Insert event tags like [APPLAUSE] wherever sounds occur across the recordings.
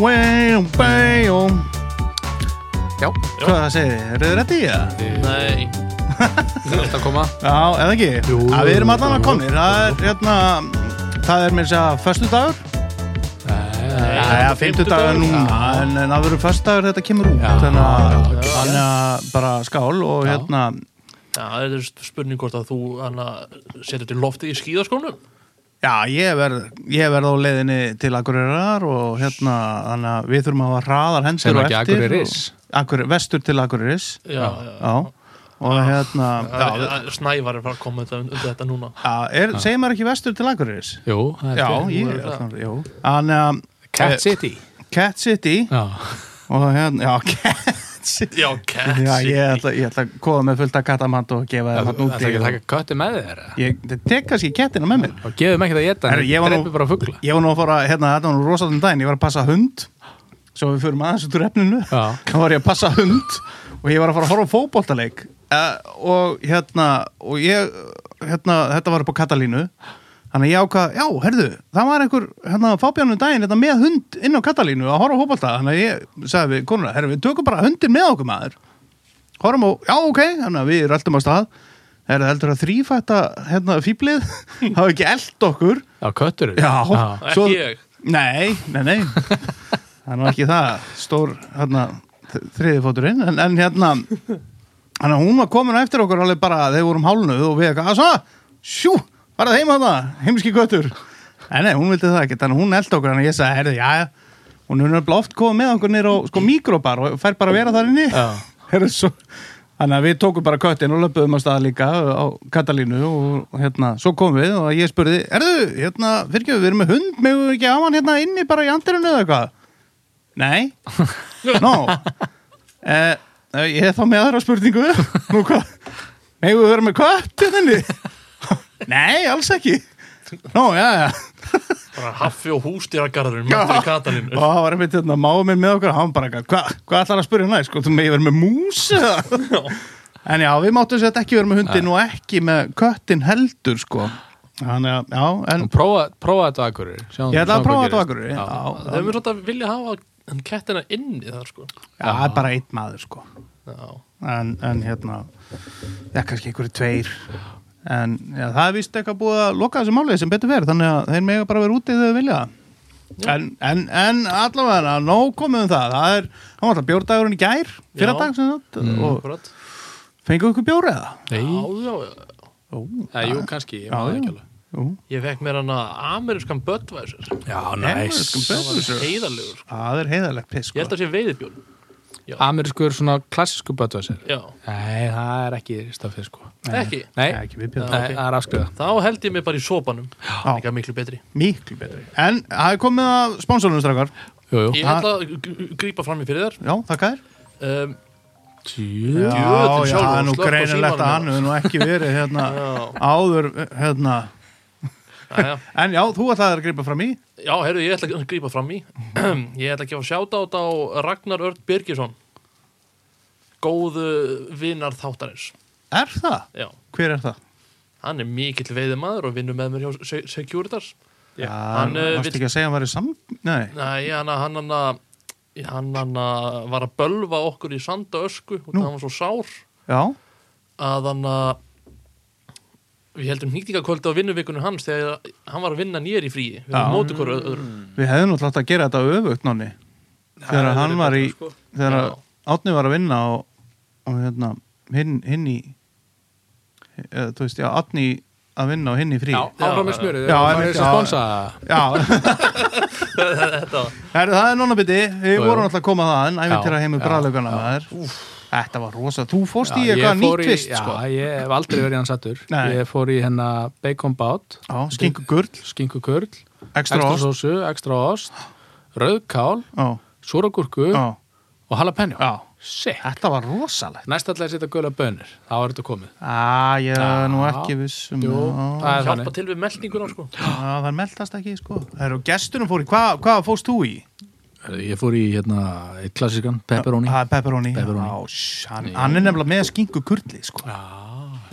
wham, bam Já, Hvað segir þið? Eru þið rétti í það? nei Það er alltaf að koma Já, eða ekki? Jú, að við erum allan að komnir Það er, hérna, það er mér að segja föstu dagur Það er fymtu dagur núna en, en það verður föstu dagur þetta kemur út Já, Þannig að, já, já. þannig að bara skál og hérna Já, það er spurning hvort að þú hana, setur til loftið í skíðaskónum Já, ég verð, ég verð á leiðinni til Akureyrar og hérna, þannig að við þurfum að hafa hraðar hendur Sem og ekki eftir. Akureyris. og- Akur, vestur til Akureyris, Já, já, já. Og hérna, já, já, já Snævar er bara að koma undir þetta núna já er, segir maður ekki vestur til Akureyris? Jú, það Já, er ég, er það. þannig, jú. Þannig að, Cat eh, City Cat City Já, og hérna, já, [LAUGHS] Cat City. Já, kætt Já, ég ætla, ég ætla að koma með fullt af katamant og gefa þeim hann það er ekki að úti. taka kötti með þér eða? Ég ég tek kannski kettina með mér. og gefum ekki það geta, Herru, ég var nú- dreipið bara fuggla Ég var nú að fara, hérna, þetta var nú rosalega daginn, ég var að passa hund svo við förum aðeins út úr efninu Já. [LAUGHS] þá var ég að passa hund og ég var að fara að horfa á fótboltaleik uh, og hérna og ég, hérna, þetta var upp á Katalínu þannig að ég ákvað, já, herðu það var einhver, hérna, fábjánum daginn hérna, með hund inn á Katalínu að horfa á fótbolta þannig að ég sagði við konuna, herru, við tökum bara hundin með okkur maður horfum á, já, ok, þannig að við röltum á stað herru, heldur að þrýfætta hérna, fýblið, [LAUGHS] hafa ekki eld okkur Já, köttur Já, Ekki ég. Nei, nei, nei Það er nú ekki það Stór, hérna, þriðifóturinn en, en hérna Þannig að hún var komin á eftir okkur alveg bara Þeir vorum hálnuð og við eitthvað Svo, sjú, bara þeim að það, heimski göttur En nei, hún vildi það ekki Þannig að hún eldi okkur, þannig að ég sagði, herði, já Hún er nefnilega oft komið með okkur nýr á sko, mikrobar Og fær bara að vera þar inni [LAUGHS] Já. Herri, svo, Þannig að við tókum bara köttin og löpuðum á stað líka á Katalínu og hérna, svo komum við og ég spurði, erðu, hérna, fyrir við erum með hund, megum við ekki á hann hérna inni bara í andirinu eða eitthvað? Nei? Nó? Eh, eh, ég er þá með aðra spurningu, nú hvað? Megum við vera með kött hérna inni? Nei, alls ekki. Nó, já, já. Bara haffi og hústýragarður Mættur í Katalínu Og það var einmitt hérna, máðu minn með okkur, hann bara, hvað hva hvað ætlar að spyrja næst, sko, þú megið verið með mús eða? En já, við máttum sér ekki verið með hundin og ekki með köttin heldur, sko. Þannig að, já, en Prófa, prófa þetta á akkurir sjáum, ég ætla sjáum að prófa hvað þetta gerist. okkur. Já. Já, Þau verður alltaf vilja hafa kettina inni þar sko já, það er bara einn maður, sko. Já, En, en hérna, já, kannski einhverju tveir. En já, það er vist eitthvað búið að loka þessu málið sem betur verið, þannig að þeir mega bara vera úti þegar þau vilja það. En, en, en allavega, nóg komið um það, það er, hann var alltaf bjórdagurinn í gær, fyrir dag sem þetta, og akkurat Fengu ykkur bjóra eða? Nei, Já, já, já Ó, Eh, jú, kannski, ég maður já. ekki alveg jú. Ég fekk mér hana amerískan Budweiser Já, Amerískan næs Budweiser. Heiðarlegur sko. Það er heiðalegt piss, Ég held sko. að sé veiðibjón Amerískur svona klassísku bötvæsir Já, Nei, það er ekki stafið sko ekki Nei, Nei, ekki við bjóra. Nei, það er afskriða Þá held ég mig bara í sopanum Já. Ekki að miklu betri Miklu betri. En það er komið að sponsorunum strakar. Jú, jú Ég ætla að g- g- grípa fram í fyrir þér Já, þakka þér. um, Jú, Já, Djöfullinn já, sjálfur, það er nú slökk á greinilegt símanum. að hann hefur nú ekki verið hérna Já. áður, hérna. aðja. En já, þú ætlaðir að gripa fram í. Já, heyrðu, ég ætla að grípa fram í [CLEARS THROAT] Ég ætla að gefa sjátátt á Ragnar Örn Birgisson Góðu vinar þáttarins Er það? Já, Hver er það? hann er mikill veiðimaður og vinnur með mér hjá Se- Securitas Já, Hann, uh, varst vill- ekki að segja að hann væri sam... Nei. Nei, hann hann hann hann hann var að bölva okkur í sanda ösku og það var svo sár Já, að hann að við heldum nýtingakvöldi á vinnuvikunum hans þegar hann var að vinna nýjar í fríi við Já. erum móti hverju öðru við hefðum náttúrulega átt að gera þetta öfugt, nonni. Þegar hefði hann verið var í, betra, sko. þegar Já. Átni var að vinna og, og hérna, hinn, hinn í, eða, þú veist, já, Átni að vinna og hinn í frí. Já, áfram með já. Já, smjörið Já, það einmitt, er þess já. að sponsa það. Já, [LAUGHS] þetta var herru, það er nonnabiti, við Jú, jú. vorum alltaf að koma það en æfint til að heimur já, bræðlaugana maður. Úff, Þetta var rosa, þú fórst í Já, ég eitthvað fór nýtt í- fyrst, sko. Já, ég hef aldrei verið hann sattur Nei. Ég fór í hennar bacon bát Já, skingu gurl, skinku kurl, ekstra ost. sósu, ekstra ost rauðkál, Já, súragúrku já, og jalapeno já, Sick. þetta var rosalegt. Næst alltaf að setja gula bönir, þá er þetta komið Á, ég er nú Já. ekki um vissum. Jú, Ah. það er hjálpa þannig til við meldinguna sko Það meldast ekki, sko. Herru, gestunum fór í, hvað hvað fórst þú í? Herðu, Ég fór í hérna, eitt klassískan, pepperoni Það er Ah, pepperoni. Pepperoni. Já, sh- hann, hann er nefnilega með skingu kurli, sko. Já,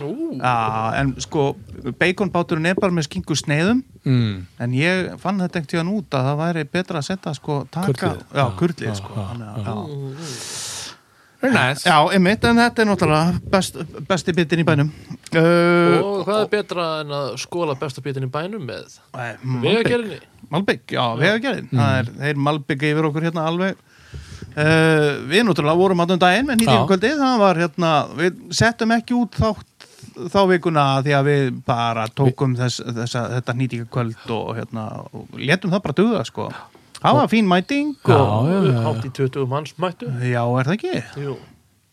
Ú, Já, en sko, beikonbáturinn er bara með skingu sneiðum mm. en ég fann þetta einhvern tíðan út að það væri betra að setja sko taka, Kurlið. já, Já, kurlið já, sko já, Þannig að- já. Very nice Já, einmitt, en þetta er náttúrulega best, besti bitin í bænum uh, og hvað er betra en að skóla besta bitin í bænum með nei, Malbik, vegagerðinni? Malbik, já, Mm. vegagerðin það er, þeir Malbik yfir okkur hérna alveg uh, við náttúrulega vorum allan daginn með Já. nýtíum kvöldið, það var hérna við settum ekki út þátt þá vikuna því að við bara tókum þess, þessa, þetta nýtíka kvöld og hérna, og letum það bara duga sko, það var fín mæting og, Já, já, já. Hátt í 20 manns mættu? já, er það ekki? Jú,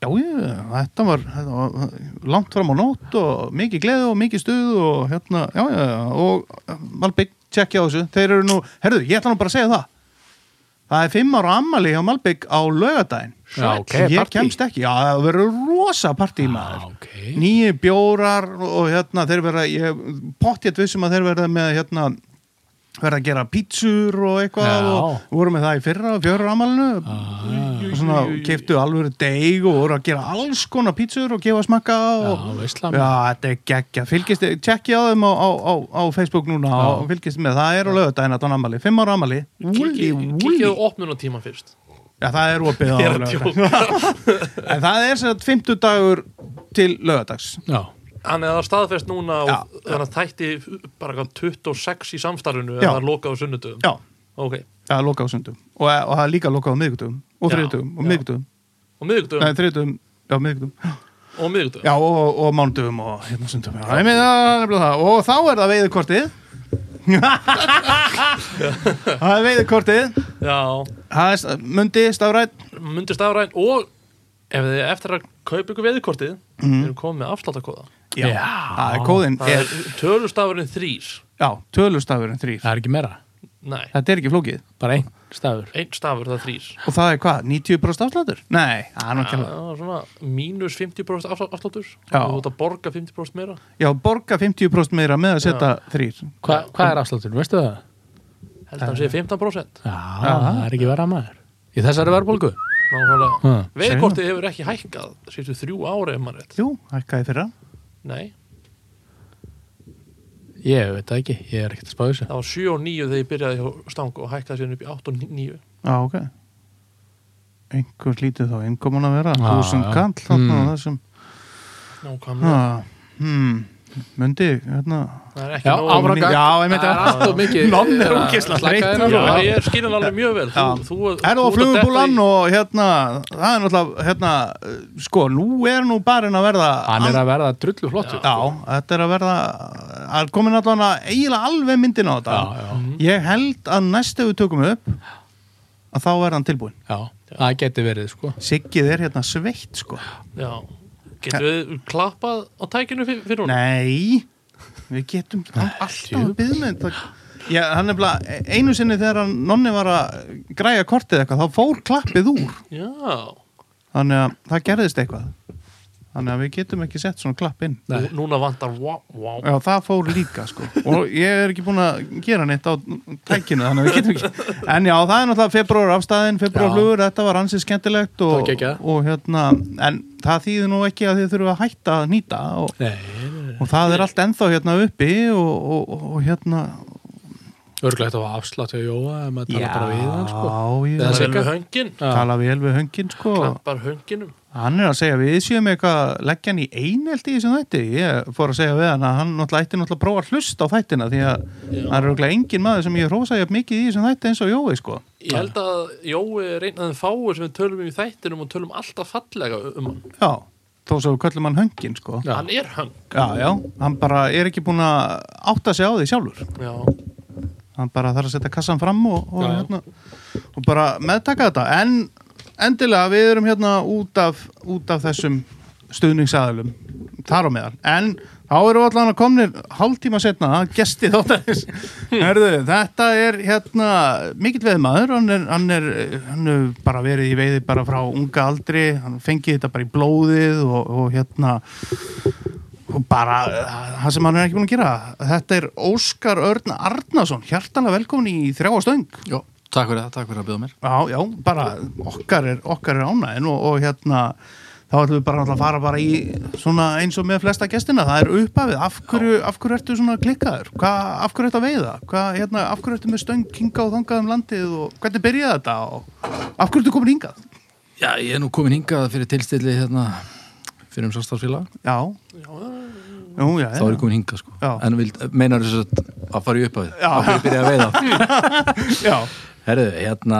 Já, já, þetta var, þetta var langt fram á nótt og mikið gleði og mikið stuð og hérna, já, já, já, og eh, Malbygg tjekkja á þessu, þeir eru nú, herðu, ég ætla nú bara að segja það, það er fimm ára ammali hjá Malbygg á laugadaginn, Já, ok, ég partí. kemst ekki, já, það verður rosa partí maður, ok nýju bjórar og hérna, þeir verða, ég pottjétt vissum að þeir verða með hérna, verða að gera pítsur og eitthvað Já. og voru með það í fyrra, fjörur amalinu ah, og svona keiptu alvöru deig og voru að gera alls konar pítsur og gefa smakka og Já, já, veistla þetta er geggja fylgist, tjekkja á þeim á, á, á, á Facebook núna Já. og fylgist með, það er á lögudaginn að þann amali, fimm ára amali Úli, úli, Kikið á opnunatíma fyrst já það er opið á Ég er að lögudaginn djóka. [LAUGHS] en það er sem sagt 50 dagur til lögudags Já, Þannig að það er staðfest núna Já. og þannig að þætti bara hvað 26 í samstarfinu Já. eða loka á sunnudöfum já, Ok, það er lokað á sundum og, eh, og það er líka lokað á miðgudum og Já, þriðdugum og já. Um. miðgudum, og miðvikudöfum nei þriðdugum já, miðgudum og miðvikudöfum Já, og, og mándugum og hérna sundum já, ég meina, það er nefnilega það. Og þá er það veiðukortið Það er veiðukortið Já, Það er sta- mundi, stafrætt myndir stafræn og ef þið eftir að kaupa ykkur veðikortið Mhm. mm. erum komið með afsláttakóða Já, það er kóðinn það er, er tölustafurinn þrýr Já, tölustafurinn þrýr það er ekki meira nei, Þetta er ekki flókið Bara einn stafur einn stafur það er þrýr Og það er hvað, 90% afsláttur? Nei, það er nú ekki það alveg er svona mínus 50% afslá- afsláttur Já. og þú ert að borga 50% meira Já, borga 50% meira með að setja þrýr Hva, Hvað er afsláttur, veistu það? held að hann sé 15% Já, það er ekki vera maður Í þessari verðbólgu nákvæmlega Ha. veðikortið hefur ekki hækkað síðustu þrjú ári ef maður rétt Jú, hækkaði fyrra nei, Ég veit það ekki, ég er ekkert að spá þessu það var 7 og 9 þegar ég byrjaði hjá stang og hækkaði síðan upp í 8 og 9 Já, ok Einhver lítið þá innkomun að vera Já, Húsund já. kall þarna Mm. á þessum nákvæmlega Já, hmm, mundi, hérna það er Já, ekki nóg áfram gagn. Já, einmitt. Það er allt og mikið Nonni er Já, ógeðslega slaka þreyttur. þér á. Já, ég skilur alveg mjög vel þú, Já. þú, Er það ert að detta í- flugbúlan og hérna, það er náttúrulega, hérna, uh, sko, nú er nú barinn að verða Hann er að verða drullu flottur Já, þetta er að verða, það er komin allan að eiginlega alveg myndin á þetta já, já, Ég held að næst ef við tökum upp, að þá verða hann tilbúin já. það geti verið sko Siggið er hérna sveitt, sko Já, getur við klappað á tækinu fyr- fyrir hún? [LAUGHS] Nei, við getum hann alltaf að byggja með þetta Já, hann er bara, einu sinni þegar hann nonni var að græja kortið eitthvað, þá fór klappið úr Já, Þannig að það gerðist eitthvað Þannig að við getum ekki sett svona klapp inn Nú, núna vantar wow, wow. Já, það fór líka sko Og ég er ekki búin að gera neitt á tækinu Þannig að við getum ekki [LAUGHS] En já, það er náttúrulega februar afstæðin, februar Já. flugur Þetta var ansið skemmtilegt Það var og, geggjað. og hérna, En það þýðir nú ekki að þið þurfum að hætta að nýta og, Nei, og það er allt ennþá hérna uppi Og, og, og, og hérna örglega þetta var afslátt hjá Jóa ef maður tala bara við hann sko já, Eða ég Það Sigga? er með höngin, Já, tala vel við höngin sko klappar hönginum Hann er að segja við séum eitthvað að leggja hann í einelti í þessum þætti. Ég fór að segja við hann að hann náttúrulega ætti náttúrulega að prófa að hlusta á þættina því að það er auðvitað engin maður sem ég hrósa jafn mikið í þessum þætti eins og Jói sko. Ég held að Jói er einn af þeim fáur sem við tölum um í þættinum og tölum alltaf fallega um hann Já, þó svo við köllum hann höngin sko. Já. Hann er höng Já, já, hann bara er ekki búin að átta sig á því sjálfur. Já, hann bara þarf að setja kassan fram og, og, Já. hérna, og bara meðtaka þetta en endilega við erum hérna út af, út af þessum stuðningsaðalum þar á meðal en þá eru allan að komnir hálftíma setna að gesti [LAUGHS] þáttanins Herðu, þetta er hérna mikill veðmaður hann er, hann er, hann er bara verið í veiði bara frá unga aldri hann fengið þetta bara í blóðið og, og hérna og bara uh, það sem hann er ekki búin að gera þetta er Óskar Örn Arnason hjartanlega velkomin í þrjá og stöng Jó, takk fyrir það, takk fyrir að bjóða mér já, já, bara okkar er, okkar er ánæðin og, og hérna þá ætlum við bara náttúrulega að fara bara í svona eins og með flesta gestina, það er upphafið af hverju, af hverju ertu svona klikkaður Hva, af hverju ertu að veiða, Hva, hérna, af hverju ertu með stöng hingað og þangað um landið og hvernig byrjaði þetta og af hverju ertu komin hingað Já, ég er nú komin hingað fyrir tilstilli hérna, fyrir um samstarfsfélag já, Jú, já, þá er ég komin hingað sko Já. en vild, meinar þess að, að fara í upphafið Já. af hverju byrja að veiða [LAUGHS] já, Herðu, hérna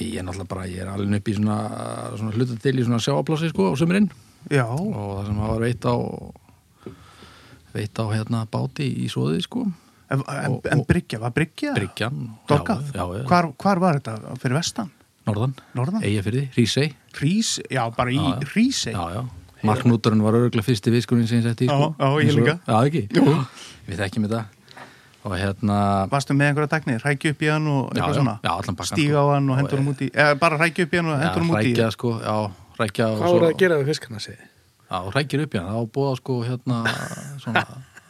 ég er náttúrulega bara, ég er alveg upp í svona, svona hluta til í svona sjáaplási sko á sömurinn já, og það sem var veitt á veitt á hérna báti í svoðið sko en, en, Og- en og- bryggja, var bryggja Bryggjan, dokkað, já, já, já, hvar, hvar var þetta fyrir vestan, norðan, norðan Eyjafyrði, Rísey Hrís, já, bara í Já, já. Hrísey Já, já. Mark Núturinn var örgulega fyrsti viskunin sem ég setti í, Já, sko. já, ég Eins og- líka. Já, ekki? Jú. Við þekkjum þetta. Og hérna... varstu með einhverja tækni, rækja upp í hann og Já, eitthvað já, svona, já, allan pakkan, stíga á sko. hann og Og, hendur eh, hann út í eða bara rækja upp í hann og hendur hann út í rækja, sko, já, rækja og Hvað voru að gera við fiskana sig? Já, rækjir upp í hann. Það búið á, sko, hérna, svona,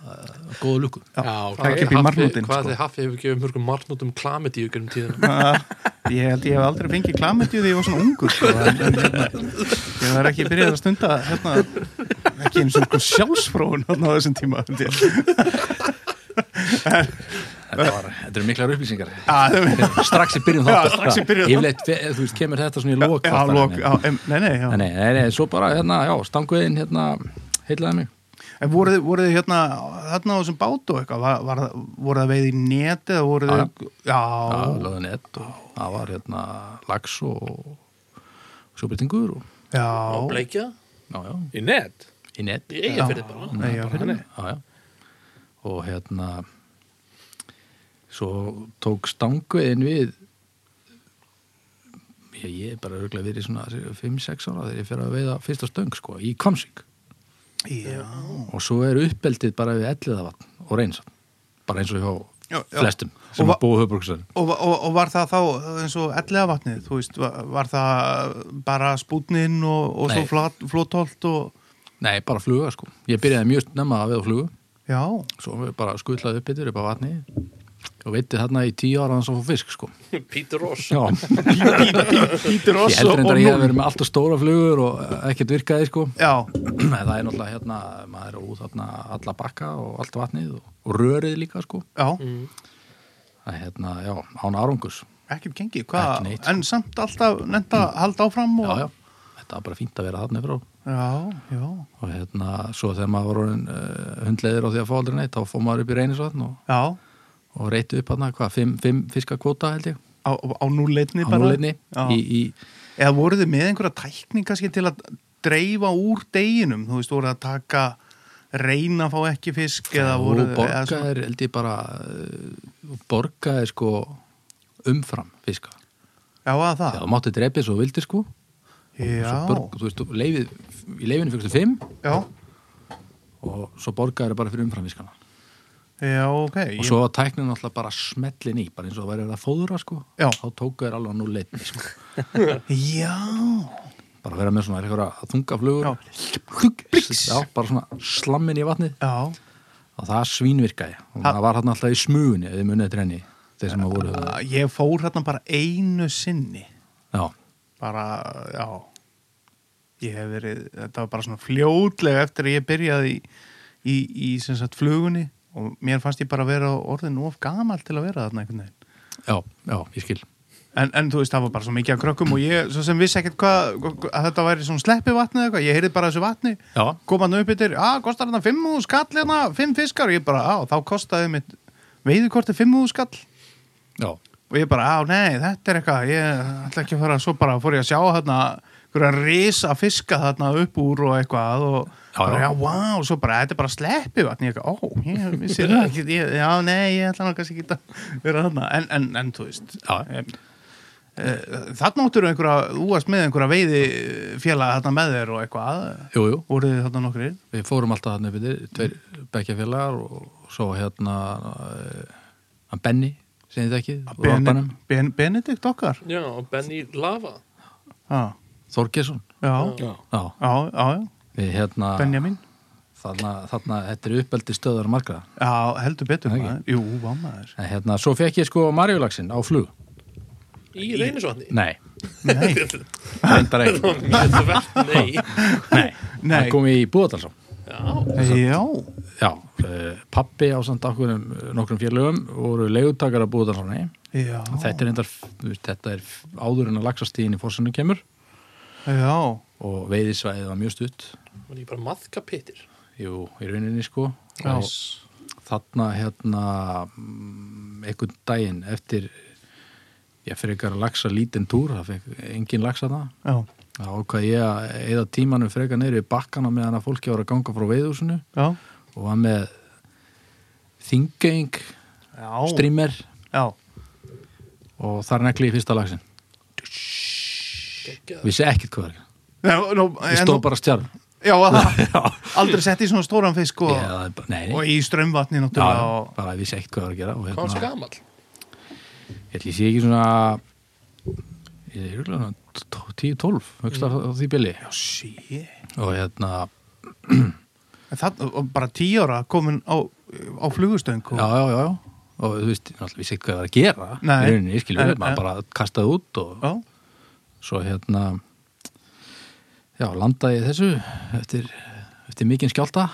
uh, góðu lukku. Já, ok. rækja upp í Haffi- marnútin Hvað sko. þið hafið hefur gefið mörgum marnútum klamiti í ykkurum tíðina [LAUGHS] ég held ég hef aldrei fengið klamyndju því ég var svona ungur sko, en, en, hérna, ég var ekki byrjað að stunda hérna, ekki eins og sko sjálfsfróun hérna á þessum tíma held ég. Þetta var, þetta eru miklar [LAUGHS] upplýsingar. Já, það er- strax í byrjun Já, þáttar. strax í byrjun Yfirleitt, fe- þú veist, kemur þetta svona í lók. já, lok, já, em, nei, nei, já. Nei, nei, nei, nei, svo bara, hérna, já, stanguðin, hérna, heilaði mig. En voruð þið- voruð þið hérna, hérna á þessum bátu og eitthvað, var, var, voruð það veið í neti eða voruð þið, já, Já, löðin ett og það var hérna lax og sjóbyrtingur og já, og bleikja já, já, Í net? í nett í eigafyrði bara nei, já, Bara fyrir þannig. já, já. og hérna svo tók stanguðin við ég, ég er bara örgulega verið svona 5-6 ára þegar ég fyrir að veiða fyrsta stöng sko, í Kvamsík já, og svo er uppeldið bara við elliðavatn og reynsatn, bara eins og hjá Já, já. flestum Og sem va- að búa höfbruksar Og, og, og var það þá eins og ellega vatnið, þú veist, var, var það bara spútnin og, og svo Nei. flat, flótholt og, nei, bara fluga sko, ég byrjaði mjög snemma að veiða flugu já, svo við bara skuttlaði upp yfir upp á vatni og veitti þarna í tíu ára hans að fá fisk sko Pítur Ross Já, Pítur [LAUGHS] ég heldur reyndar að ég hef verið með alltaf stóra flugur og ekkert virkaði sko [CLEARS THROAT] Já, en það er náttúrulega hérna, maður er út þarna alla bakka og allt vatnið og, og rörið líka sko já, Mm. það er hérna, já, án árangus ekkert um gengið, hvað, Ekki neitt. sko. Mm. en samt alltaf nefnt að halda áfram og, já, já, þetta var bara fínt að vera þarna frá já, já, og hérna, svo þegar maður var orðin uh, hundleiður á því að fá aldrei neitt þá fór maður upp í reynisvatn og, já, og reyti upp hérna, hvað, fimm, fimm fiskakvóta held ég, á, á núleitni á bara, núleitni Já. í, í, eða voruð þið með einhverja tækning kannski til að dreifa úr deginum, þú veist, voruð að taka, reyna að fá ekki fisk eða og voruð, eða svona- borgaðir held ég bara eh, borgaðir sko umfram fiska já, að það, já, þú máttu drepið svo þú vildir sko já, Svo borg, þú veist, þú leifið, í leifinu fyrstu fimm já. og svo borgaðir bara fyrir umfram fiskana Já, ok. og svo var tæknin alltaf bara smellin í bara eins og það væri verið að fóðra sko Já. þá tóku þér alveg nú leitni sko Já. bara vera með svona eitthvað þungaflugur Já. já, bara svona slammin í vatnið Já. og það svínvirkaði og Ha- það var hann alltaf í smugunni eða munið þetta renni þeir sem að voru þarna. Að Ég fór hérna bara einu sinni. já, Bara, já. Ég hef verið, þetta var bara svona fljótlega eftir að ég byrjaði í, í, í sem sagt, flugunni og mér fannst ég bara að vera orðin of gamal til að vera þarna einhvern veginn. já, já, ég skil En, en þú veist, það var bara svo mikið að krökkum og ég, svo sem vissi ekkert hvað, að þetta væri svona sleppi vatni eða eitthvað, ég heyrði bara þessu vatni, já, kom hann upp yfir, að, kostar hann fimm hús skall hérna, fimm fiskar, og ég bara, að, þá kostaði mitt veiðukorti fimm hús skall já og ég bara, á nei, þetta er eitthvað ég ætla ekki að fara, svo bara fór ég að sjá hérna, einhverja risa fiska þarna upp úr og eitthvað og Já, bara, já. já, wow, svo bara, þetta er bara sleppi vatn, ég eitthvað, ó, ég vissi það ekki ég, já, nei, ég ætla nú kannski ekki að vera þarna, en, en, en, þú veist Já. em, e, þarna áttur einhverja, þú varst með einhverja veiði félaga þarna með þér og eitthvað Jú, jú, voruð þið þarna nokkrir við fórum alltaf hann yfir tveir bekkjafélagar og svo hérna eh, hann Benny, sem þið ekki úr Bene, Orbanum, ben, Benedikt okkar Já, og Benny Lava já, Þorgesson já, já, Já. Já, já, já. við hérna Benjamin þarna, þarna, þetta er uppeldi stöðar margra Já, heldur betur Ekki? maður. Jú, var maður. en hérna, svo fekk ég sko Marjulaxin á flug í reynisvatni Nei, Nei, Reyndar ekki. Þetta verð, [LAUGHS] nei Nei, nei, það kom í Búðardalsá. Já, já, Já, eh, pappi á samt okkur eh, nokkrum félögum voru legutakar að Búðarsáni. já, Þetta er reyndar, þú veist, þetta er áður en að lagsastíðin í fórsunum kemur já, og veiðisvæðið var mjög stutt. var ég bara maðkapittir Jú, í rauninni sko. Já. Og þarna hérna mm, einhvern daginn eftir ég fyrir ykkar að lagsa lítinn túr, það fekk engin lagsa það. já, Þá ákvað ég að eða tímanum frekar neyri í bakkana meðan að fólki ára að ganga frá veiðúsinu já, og var með þingöing, já, streamer já, og þar nekli í fyrsta lagsin. Vissi ekkert hvað var ekki. já, nú, Ég en stóð nú- bara stjarn. [LAUGHS] já, að- aldrei sett í svona stóran fisk og, Ég, það er bara- nei, nei. og í strömmvatni Já, náttúrulega og, bara vissi ekkert hvað var að gera. og Hvað var hérna- svo gamall? Ég ætli ég sé ekki svona ég er rúglega 10-12 högst af mm. því bili sí, og hérna, En það, og bara tíu ára komin á, á flugustöng og, já, já, já, já og þú veist, náttúrulega vissi ekki hvað það var að gera Nei. í rauninni, skilur Nei, við, maður nei. bara kastaði út og já, svo hérna já, landaði ég þessu eftir, eftir mikinn skjálta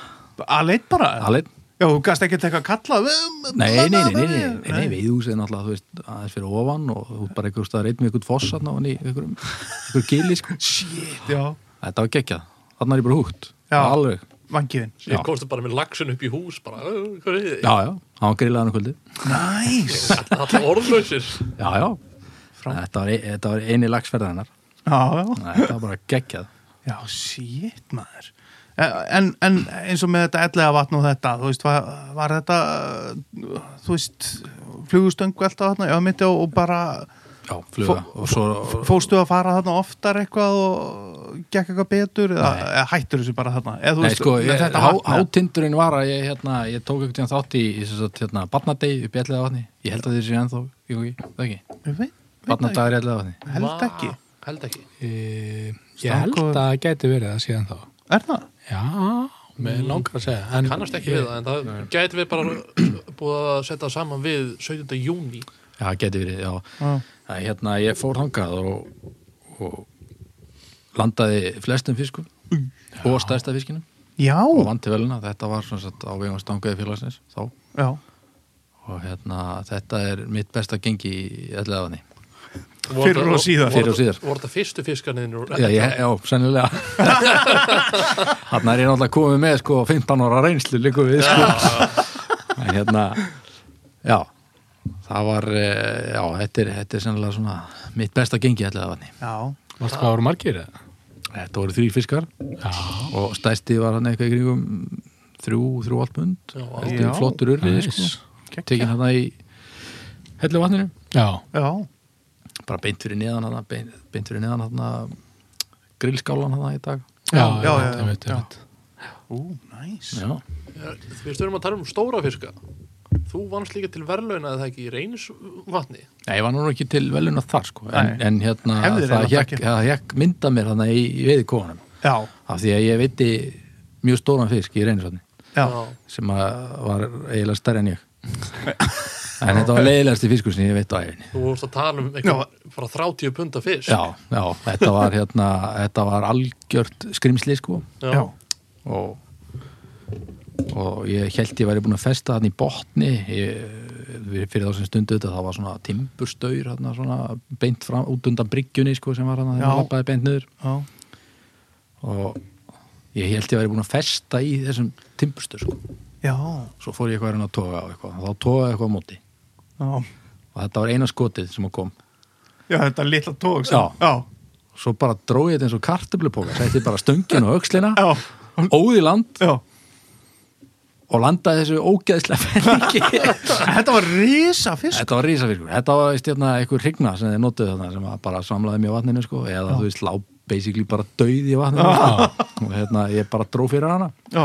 að leitt bara alveg, já, þú gast ekki teka að kalla nei, nei, nei, nei, nei, nei, nei, nei viðhúsið náttúrulega, þú veist, aðeins fyrir ofan og þú bara einhver staðar einn með einhvern foss hann og hann í einhverjum, einhver gili, [LAUGHS] sko shit, já, þetta var geggjað, þannig er ég bara húgt Já. alveg, [LAUGHS] vangiðin Já. Ég komstu bara með lagsun upp í hús bara, "Ö, hvað er þið? já, já, hann grillaði hann kvöldið næs, Alltaf orðlausir Já, já, þetta var, e- þetta var eini lagsferð hennar já, já Nei, Þetta var bara geggjað já, shit, maður Eh, en, en eins og með þetta ellega vatn og þetta, þú veist, var, var þetta uh, þú veist flugustöng velta þarna, já, mitt og, og bara Já, fluga og svo fóstu að fara þarna oftar eitthvað og gekk eitthvað betur eða, Nei. eða hættur þessu bara þarna eða, þú Nei, veist, sko, ég, þetta há, vatn, eða? hátindurinn var að ég, hérna, ég tók einhvern tíðan þátt í, í sem sagt, hérna, barnadegi upp í ellega vatni Ég held að þeir séu ennþá, jú, jú, það ekki Ég veit- veit það ekki. Barnadagur í ellega vatni held ekki, Vá, Held ekki E, ég held Stanko- að það gæti verið það síðan þá. er það? Já, með langar að segja. En, Mm. Kannast ekki við það, en það gæti við bara [CLEARS THROAT] búið að setja það saman við 17. júni Já, geti verið, já Já. Það, hérna, ég fór hangað og, og landaði flestum fiskum og stærsta fiskinum Já, og vanti velina, þetta var svona sett á vegum stangaði félagsins þá já, og hérna þetta er mitt besta gengi í ellegaðanni Fyrir og síðar. Fyrir og síðar. Voru þetta fyrstu fiskarniðin úr já, já, já, sennilega hann er ég náttúrulega komið með sko 15 ára reynslu líku við sko en hérna já, það var eh, já, þetta er, þetta er sennilega svona mitt besta gengi í ellegaðanni já Varst hvað voru margir það? þetta voru þrý fiskar Já, og stæsti var hann eitthvað í kringum þrjú, þrjú alpund Já, já. flottur urrið sko, Nice. tekin hann í hellu vatninu já, Já, bara beint fyrir neðan hana beint, beint fyrir neðan hana grillskálan hana í dag já, Já, já, já, ég veit, ég já. veit. ú, næs já, Eh, Við stöðum að tala um stóra fiska Þú vannst líka til verðlauna eða það ekki í reynisvatni ég var nú ekki til veluna þar sko en, Nei. en hérna Hefðir það eiginlega hekk, þakkir. það hekk mynda mér hana í, í veiðkóðanum Já, af því að ég veiti mjög stóran fisk í reynisvatni já, sem að var eiginlega [LAUGHS] stærri en ég en þetta var leiðilegasti fiskur sem ég veit á æfinni Þú vorst að tala um eitthvað bara 30 punda fisk já, já, þetta var hérna þetta var algjört skrimsli sko Já. já, og og ég held ég væri búin að festa hann í botni ég, fyrir þá sem stundu þetta það var svona timburstaur hann, svona beint fram, út undan bryggjunni sko, sem var hann að Já. lappaði beint niður já, og ég held ég væri búin að festa í þessum timburstaur sko. já, svo fór ég eitthvað að reyna að toga á eitthvað þá togaði eitthvað á móti já, og þetta var eina skotið sem að kom já, þetta litla tók Já. já, svo bara dróið þetta eins og kartöflupóka setti bara stöngin og öxlina já, óði land já og landaði þessu ógeðslega [LAUGHS] fengi Þetta var risa fisk Þetta var rísafiskur, þetta var veist, hérna, einhver hrigna sem þið notuðu þarna sem að bara samlaði mjög vatninu sko, eða þú veist, lá basically bara döið í vatninu sko. og hérna, ég bara dró fyrir hana Já,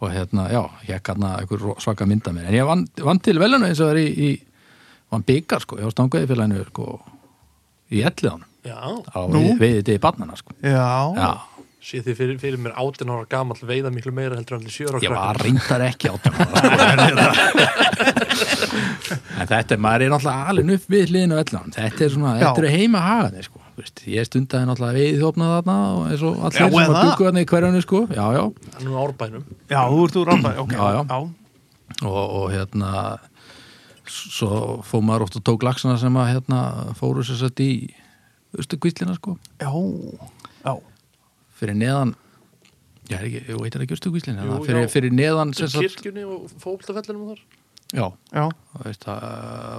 og hérna, já, ég hérna einhver ro- svaka mynda mér, en ég vann, vann til velunum eins og það er í, í vann byggar sko, ég var stangaði fyrir hennu sko, í ellið hann Já, á Nú? veið þetta í barnana sko já, Já, sé þið fyrir, fyrir mér 18 ára gamall veiða miklu meira heldur en allir 7 ára ég var krakkar. reyndar ekki átján ára sko. en þetta, er- maður er náttúrulega alveg upp við hliðinu vellan, þetta er svona, Já. þetta er heima hagan sko. Þú veist, ég stundaði náttúrulega veið þófnað þarna og eins og allir Já, sem að eða? byggu þarna í hverjunu sko. já, já, hann er nú árbænum Já, þú ert úr ráðbæði, ok. Já, já. já. og, og hérna s- svo fóð maður oft og tók lagsana sem að hérna fóru sér satt í austu kvíslina sko Já, já. fyrir neðan já, er ekki, ég veit er ekki austu kvíslina Jú, fyrir, já. fyrir neðan sem sagt, kirkjunni og fókbaltafellinum þar já, Já, það veist það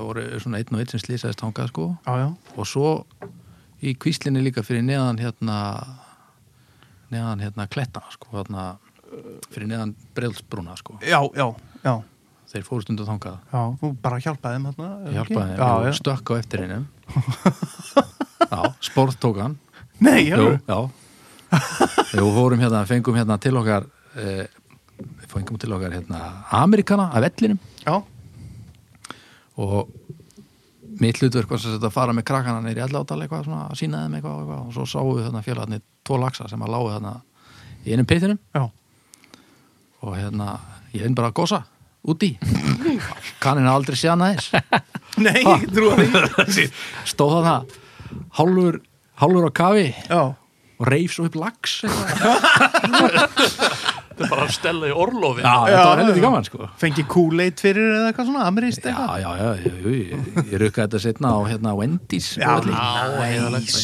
voru svona einn og einn sem slýsaðist hangað sko já, já. og svo í kvíslinni líka fyrir neðan hérna neðan hérna klettana sko hérna, fyrir neðan breldsbrúna sko Já, já, já. þeir fóru stundu þangað Já, þú bara hjálpaði þeim þarna. er ég það ekki? hjálpaði Já, þeim, já. ég stökk á eftir [LAUGHS] hennum já, sport tók hann Nei, já. Jú, já Jú, fórum hérna, fengum hérna til okkar eh, fengum til okkar hérna Amerikana af ellinum Já, og mitt hlutverk var sem sagt að fara með krakkana neyri allátal eitthvað svona, að sína þeim eitthvað, og eitthvað og svo sáum við þarna félagarnir tvo laxa sem að lágu þarna í einum pittinum já. og hérna, ég einn bara að gósa [LAUGHS] úti kannin aldrei séð hana þess Nei, ég trúi því. stóð þarna hálfur, hálfur á kafi [LAUGHS] Já, og reif svo upp lax eitthvað. þetta er bara að stella í orlofi já, þetta var já, helviti já. gaman sko fengi kúleit fyrir eða eitthvað svona, ameríst já, eitthvað. já, já, já, já ég, ég rukkaði þetta setna á hérna Wendy's Já, og allir. næs.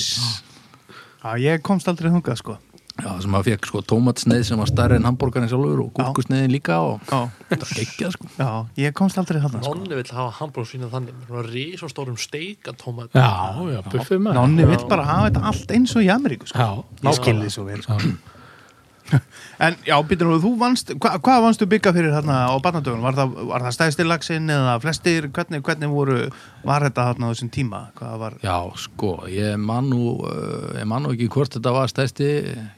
Já, ég komst aldrei þungað, sko. já, sem að fekk sko tómatsneið sem var starri en hambúrgarinn sjálfur og Já. gúrkusneiðin líka og Já, þetta var geggjað sko já, ég komst aldrei þarna, sko. Nonni vill hafa hambúrgarsvínu þannig með svona risastórum steikatómat Já, já, buffið maður Nonni vill bara hafa þetta allt eins og í Ameríku, sko. Já, Ég skil þið svo vel, sko. En já, [LAUGHS] býtum nú, þú vannst, hva, hvað vannst þú bygga fyrir þarna á barnadögun? Var það, var það stæðstir lagsinn eða flestir? Hvernig, hvernig voru, var þetta þarna á þessum tíma? Hvað var, já, sko, ég man nú eh, ég man nú ekki hvort þetta var stærsti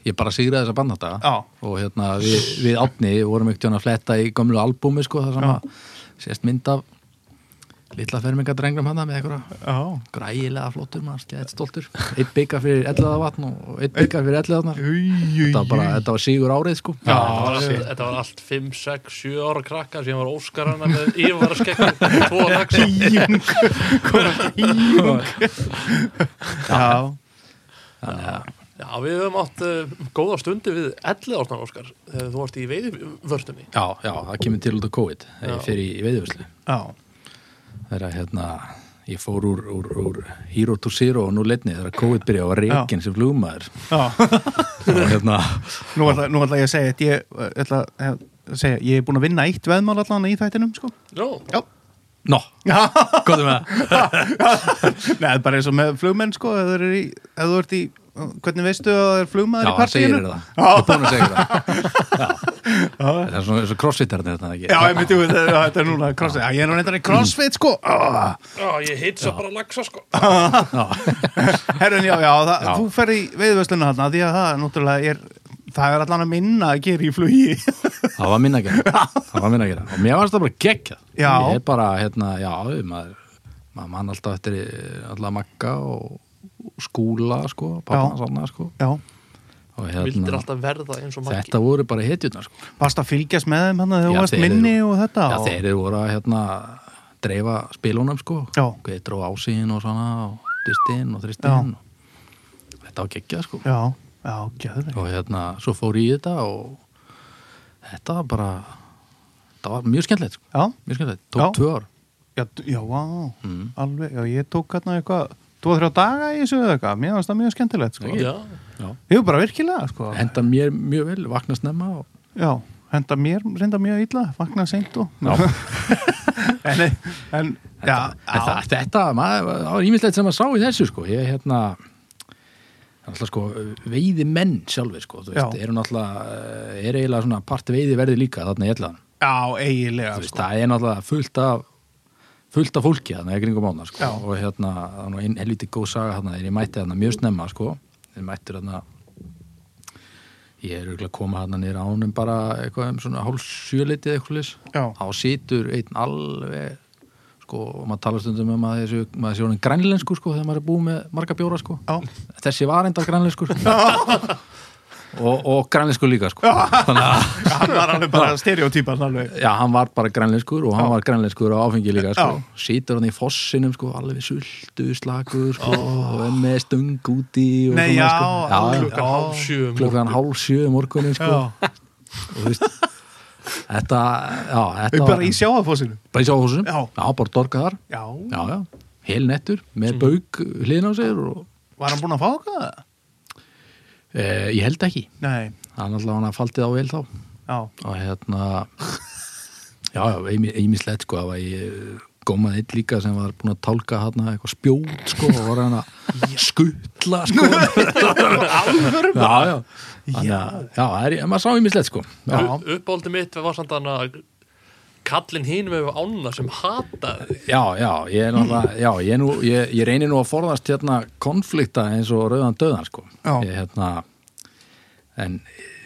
ég bara sigraði þessa band þetta Já. og hérna við, við átni vorum ekkert að fletta í gömlu albúmi sko, það sem að sést mynd af litla fermingadrengnum hana með einhverja já, grægilega flottur maður, skæðið stoltur eitt byggar fyrir elliða vatn og eitt byggar fyrir elliðaðnar Újújú. þetta var bara, þetta var sígur árið sko Já, þetta var allt- þetta var allt 5, 6, 7 ára krakka sem var Óskar hana með yfirvara skekkum tvo laxa Íjung, komið íjung. Já, þannig að, Já, við höfum átt uh, góða stundi við 11 ártan Óskar þegar þú varst í veiðvörtunni já, já, það kemur til út af COVID þegar ég fer í veiðvöslu já, þegar að, hérna, ég fór úr, úr, úr Hero to Zero og nú leitni þegar að COVID byrja og var reikin sem flugmaður já. og hérna, Nú ætla, nú ætla ég að segja, þetta, ég, eh, ætla að segja, ég er búin að vinna eitt veðmál allan í þættinum, sko. Jó, Já. no, Já. gotum með það Nei, það er bara eins og með flugmenn sko ef þú eru í- ef þú ert í, hvernig veistu að það er flugmaður já, í hann segir partíinu? þér það, ég er búin að segja þér það Já. það er svona eins og crossfitarnir þetta ekki Já, ég myndi, já, þetta er núna crossfit Já, ég er nú reyndar í crossfit sko Ah. já, ég heit svo bara laxa sko Herrun, já, já, það, Já. þú ferð í veiðvösluna þarna því að það, náttúrulega, er það er allan að minna að gera í flugi Það var minna að gera, það var minna að gera og mér varst það bara geggjað Já. Ég er bara, hérna, já, maður maður mann alltaf eftir alltaf makka og og skúla, sko, Já. pappa sanna, sko Já, og Vildir hérna, alltaf verða eins og maggi þetta voru bara hetjurnar, sko varst að fylgjast með þeim hann að þú Já, varst þeir eru- minni og þetta Já, og... þeir eru voru að, hérna, dreifa spilunum, sko Já. Við dró ásýn og svona og distinn og þristinn Já. og... Þetta var geggjað, sko Já, já, gjöður og hérna, svo fór ég í þetta og þetta var bara þetta var mjög skemmtilegt, sko Já, Mjög skemmtilegt, Já. tók tvö ár já, d- já, vá, Mm. alveg, já, ég tók hérna eitthvað Þú þrjá daga í þessu eða eitthvað, mér finnst það mjög skemmtilegt sko. Já, Já. Jú, bara virkilega, sko. henda mér mjög vel, vakna snemma og... Já, henda mér reynda mjög illa, vakna seint og... Já. [LAUGHS] en, en, já, en það, þetta, maður, það var ímislegt sem að sá í þessu sko, ég hérna alltaf sko, veiði menn sjálfur sko, þú veist, Já. eru náttúrulega eh, er eiginlega svona part veiði verði líka þarna í allan, já, eiginlega, þú veist, sko. það er náttúrulega fullt af fullt af fólki þarna í kringum ána sko, Já. og hérna, það var nú einn helviti góð saga þarna, þegar ég mætti þarna mjög snemma sko, þegar mættur þarna ég er auðvitað að koma þarna niður ánum bara eitthvað um svona hálf sjölitið eitthvað leys Já, þá situr einn alveg sko, og maður talar stundum um að þessi, maður sé honin grænlensku sko, þegar maður er búið með marga bjóra sko. já, þessi var enda grænlensku sko. og, og grænlensku líka [LAUGHS] sko. þannig að hann var alveg bara stereotýpan alveg já, hann var bara grænlenskur og hann var grænlenskur á áfengi líka sko. Já. situr hann í fossinum sko, alveg sultu slagur sko, og er með stung úti og Nei, já, um svona, alveg. sko. klukkan hálf sjö um klukkan morgun. hálf sjö um morgunin sko. og þú veist þetta, já, þetta bara í sjáafósinu bara í sjáhúsum Já. bara dorka þar já, já, já, hel nettur Mhm. með bauk hliðin á sér og var hann búinn að fá okkar það? e, ég held ekki nei, hann alltaf hann að faldið á vel þá já, og hérna já, já, einmislegt sko það var ég gómað eitt líka sem var búin að tálka hann eitthvað spjót sko og var hann að skutla sko alvöru já, já þannig að, já, það er, maður sá einmislegt sko já, Já. Upp- uppáldi mitt var samt hann að kallin hínum hefur ána sem hataði já, já, ég er [CLEARS THROAT] náttúrulega já, ég, er nú, ég, ég reynir nú að forðast hérna konflikta eins og rauðan döðan sko Já. ég hérna en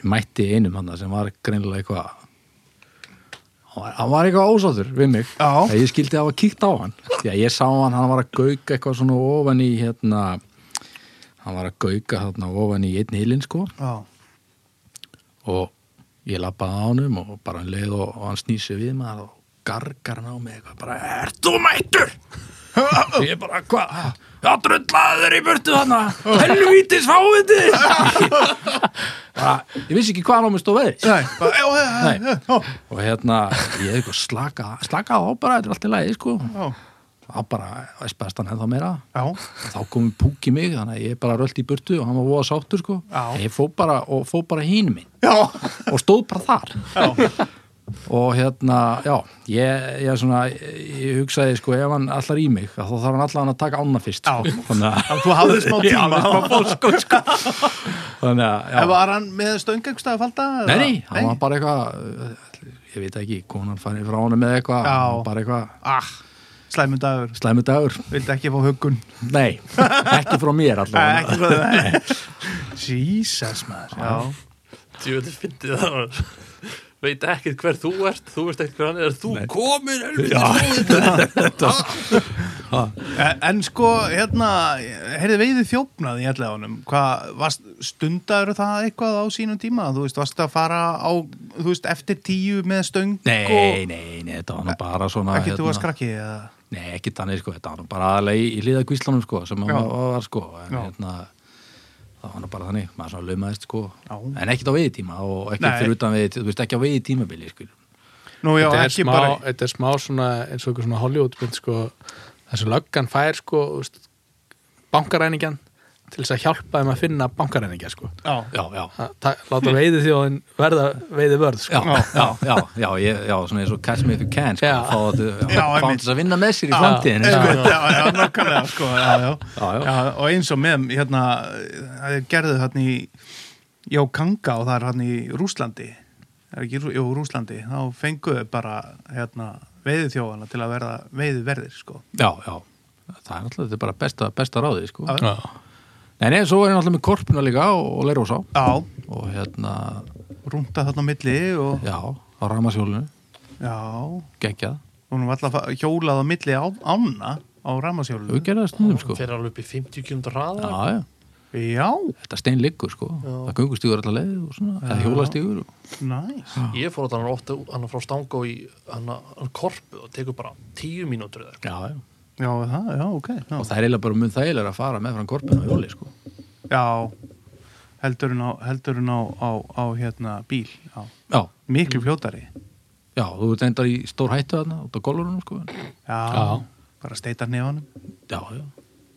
mætti einum hann sem var greinilega eitthvað hann var- hann var eitthvað ósáður við mig Já. að ég skildi hafa kíkt á hann já, ég sá hann, hann var að gauka eitthvað svona ofan í hérna hann var að gauka þarna ofan í einn hilinn sko já, og ég lappaði á honum og bara hann leið og, og hann snýsi við maður og gargar hann á mig eitthvað bara, ert þú mættur? [LAUGHS] og ég bara, hvað? Já, drullaði þér í burtu [LAUGHS] þarna helvítis fáiði [LAUGHS] bara, ég vissi ekki hvað hann á mig stóð veðri nei, bara, já, já, já, Nei. já, og hérna, ég hefði eitthvað slaka slaka á bara, þetta er allt í lagi, sko já, þá bara, spæst hann ennþá meira já, Og þá komum púk í mig, þannig að ég bara röldi í burtu og hann var voða sáttur, sko Já. En ég fó bara, og fó bara hínum minn já, og stóð bara þar já. og hérna, já ég, ég, svona, ég hugsaði sko ef hann allar í mig, að þá þarf hann allan að taka ána fyrst Já. sko. þannig að Þú hafði smá Ég hafði tíma smá fórskot, sko. þannig að, En já Var hann með stöng einhverstað að falda? nei, nei, hann var bara eitthvað eh, ég veit ekki, konan farið frá honum með eitthvað, Já. hann var bara eitthvað Ah, slæmur dagur slæmi dagur, Vildi ekki fá huggun nei ekki frá mér Nei, allavega ekki frá það Jesus maður Já, djúvel fyndi það var- veit ekkert hver þú ert þú veist ekkert hver hann er, er þú komin En- En sko, hérna, heyrði veiði þjófnað í ellegaunum, hvað, varst, stundaður það eitthvað á sínum tíma? Þú veist, varstu að fara á, þú veist, eftir tíu með stöng nei, hérna. nei, nei, þetta var nú bara svona Sko- Ekki þú að skrakki eða? Nei, ekki þannig sko, þetta var nú bara aðalega í, í liðakvíslanum sko, sem hann Já. var, var sko, en Já. hérna, það var nú bara þannig, maður svona laumaðist sko, Já. en ekkert á veiðtíma og ekki Nei. fyrir utan veiðtíma, þú veist ekki á veiðtímabili sko. Nú já, þetta er, ekki smá, bara þetta er smá svona eins og eitthvað svona Hollywoodmynd sko, þar sem löggan fær sko, þú veist, bankaræningjan til þess að hjálpa þeim að finna bankaræningja sko. Já, Já, já, Að ta- láta veiði þjóðin verða veiði vörð já, sko. já, já, já, já, ég, já, svona eins og catch me if you can sko, Já. fá þetta, Já, fá einmitt. þess að vinna með sér í framtíðinu sko. Einmitt, já, já, nákvæmlega sko, já, já. Já, já. og eins og með hérna, þeir gerðu þarna í Jókanga og það er hérna í Rúslandi er ekki, í Rú- jú, Rúslandi, þá fenguðu bara hérna, veiði þjóðana til að verða veiði verðir sko Já, já, það er alltaf, þetta er bara besta, besta ráðið sko. Já. Já. Nei, nei, svo er hann alltaf með korpuna líka og, og leirósá Já, og hérna, rúnta þarna á milli og já, á ramasjólinu, já, geggjað, hún var alltaf hjólað á milli á, ána á ramasjólu auðgerða stundum sko. fyrir alveg upp í 50 km hraða Já, já. Já, þetta stein liggur sko það gungustígur allar leið og svona eða hjólastígur og... næs ég fór að hann ofta hann frá Stangó í hann korpu og tekur bara 10 mínútur eða eitthvað. Já, já. Já, það, já, ok já. og það er eiginlega bara mun þægilega að fara með fram korpun á hjóli sko Já, heldur hún á, heldur hún á, á, á hérna bíl, já. já, Miklu fljótari. já þú ert endar í stór hættu þarna út á golfurunum sko en- Já, Já. bara steitar nefanum. já, já,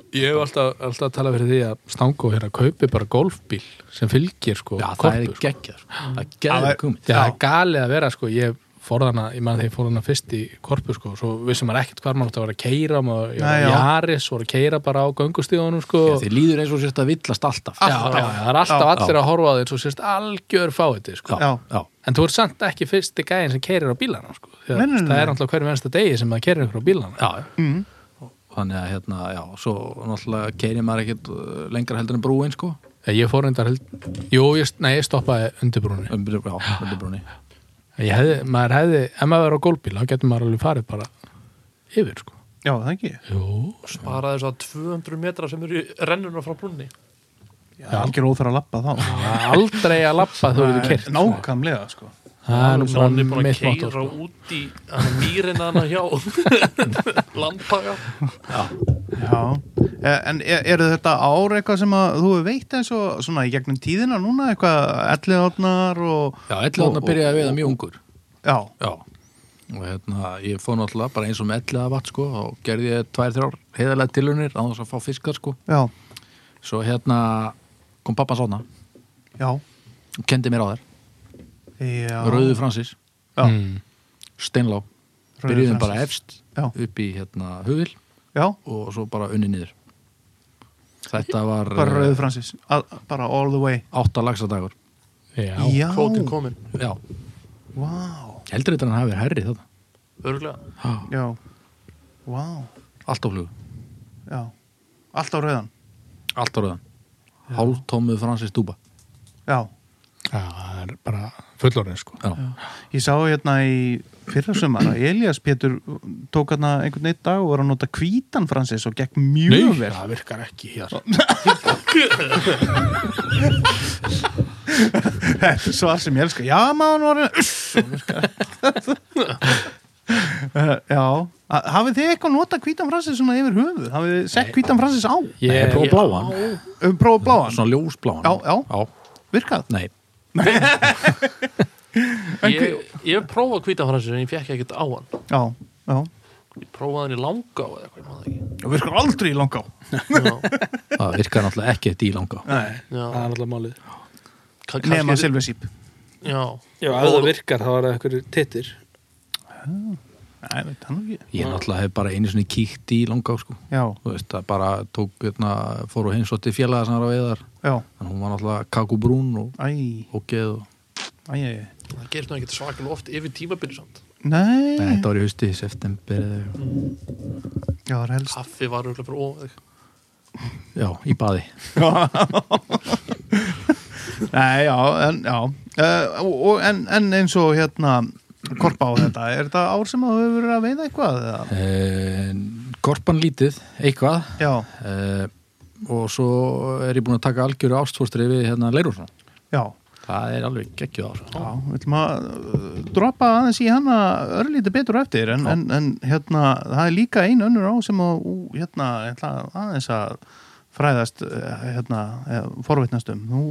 Ég hef alltaf, alltaf að tala fyrir því að Stangó hérna kaupi bara golfbíl sem fylgir sko já það korpu, er sko. geggjað sko. það er Það geggjað er- komið Já, Já. það er galið að vera sko, ég fór hana, ég man þegar ég fór hana fyrst í korpu sko, svo vissum maður ekkert hvað maður átti að vera að keira, maður ég Nei, var já. í Aris og var að keira bara á göngustíðunum sko. Já, þið líður eins og sérst að villast alltaf já, já, það er alltaf Já. allir að horfa á þeir svo sérst algjör fáiði sko. Já. já, En þú ert samt ekki fyrsti gæðin sem keirir á bílana sko. Því að Nei, nei, nei, Það nei. er alltaf hverjum ennsta degi sem maður keirir ykkur á bílana já. Mm. þannig að hérna, já, svo náttúrulega keiri maður ekkert uh, lengra heldur en brúin sko Eh, Ég fór reyndar held, jú, ég, nei, ég stoppaði undirbrúni um, já, heldur brúni Ég hefði, maður hefði, ef maður verið á golfbíl þá getur maður alveg farið bara yfir sko. Já, það ekki. Jú, sparaði þess að 200 metra sem eru í rennuna frá brunni Já, algjör óþar að lappa þá aldrei að lappa þú eru kert Nákvæmlega, sko það er nú Svo hann svona er búin að mitt mátó keira sko. út í hann mýrin hann hjá [LAUGHS] Lampaga Já, Eh, en er, eru þetta ár eitthvað sem að þú hefur veitt eins og svona í gegnum tíðina núna eitthvað elliðarnar og Já, ellu hann og- að byrja að veiða mjög ungur Já, Já og hérna, ég fóð náttúrulega bara eins og með ellu vatn sko og gerði ég tvær, þrjár heiðarlega tilunir á þess að fá fiskar sko já, svo hérna kom pappa sána já, og kendi mér á þær, já Rauðu Fransis Já, Mm. Steinlá, Rauður byrjuðum Francis. bara efst Já. upp í hérna hugil já, og svo bara unni niður þetta var eh, bara Rauðu Francis Al- bara all the way áttalagsadagur Já. Já, kvótin komin, já, wow, heldur þetta en hann hafi verið herri þetta örgulega já Wow, allt á flugu, já Allt á rauðan, allt á rauðan hálftómuð Francis Dúba já Já, það er bara fullorðin sko já, Ég sá hérna í fyrra sumar að Elías Pétur tók hérna einhvern eitt dag og var að nota hvítan Francis og gekk mjög vel það virkar ekki hér [LAUGHS] Þetta er svar sem ég elska Já, maður var [LAUGHS] Uh, Já, Ha- hafið þið eitthvað nota hvítan fransins svona yfir höfuð? Hafið þið sett hvítan fransins á? ég prófa bláan Um prófa bláan? svona ljósbláan Já, já. já. Virkað? nei, ég, ég prófaði hvita fransir en ég fekk ekkert á hann Já, já ég prófaði hann í langa eða eitthvað, ég man það ekki. Og virkar aldrei í langá Já, það virkar náttúrulega ekki þetta í langa Nei, það er já, alltaf málið Ka- nema kannski- silfesíp já, Já, ef það virkar þá er það eitthvað tittir Nei, veit hann ekki ég náttúrulega hef bara einu svona kíkt í langa sko. Já, þú veist, það bara tók hérna, fór og heimsótti félaga sem var að veiðar já, en hún var náttúrulega kakubrún og æ, og geð og æ, æ, æ. það gerst nú ekkert svakal oft yfir tímabili samt Nei, Nei, þetta var í hausti, september eða eitthvað. já, það er helst kaffi var örgulega bara óvæg Já, í baði Nei, já, en, já uh, og, og- en, en eins og hérna korpa á þetta, er þetta ár sem þú hefur verið að veiða eitthvað? Eða? eh, Korpan lítið, eitthvað Já, eh, og svo er ég búin að taka algjöru ástfórstri við hérna Leirursson já, Það er alveg geggjuð ár já, við ætlum að uh, droppa aðeins í hana örlítið betur á eftir en, en, en hérna, það er líka einu önnur á sem að, ú, hérna, ég ætla aðeins að fræðast eh, hérna, eh, forvitnast um Nú,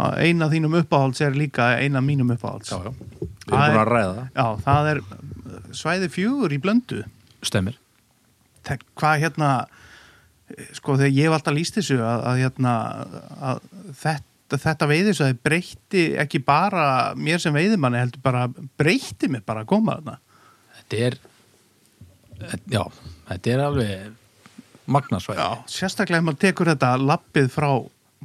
að eina þínum uppáhalds er líka eina mínum uppáhalds Já, já, við Það er- erum búin að ræða það. Já, það er eh, svæði fjögur í blöndu Stemmir Þe- hvað hérna sko þegar ég hef alltaf líst þessu að, að hérna að þetta, þetta veiðis að breytti ekki bara mér sem veiðimanni heldur bara breytti mig bara að koma þarna Þetta er, þetta- já, þetta er alveg magnasvæði Já, sérstaklega ef maður tekur þetta lappið frá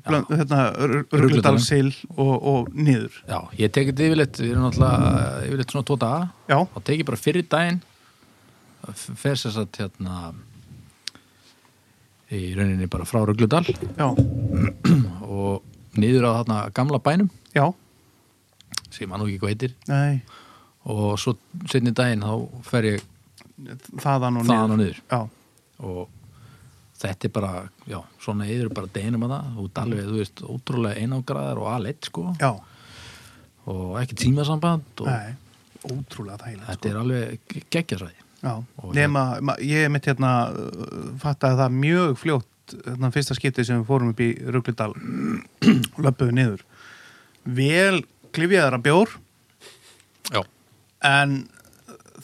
blönd, hérna, rugglutalsil og, og niður Já, ég tekið þetta yfirleitt, við erum náttúrulega eh, yfirleitt svona tvo daga Já, þá tekið ég bara fyrir daginn f- fer sér satt hérna í rauninni bara frá Rugludal já, og niður á þarna gamla bænum já, sem hann nú ekki hvað heitir nei og svo setni daginn þá fer ég þaðan og þaðan og niður niður Já, og þetta er bara, já, svona yfir bara deginum að það, þú ert alveg, þú veist ótrúlega einangraðar og aðleitt sko já, og ekki tímasamband og nei Ótrúlega þægilegt sko. þetta er alveg geggjasvæði Já, Og nema, ma- ég mitt hérna uh, fattaði það mjög fljótt þannig fyrsta skiptið sem við fórum upp í [CLEARS THROAT] Ruglidal löpuðu niður vel klifjaðara bjór Já. en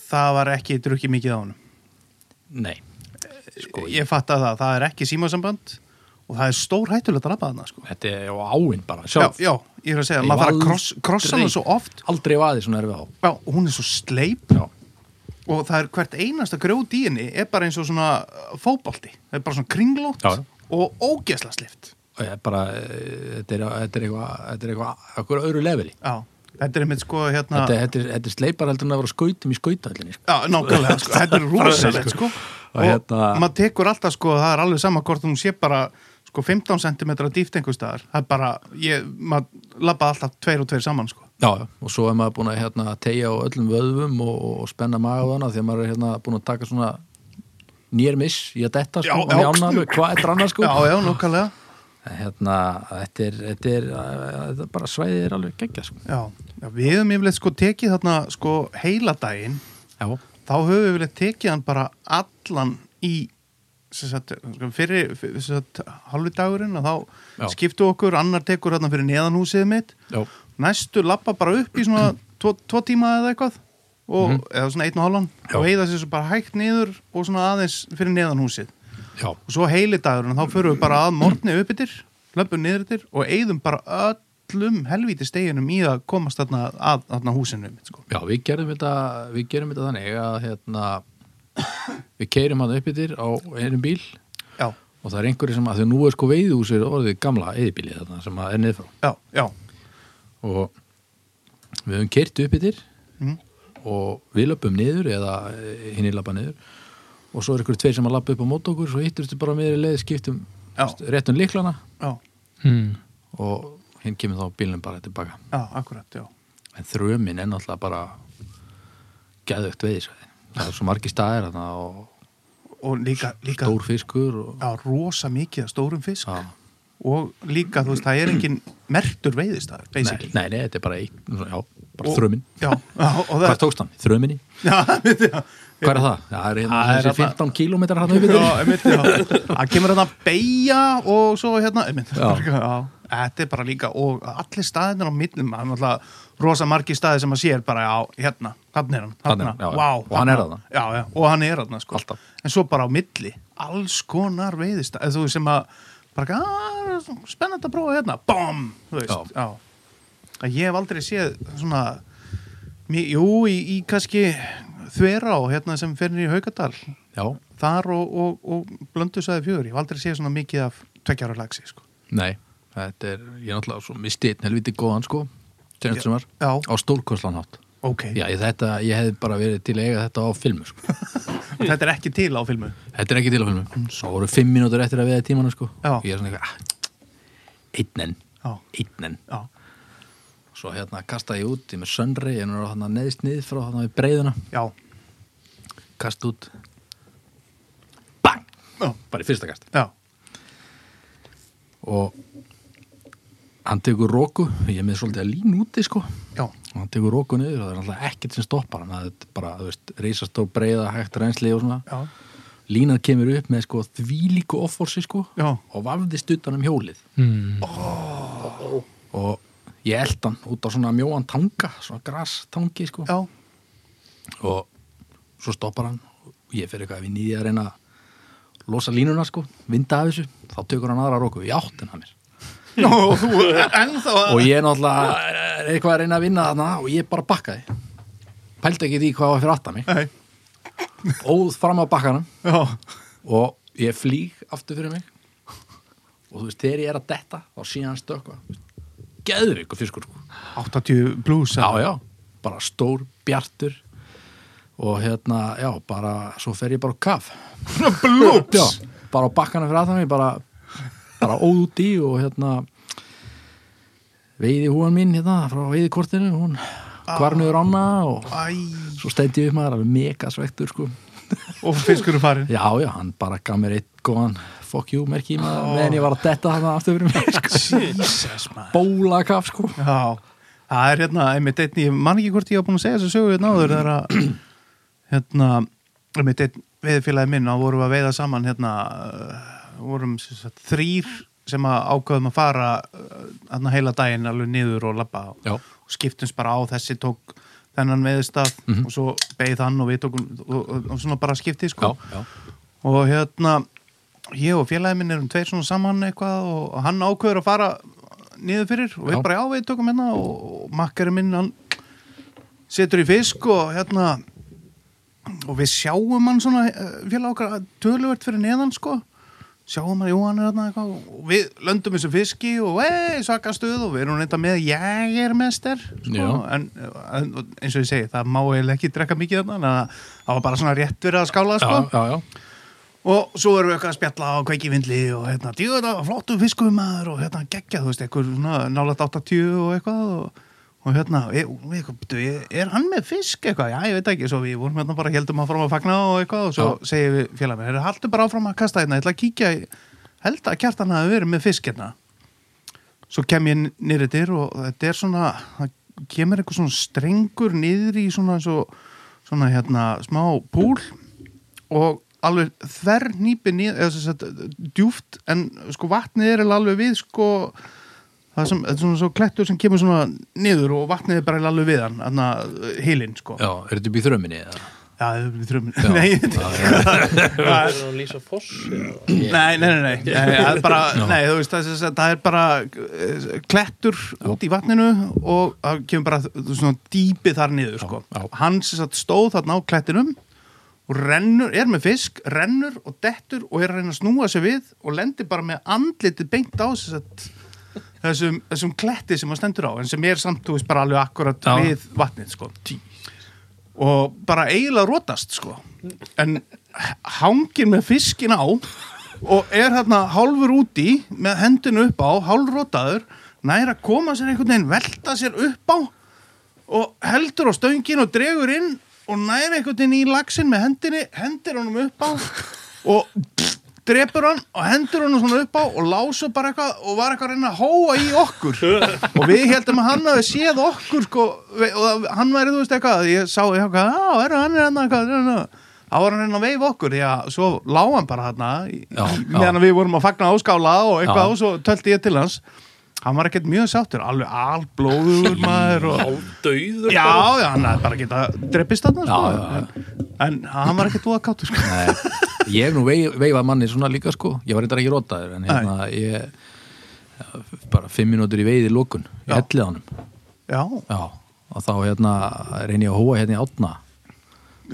það var ekki drukkið mikið á hann Nei, sko, ég fattaði það, það er ekki símasamband og það er stór hættulegt að labba þarna sko. þetta er á áinn bara já, sjálf já, ég er að segja, Ég maður þarf að aldrei- kross, krossa hana svo oft aldrei vaðið svona erfið á já, og hún er svo sleip Já. og það er hvert einasta grjót í henni er bara eins og svona uh, fótbolti það er bara svona kringlótt Já, já. og ógesla slift og ég bara, eh, þetta er, þetta er eitthvað þetta er eitthvað, eitthvað öðru leveli já, þetta er einmitt sko hérna þetta, þetta, er, þetta er sleipar heldur en að vera skautum í skautallinni sko. Já, nákvæmlega, sko. þetta [LAUGHS] er rosalegt sko. og hérna- maður tekur alltaf sko, það er alveg sama hvort hún sé bara sko, 15 cm dýft einhvers staðar það er bara, ég, maður labbaði alltaf tveir og tveir saman sko. já, já, og svo er maður búin að hérna, tegja á öllum vöðvum og, og, og spenna magaðana því að maður er hérna, búin að taka svona nýr miss í að detta Já, sko, og já. jána alveg hvað er annað sko já, já, nákvæmlega En hérna, þetta er, þetta er, eh, þetta er bara svæðið er alveg geggja sko. Já, já við höfum yfirleitt sko tekið þarna sko heila daginn Já, þá höfum við yfirleitt tekið hann bara allan í sem sagt, sko, fyrir, fyrir sem sagt, halvi dagurinn og þá Já. skiptu okkur, annar tekur þarna fyrir neðanhúsið mitt já, næstu lappa bara upp í svona [CLEARS THROAT] tvo, tvo tíma eða eitthvað og, eða svona einn og halvan Mhm. Já. og heiða sér svo bara hægt niður og svona aðeins fyrir neðanhúsið já, og svo heili dagurinn þá förum við bara að morgni upp yfir löpum niður yfir og eigðum bara öllum helvíti steginum í að komast þarna að þarna húsinu mitt sko. já, við gerum þetta, við gerum þetta þannig að hérna, við keirum hann upp yfir á einum bíl já, og það er einhverju sem að þau nú er sko veiðhúsir orðið gamla eðibíli þarna sem að er niður frá já, já og við höfum keirt upp yfir Mhm. og við löpum niður eða hinn í lappa niður og svo er einhverju tveir sem að lappa upp á mót okkur svo hitturstu bara meðri leið skiptum Já. réttun líklana Já, hmm. og hinn kemur þá bílnum bara tilbaka já, akkurat, já. en þrömin er náttúrulega bara geðvögt veiðisvæði það er svo margir staðir þarna og Og líka, líka stór fiskur og, já, rosa mikið af stórum fisk Já. og líka, þú veist, það er engin mertur veiðistæður, nei, basically. nei, nei, þetta er bara, eitt, já, bara Og- þrömin Já, já, og það... hvað tókst hann? Þröminni? Já, [LAUGHS] mitt, já. Hvað er það? Já, það er hérna Það er þessi þarna- 15 kílómetrar hann uppið Já, einmitt, já. Það kemur hérna beigja og svo hérna, einmitt, Já. [LAUGHS] já. Þetta er bara líka, og allir staðinir á millum, það er náttúrulega rosa margi staði sem að sér bara, já, hérna, hann er hann, Þarna er hérna, hann, já, já. vá. Og hann er þarna. Já, já, og hann er hann, sko. Alltaf. En svo bara á milli, alls konar veiðistæð, þú veist, sem að, bara, "Ah, að, spennandi að prófa hérna, bom, þú veist, já. Að Ég hef aldrei séð svona, mi- jú, í, í kannski þverá, hérna, sem fyrir í Haukadal, Já, þar og, og, og blöndu sæði fjögur ég hef aldrei séð svona mikið af tveggjára lagsi sko. nei, þetta er ég náttúrulega svo mistið einn helviti góðan sko sem sem var, Já. á stórkostlanhátt ok, Já, ég, þetta, ég hef bara verið til að eiga þetta á filmu sko. [LAUGHS] þetta er ekki til á filmu Þetta er ekki til á filmu Svo voru fimm mínútur eftir að veða tímanu sko Já. Ég er svona eitthvað, ah, einn enn já, einn enn já, Svo hérna kasta ég út, ég er með sönri ég er hann neðst niður frá hann í breiðuna já, kasta út Bang! Já. Bara í fyrsta kast já. og hann tekur róku ég er með svolítið að lín úti sko já. og hann tekur róku niður og það er alltaf ekkert sem stoppar hann það er bara, þú veist, reisastór breiða hægt reynsli og svona Já. línan kemur upp með sko þvílíku offorsi sko Já. og vafðist utan um hjólið Hmm. og ég eld hann út á svona mjóan tanga svona grastangi sko já. og svo stoppar hann og ég fer eitthvað við nýði að reyna að losa línuna sko, vinda af þessu þá tökur hann aðra róku í áttin að mér og þú ennþá að- og ég náttúrulega er eitthvað að reyna að vinna þarna og ég bara bakkaði pældi ekki því hvað var fyrir aftan mig Nei, óð fram á bakkanum já, og ég flýg aftur fyrir mig og þú veist, þegar ég er að detta þá sé hann stökkva geður ykkur fiskur sko 80 blues já, já, bara stór bjartur og hérna, já, bara svo fer ég bara á [LAUGHS] kaf blues já, bara á bakkana fyrir aðtæmi bara, bara óð út í og hérna veiði húan mín hérna frá veiðikortinu hún kvarnuður ána og Æ, svo stend ég upp maður alveg mega svektur sko og fiskur er farin já já, hann bara gaf mér eitt góðan fuck you merki í maður meðan ég var að detta þarna aftur fyrir mig sko. Jesus maður bóla kaf sko Já, það er hérna, einmitt einn, ég man ekki hvort ég var búin að segja þess að sögu hérna áður þegar að, hérna, einmitt einn veiðfélagi minn, þá vorum við að veiða saman hérna, uh, vorum sem sagt, þrýr sem að ákveðum að fara uh, hérna heila daginn alveg niður og labba Já. og skiptumst bara á þessi tók þennan veiðstað Mhm. og svo beigð hann og við tókum og, og, og svona bara skipti sko já, já, og hérna ég og félagi minn erum tveir svona saman eitthvað og hann ákveður að fara niður fyrir og við Já. bara já við tökum hérna og, og makkari minn hann setur í fisk og hérna og við sjáum hann svona eh, félag okkar töluvert fyrir neðan sko sjáum hann, jú hann er hérna eitthvað og við löndum þessu fiski og ei, svaka stuð og við erum þetta með jægermester sko, Já. en, en eins og ég segi, það má eiginlega ekki drekka mikið þarna, þannig að það var bara svona rétt verið að skála sko já, já, já. og svo erum við eitthvað að spjalla og kveiki í vindli og hérna, djú, þetta var flottu fiskumæður og hérna, geggja, þú veist, eitthvað svona nálægt 80 og eitthvað og, og hérna, ég, við eitthvað, "Bíddu, ég- er hann með fisk eitthvað? Já, ég veit ekki, svo við vorum hérna bara heldum áfram að fagna og eitthvað og svo Já. segir við félag mér, hérna, haldu bara áfram að kasta hérna, ég ætla að kíkja í held að kjartan hafi verið með fisk hérna svo kem ég nýri dyr og þetta er svona það kemur eitthvað svona strengur niður í svona eins og svona hérna smá púl og alveg þver nýpi niður eða sem sagt djúft en sko vatnið er eiginlega alveg við sko það sem, þetta er svona svo klettur sem kemur svona niður og vatnið er bara eiginlega alveg við hann hann að heilinn sko Já, er þetta upp í þrömminni eða? Já, það er þrjum [LAUGHS] Nei, þetta [LAUGHS] er Það er að lýsa foss eða- Nei, nei, nei, nei, nei, það er bara, nei, þú veist, það er, það er bara eh, klettur út í vatninu og það kemur bara þú veist, svona dýpi þar niður, sko. já. Hann sem sagt stóð þarna á klettinum og rennur, er með fisk, rennur og dettur og er að reyna að snúa sér við og lendir bara með andlitið beint á sem sagt, þessum, þessum kletti sem hann stendur á, en sem er samt, þú veist, bara alveg akkurat Já. við vatnið, sko. Og bara eiginlega rótast, sko. En hangir með fiskin á og er hérna hálfur úti með hendinu upp á, hálfrótaður, nær að koma sér einhvern veginn, velta sér upp á og heldur á stöngin og dregur inn og nær einhvern veginn í laxin með hendinni, hendir honum upp á og drepur hann og hendur honum svona upp á og lásu bara eitthvað og var eitthvað að reyna að hóa í okkur og við heldum að hann hafi séð okkur sko, ve- og að- hann væri þú veist eitthvað ég sá ég eitthvað, á, er hann er hann eitthvað, er hann eitthvað þá var hann reyna að veifa okkur því að svo lá hann bara hann Já, já. meðan að við vorum að fagna áskála og eitthvað Já. og svo tölti ég til hans hann var ekkert mjög sáttur, alveg [LAUGHS] alblóður maður og [LAUGHS] Hálfdauður bara. Já, já, hann hefði bara geta dreppist þarna, sko. Já, já, En hann var ekkert úða kátur, sko. Nei, ég hef nú veif, veifað manni svona líka sko ég var eitthvað ekki rótaður en hérna ég eh, bara fimm mínútur í veið í lókun, ég Já. hellið á honum Já, já, og þá hérna reyni ég að hóa hérna í átna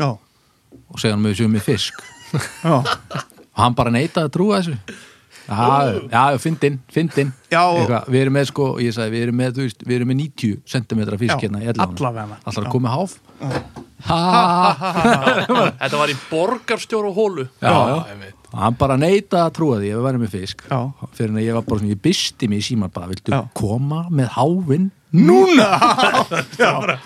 já, og segja hann með sjöfum með fisk já. og hann bara neitaði að trúa þessu já, já, fyndin, fyndin Já, og- Eitthvað, við erum með sko, ég sagði, við erum með, þú veist, við erum með 90 cm Já, fisk hérna í ellan allavega. alltaf að koma háf ha, ha, ha, ha Þetta var í borgarstjóru hólu já, já. hann bara neita að trúa því ef við værum með fisk Já. fyrir en að ég var bara svona, ég bysti mig í síman bara, viltu Já. koma með háfinn [LAUGHS] núna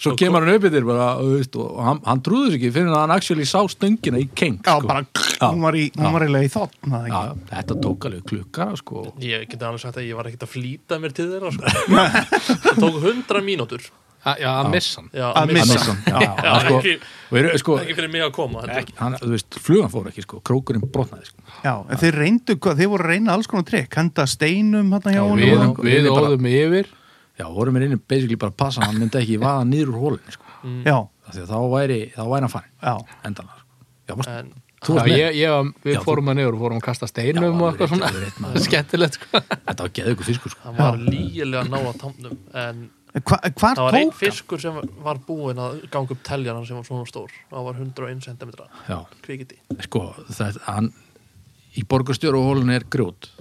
svo kemur hann upp yfir bara, þú veist, og hann, hann trúður sér ekki fyrir en að hann actually sá stöngina í keng Já, sko. bara, hún var í, hún var eiginlega í þóttn, það já, ekki. já, þetta tók alveg klukkar sko. Ég geti alveg sagt að ég var ekkert að flýta mér til þeirra sko. Það tók hundra mínútur að, já, að missa hann Já, Að missa. missa. Að missa hann, já, já, Já, hann, sko, ekki- og eru, sko, Ekki fyrir mig að koma þetta. ekki, hann, þú veist, flugan fór ekki sko, krókurinn brotnaði sko. Já, en þeir reyndu, hvað- þeir voru að reyna alls konar trikk, henda steinum hérna hjá Já, honum. við, og- við Ég bara- óðum yfir já, vorum við inni basically bara að passa að hann myndi ekki vaða niður úr hólinn sko. Já, Af því að þá væri, þá væri hann farin já, endanlega sko. já, varst, En þú Já, varst með, ég, ég, var- við Já, þú- fórum að niður og fórum að kasta Já, steinum og alveg eitthvað rétt, alveg rétt, svona maður. [LAUGHS] skemmtilegt sko. þetta var geðugur fiskur sko. hann var lígilega að ná að tamnum En En Hva, hvar það var einn tók? fiskur sem var búinn að ganga upp teljaran sem var svona stór Það var 101 cm já, Kvikiti sko, það, hann í borgarstjóru og hólun er grjót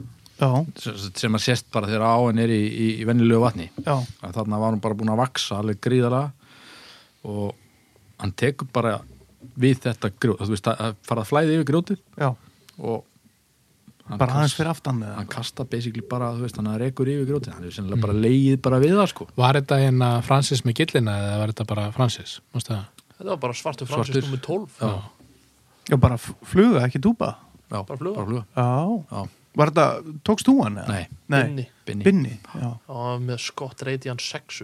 Já, sem sem að sést bara þegar áin er í, í, í venjulegu vatni já, að þarna var hann bara búin að vaksa alveg gríðalega og hann tekur bara við þetta grjót, þú veist, það- það fara að flæði yfir grjótið já, og hann bara aðeins kast- fyrir aftan með það. hann kasta basically bara, þú veist, hann rekur yfir grjótið hann er sennilega Mm. bara leið bara við það sko var þetta hérna Francis með gillina eða var þetta bara Francis Manstu það? Þetta var bara svartur fransist Svartur. nummer 12 já, Já, bara f- fluga, ekki dúpa. já, Bara fluga. bara fluga. Já, Já, var þetta, tókst þú hann? eða? Nei. Nei, Binni Binni. Binni, já, Það var með Scott Radiant 6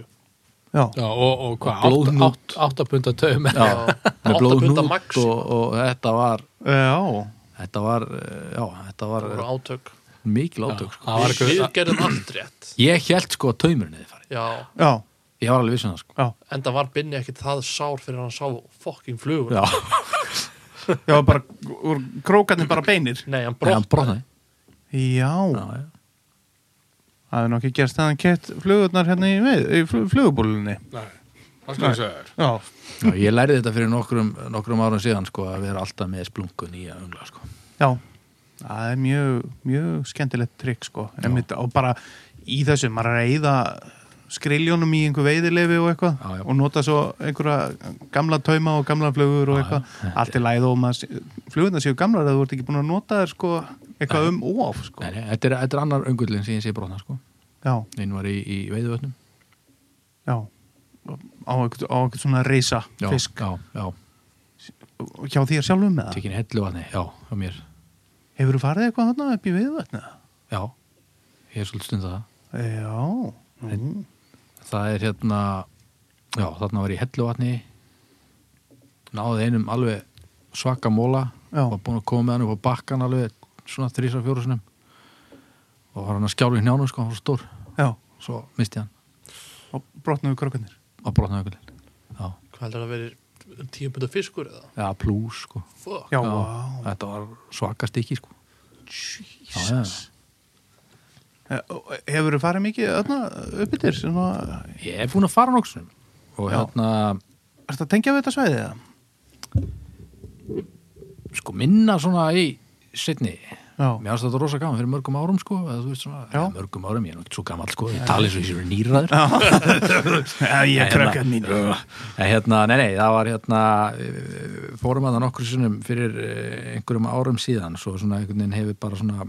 já, Já, og, og hvað, blóðhnút. 8.2 já, já, með Átta blóðnút punda og, max. og þetta var já, þetta var, eh, já, þetta var Það voru átök mikil átök sko. það var Við eitthvað gerðum allt rétt ég held sko að taumurinn eða farið Já, já, ég var alveg vissun það sko já. en það var Binni ekkit það sár fyrir hann sá fokking flugur já, Já, bara, úr krókarnir bara beinir. Nei, hann Nei, hann brott brotnaði Já, já, já. það er nokkið gerst að hann kett flugurnar hérna í, veið, í flug, flugubúlunni. Já, Já, ég lærði þetta fyrir nokkrum, nokkrum árum síðan sko að vera alltaf með splunkun í að ungla sko já, það er mjög, mjög skemmtilegt trikk sko. Einmitt, og bara í þessu, maður er að eyða skriljónum í einhver veiðilefi og eitthvað Já, já. og nota svo einhverja gamla tauma og gamla flugur og eitthvað allt er læð og maður, flugurnar séu gamlar að þú ert ekki búin að nota þér sko eitthvað um óaf sko. Nei, nei, eh, þetta, er, þetta er annar ungullin sem ég sé brotna sko Já, einn var í, í veiðuvötnum já á eitthvað, á eitthvað svona reysa já, fisk já, já, hjá þér sjálfum með það tekin hellu vatni, já, á mér hefur þú farið eitthvað hann upp í viðvötna? já, ég er svolítið stund það Já, mm. það er hérna já, þarna var ég í helluvatni náði einum alveg svaka móla Já. var búin að koma með hann upp á bakkan alveg svona þrísa fjóru sinum og var hann að skjálfa í njánum sko, hann var svo stór já, svo misti hann og brotnaðu krokunir. og brotnaði ökullin já, Hvað heldur það að vera tíu punda fiskur eða? ja, plús sko Fuck. Já, já, vá. þetta var svaka stykki sko já, já, Eh, og Hefur þú farið mikið öðna uppbyttir? Er ég er búin að fara nokksum og Já. hérna þetta tengja við þetta svæðið? eða? sko minna svona í setni Já, Mér finnst þetta rosa gaman fyrir mörgum árum sko, eða þú veist svona, Já. eða mörgum árum, ég er nú ekkert svo gammal sko, ég tali eins og ég sé verið nýraður. já En [LAUGHS] ég hérna- krökkað mín. En hérna, nei, nei, það var hérna, eh, fórum að það nokkur sinnum fyrir eh, einhverjum árum síðan, svo svona einhvern veginn hefur bara svona,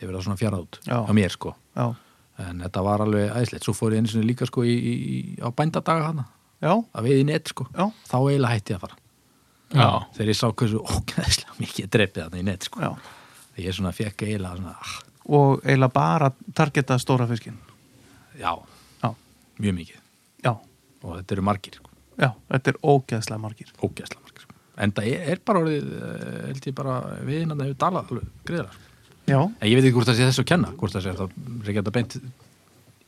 hefur það svona fjarað út Já. á mér sko. Já, En þetta var alveg æðislegt, svo fór ég einu sinni líka sko í, í, í- á bændadaga hana, já, að við í net sko, já, þá eiginlega hætti ég að fara. Já. Þegar ég sá hversu ógæðislega mikið er drepið þarna í net sko. já. Ég svona fekk eiginlega svona, ah, Og eiginlega bara targeta stóra fiskinn. já, Já, mjög mikið. já, og þetta eru margir, sko. já, þetta er ógeðslega margir. ógæsla margir sko. en það er, er bara orðið eh, held ég bara viðinnan að hefur dalað alveg greiðar sko. Já, en ég veit ekki hvort það sé þessu að kenna hvort það sé það sé ekki að beint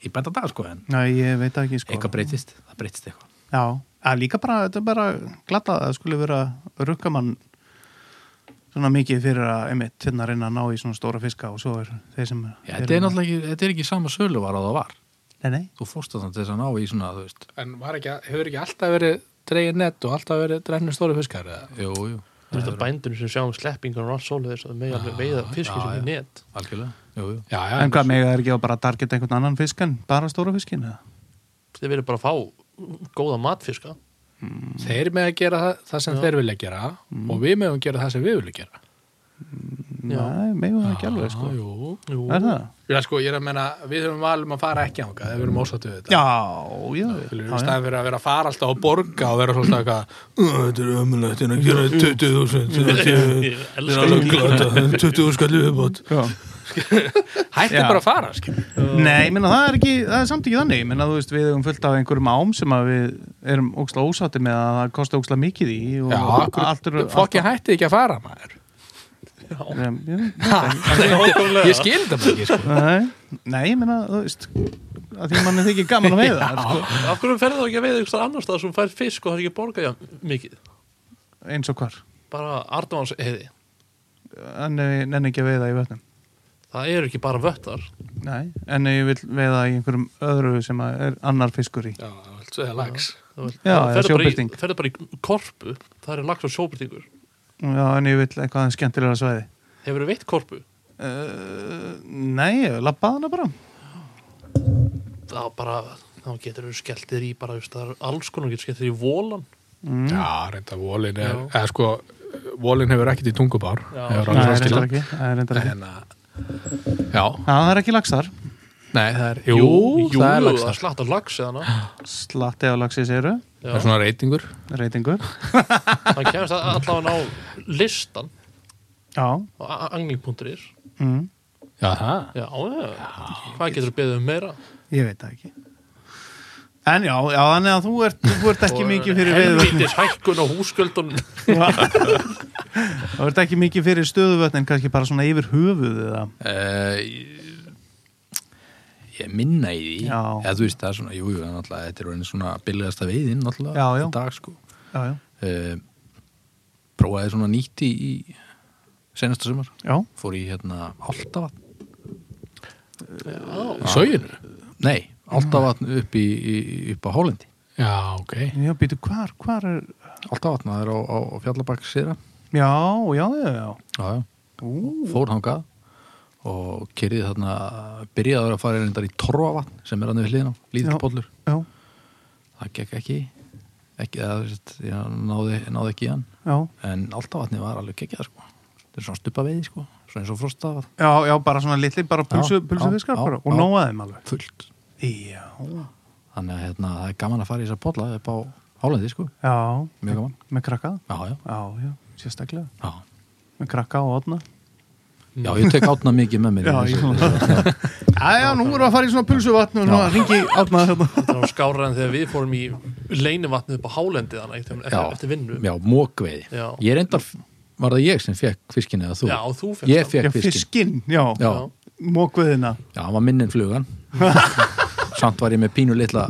í bænda dag sko en næ, ég veit það ekki sko. eitthvað breytist, það breytist eitthvað Já, að líka bara, þetta er bara glata að það skulle vera rukkamann svona mikið fyrir að einmitt hérna að reyna að ná í svona stóra fiska og svo er þeir sem... Já, þetta er náttúrulega ekki, þetta er ekki sama sölu var að það var Nei, nei, þú fórst þannig til þess að ná í svona þú veist, En var ekki, hefur ekki alltaf verið dreigir nett og alltaf verið dregnir stóri fiskar eða? jú, jú, Þú veist að bændur sem sjá um sleppingar og allt svoleiðis og með alveg veiða fiski já, sem já. er net algjörlega jú, jú. Já, já. en hvað mega er ekki að bara targeta einhvern annan fiskan, bara stóra fiskin eða? Þeir verður bara að fá góða matfiska Þeir með að gera það, það sem þeir vilja gera Mm. og við meðum gera það sem við vilja gera. Já. Nei, mega það ekki alveg sko. Já, jú. Jú, Er það? Já, sko, ég er að menna, við höfum valum að fara ekki ánga, við höfum ósáttu við þetta. Mm. Já, já, Skilur, já, í já. staðan fyrir að vera að fara alltaf og borga og vera svolítið eitthvað "Ugh, þetta er ömulegt, þetta er að gera 20.000 [LAUGHS] þetta er- Ég þetta er elska alveg það. glata 20.000 skallu viðbót Já. hætti Já. bara að fara skil. Nei, ég minna, það, er ekki, það er samt ekki þannig Ég minna, þú veist, við hefum fullt af einhverjum ám sem að við erum óksla ósátti með að það kosti óksla mikið í og Já, allt akkur- allt eru- fokki hætti ekki að fara [LAUGHS] maður allt- Nei, ég- ég skil þetta bara ekki sko. [LAUGHS] Nei, nei, ég minna, þú veist að því manni þykir gaman að veiða sko, Af hverju ferðu þá ekki að veiða einhverstað annars það sem fær fisk og það er ekki borga já, mikið eins og hvar Bara Ardvans heiði en ef ég nenni ekki að veiða í vötnum Það eru ekki bara vöttar Nei, en ef ég vil veiða í einhverjum öðru sem að er annar fiskur í já, allt sveða lags Það Já, það já, ferðu bara í- sjóbirting. ferðu bara í korpu Það eru lagt á sjóbyrtingur Já, en ég vil eitthvað aðeins skemmtilega svæði Hefur þú veitt korpu? uh, Nei, ég labbaði hana bara Þá bara, þá getur þú skelltir í bara, þú veist, það er alls konar getur skelltir í volan Mm. já, reynda volin er, Já. eða sko volin hefur ekkert í tungubár Já. Hefur Nei, alveg svo reyndar skilað. ekki, nei, reyndar ekki. en að já, Já, það er ekki lagsar nei, það er Jú, jú, jú, það það er lags er það slatt af lags eða ná Slatti á lagsis eru, er svona reytingur reytingur Það kemst að- allavega á listan Já, á a- angling.is mm, já, það Já, já, hvað getur þú beðið um meira? ég veit það ekki En já, já, þannig að þú ert, þú ert ekki mikið fyrir veiða Helvítis hækkun og húsgöldun Það verður ekki mikið fyrir stöðuvötn en kannski bara svona yfir höfuð eða Eh, ég ég minna í því Já. eða þú veist það er svona, jú, jú, en náttúrulega þetta er orðin svona billigasta veiðin náttúrulega Já, já. í dag sko Já, já, uh, prófaði svona nýtt í, í senasta sumar já, fór í hérna Áltavatn í söginu nei, Áltavatn upp, í, í, upp á Hólendi já, ok já, býtu hvar, hvar er Áltavatn, það er á, á, á Fjallabakk síðra Já, já, já, já já, já, Ú, fór hangað og kyrði þarna byrjaði að fara reyndar í Torfavatn sem er hann við hliðina, Já. lítill bollur já, það gekk ekki ekki, eða, þú veist, ég náði, náði ekki í hann já en Áltavatni var alveg geggjað sko þetta er svona stupa veiði sko, svona eins og frostavatn Já, já, bara svona litli, bara pulsu, Já, pulsu já, fiskar já, bara og já. nóaði þeim alveg fullt Já, þannig að hérna, það er gaman að fara í þessar bolla upp á Hálendi sko, já, mjög gaman með krakka já, já, Já, já, sérstaklega já, Með krakka og otna Já, ég tek átna mikið með mér í Já, þessu. ég svona Já, já, nú erum við að fara í svona pulsuvatn og svona ringi átna hérna. það var skárað en þegar við fórum í leinivatni upp á hálendið hana eftir, Já. eftir, eftir vinnu Já, mókveiði. Já. Ég reyndar, var það ég sem fekk fiskin eða þú? Já, þú fékkst Ég hann. Já, fekk fiskin. fiskinn, já, Já, Já. mókveðina já, hann var minn en flugan. [LAUGHS] Samt var ég með pínu litla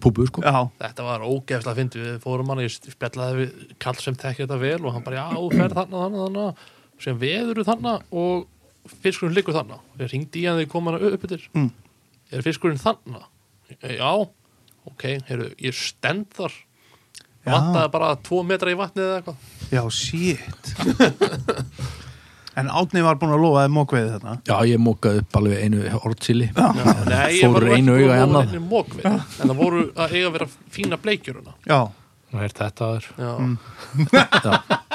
púbu, sko. Já, Þetta var ógeðslega fyndið, við fórum hann, ég spjallaði við kall sem tekja þetta vel og hann bara, já, ferð þarna, þarna, þarna sem veður þarna og fiskurinn liggur þarna. Ég ringdi í hann þegar ég kom hann upp yfir. Mm. Er fiskurinn þarna? Já, ok, heyrðu, ég stend þar. Já. Vantaði bara tvo metra í vatnið eða eitthvað. já, shit [LAUGHS] En átni var búin að lofa þið mókveði þarna Já, ég mókaði upp alveg einu orðsili. Já, nei, ég Fóru var nú ekki einu búin auga í að lofa annað. neinni mokvið, en það voru að eiga að vera fína bleikjuruna. Mm. Já, Nú er þetta aður Já,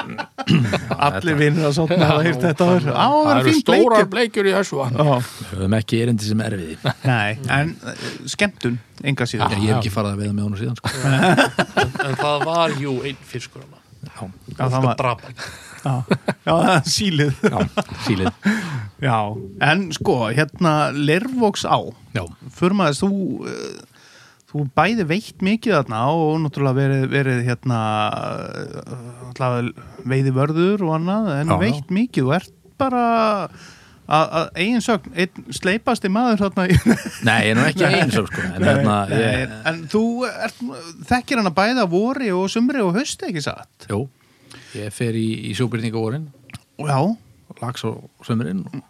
allir vinnir að sátna hafa heyrt þetta áður. Á, það Það var eru fín stórar bleikir bleikjur í þessu vatn Já, Við höfum ekki erindi sem erfiði. Nei, en eh, skemmtun, enga síður Ég hef ekki farið að veiða með honum síðan, sko. en, en það var jú einn fiskur hana. Já, Já, það var, drapa hann. já, já, það er sílið já, sílið. Já, en sko, hérna Lervoks á, Já, förmaðist þú eh, þú bæði veitt mikið þarna og náttúrulega verið, verið hérna alltaf veiði vörður og annað en Já, já. veitt mikið, þú ert bara að að eigin sögn einn sleipasti maður þarna í- nei, ég er nú ekki eins og sko, en hérna, Nei, ég, en þú ert, þekkir hann að bæða vori og sumri og haust ekki satt jú, ég fer í, í sjóbyrningaórin, Já, og lags og sömurinn og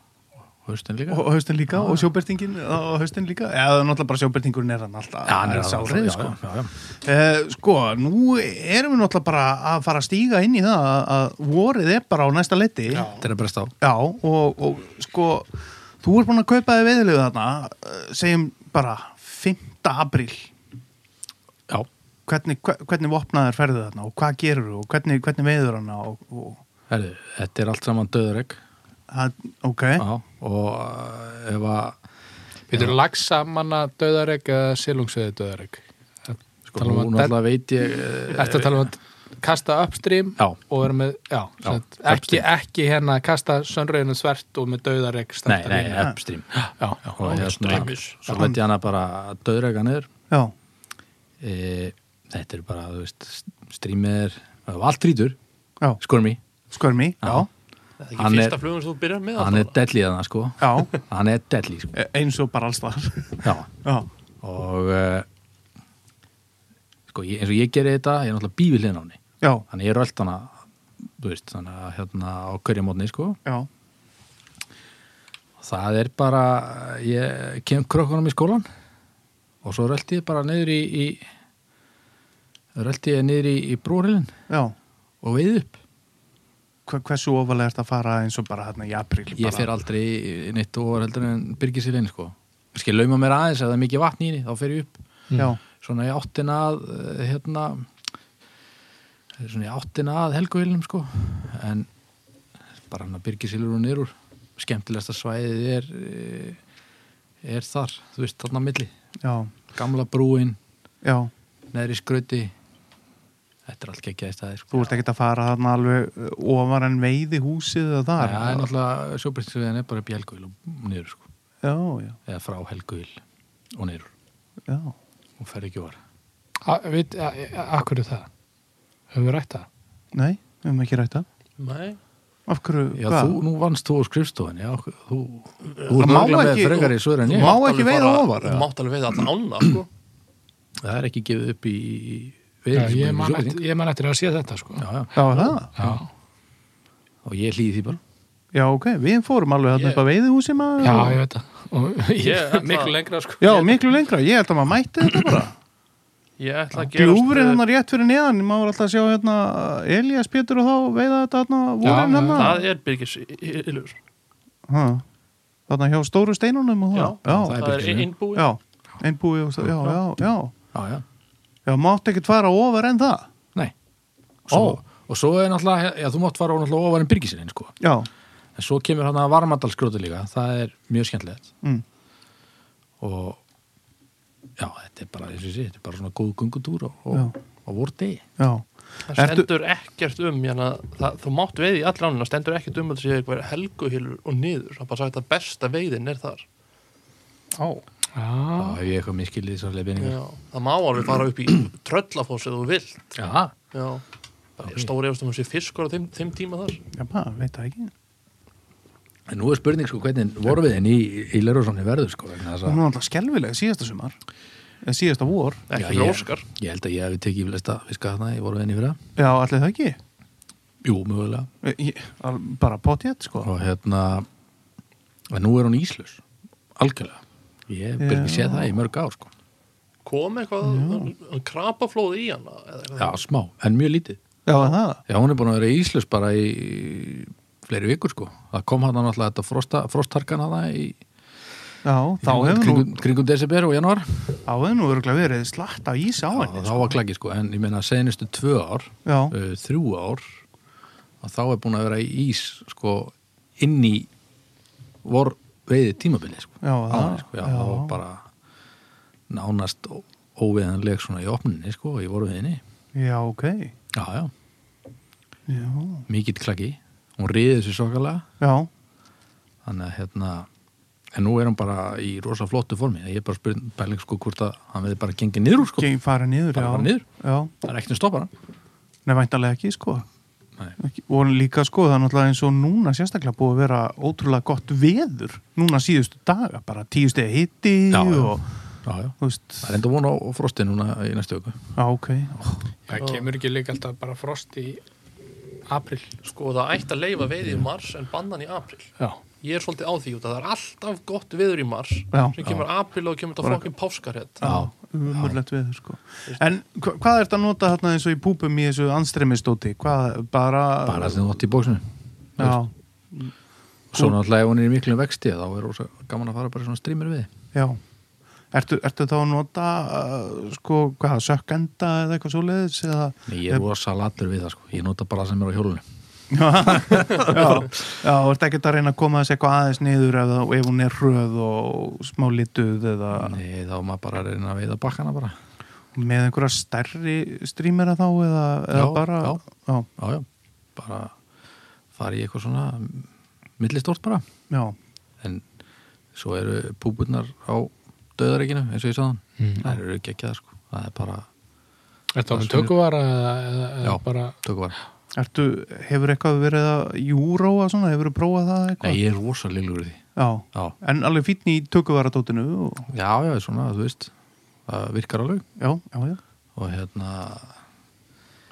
haustin líka. og haustin líka og sjóbyrtingin og haustin líka, já, það er náttúrulega bara sjóbyrtingurinn er hann alltaf Já, hann er sárið, alveg- já, sko. já, já, já. Eh, sko, nú erum við náttúrulega bara að fara að stíga inn í það að- að vorið er bara á næsta leti Þetta er að bresta á. Já, og, og sko þú ert búin að kaupa þið veðilegu þarna eh, segjum bara 5. apríl Já, hvernig, hve- hvernig vopnaður ferðu þarna og hvað gerur og hvernig, hvernig veður hana og, og herri, þetta er allt saman döðureg það, ok, og uh, ef að Við erum lagsamanna döðareg eða silungsveði döðareg sko, hún alltaf veit ég eh, Þetta tala um að kasta upstream Já. og vera með, já, Já, Sett, ekki, upstream. ekki hérna kasta sönröðinu svert og með hérna? döðareg Nei, nei, uppstrým já, já, og hérna, streymis. svo let ég hana bara döðurega niður já, e, þetta er bara, þú veist strýmið er, það var allt rítur já skormi, skörmi, já, Það er Hann ekki er- fyrsta flugun sem þú byrjar með hann er alltaf. delli þannig sko já hann er delli sko, e- eins og bara alls þar já já, og uh, sko, ég, eins og ég geri þetta ég er náttúrulega bívilinn á henni já, þannig ég rölt hana þú veist, þannig að hérna á hverja mótni sko já, Það er bara, ég kem krökkunum í skólan og svo rölti ég bara niður í, í rölti ég niður í, í brúrilin já og veið upp. Hve- hversu ofalega ert að fara eins og bara hérna í apríl Ég bara? fer aldrei í neitt ofar heldur en byrgir sér einn sko. Ég skil lauma mér aðeins ef það er mikið vatn í henni, þá fer ég upp já, svona í áttina að eh, hérna svona í áttina að helguvilnum sko en bara hann að byrgir sér og niður úr skemmtilegasta svæðið er eh, er þar, þú veist, þarna á milli já, gamla brúin já neðri skröti þetta er allt geggjaði staði þú sko. ert ekki að fara þarna alveg eh, ofar en veiði húsið og það þar er náttúrulega sjóbreytinsviðan er bara upp í helguil og niður sko, já, já, eða frá helguil og niður já og fer ekki var Við, akkur er það? Höfum við rætt það? nei, við höfum ekki rætt það Nei, af hverju, já, hvað? þú, nú vannst þú á skrifstofan já, þú, þú Það er má mögulega með ekki- frekari svör en þú ég má- má... ekki Alveg veiða bara- ofar, Þú eða? mátt alveg veiða allan ána, sko. það er ekki gefið upp í Já, veður ég man eftir- ég man eftir að sé þetta sko já, já. já, það Já, og ég hlýði því bara já, ok, við fórum alveg þarna Ég- upp að veiði húsið maður já ég veit það Og- [LAUGHS] Ég ætla- Miklu lengra sko Já, miklu lengra, ég held að maður mætti þetta bara Ég ætla að uh, gerast... Gljúfurinn hann rétt fyrir neðan maður var alltaf að sjá hérna Elias Pétur og þá veiða þetta hérna vorinn já, hérna Það er Birgis Ylur. Ha. þarna hjá stóru steinunum og Já, það er það er Birgis, já. innbúi. já, já, einbúi og já, já, já, já, já. já, mátt ekkert fara ofar en það Nei. Svo, og svo er náttúrulega, já, þú mátt fara náttúrulega ofar en byrgisirinn sko. já, en svo kemur hann að varmadalskróti líka það er mjög skemmtilegt mm, og já, þetta er bara, eins og ég sé, þetta er bara svona góð gungutúr og, Já. og, og voru degi. já það Ertu- stendur ekkert um hérna, það, þú mátt veiði í allra ánina stendur ekkert um að það sé eitthvað helguhilur og niður það er bara sagt að besta veiðin er þar Ó. þá hef ég eitthvað miskilið svo leifinningar. já, það má alveg fara upp í [CLEARS THROAT] tröllafoss ef þú vilt Já, já, bara stóri efast um að sé fiskur á þeim, þeim tíma þar Já, maður veit það ekki. en nú er spurning sko hvernig vorfiðin í, í Lerússoni verður sko. vegna þess Hún að- var alltaf skelvileg síðasta sumar. Eða síðasta vor. Já, ekki ég- fyrir óskar Ég held að ég hef tekið flesta fiska þarna í vorfiðin í fyrra. Já, allir það ekki. Jú, mögulega. Ég- Ég, al- bara potjett, sko. Og hérna, en nú er hún íslus. Algjörlega. Ég hef bara Já. ekki séð það í mörg ár sko. kom eitthvað krapaflóð í hana eða eitthvað. Já, smá, en mjög lítið. Já, er það. Já, hún er búin að vera íslust bara í fleiri vikur sko. Það kom hann náttúrulega þetta frosta, frostharkan að það í Já, þá hefur nú, kringum, kringum desember og janúar. þá hefur nú örgulega verið slatt á ís á Já, henni. Þá sko. var klakið sko, en ég meina senustu tvö ár, Já, uh, þrjú ár, að þá er búin að vera í ís sko inn í vor veiði tímabilið sko. Já, það- Áður, sko. Já, já. það var bara nánast ó- óviðanleg svona í opninni sko, í voru veiðinni. já, ok. Já, já, Já, mikill klaki. Hún riðið sér svakalega. já. þannig að hérna en nú er hann bara í rosa flottu formi ég er bara spurning bæling sko hvort að hann veði bara gengið niður úr sko, Geng fara niður, Bara já. fara niður. Já, það er ekkert að stoppa hann nefn væntalega ekki, sko. Nei. Ekki, og líka, sko, það er náttúrulega eins og núna sérstaklega búið að vera ótrúlega gott veður. Núna síðustu daga, bara tíu stegi hitti Já, já. og, já, já. þú veist, það er enda vona á á frosti núna í næstu öku já, ok. Það kemur ekki líka alltaf bara frost í april. sko það ætti að leifa veiði í mars en bannan í april Já. ég er svolítið á því út að það er alltaf gott viður í mars Já. sem kemur april og kemur þetta fokkin páskarhett Já, umurlegt veður, sko. En hva, hvað ertu að nota þarna eins og í púpum í þessu anstremistóti? Hvað, bara... bara sem þú átt í bóksinu Já, svo náttúrulega ef hún er í miklum vexti þá er rosa gaman að fara bara í svona streamer við já. Ertu, ertu þá að nota, uh, sko, hvað, sökkenda eða eitthvað svoleiðis eða... Nei, ég er rosa latur við það sko ég nota bara það sem er á hjólunum já, já, ertu ekkert að reyna að koma þessi eitthvað aðeins niður ef, það- ef hún er hröð og smá lituð eða Nei, þá er maður bara að reyna að veiða bakkana bara með einhverja stærri strýmera þá eða, eða Já, bara... já. já, já, já, bara fara í eitthvað svona millistort bara já, en svo eru púpurnar á döðaríkinu eins og ég sagðan mm. það eru geggjaðar sko það er bara Er það Það með er tökuvara eða, eða, eða Já. bara... tökvar Ertu, hefur eitthvað verið að júróa svona, hefur þú prófað það Nei, eitthvað? ég er rosa lillur í því Já, já. en alveg fínn í tökuvaradótinu og... já, já, svona, þú veist það virkar alveg Já, já, já. og hérna,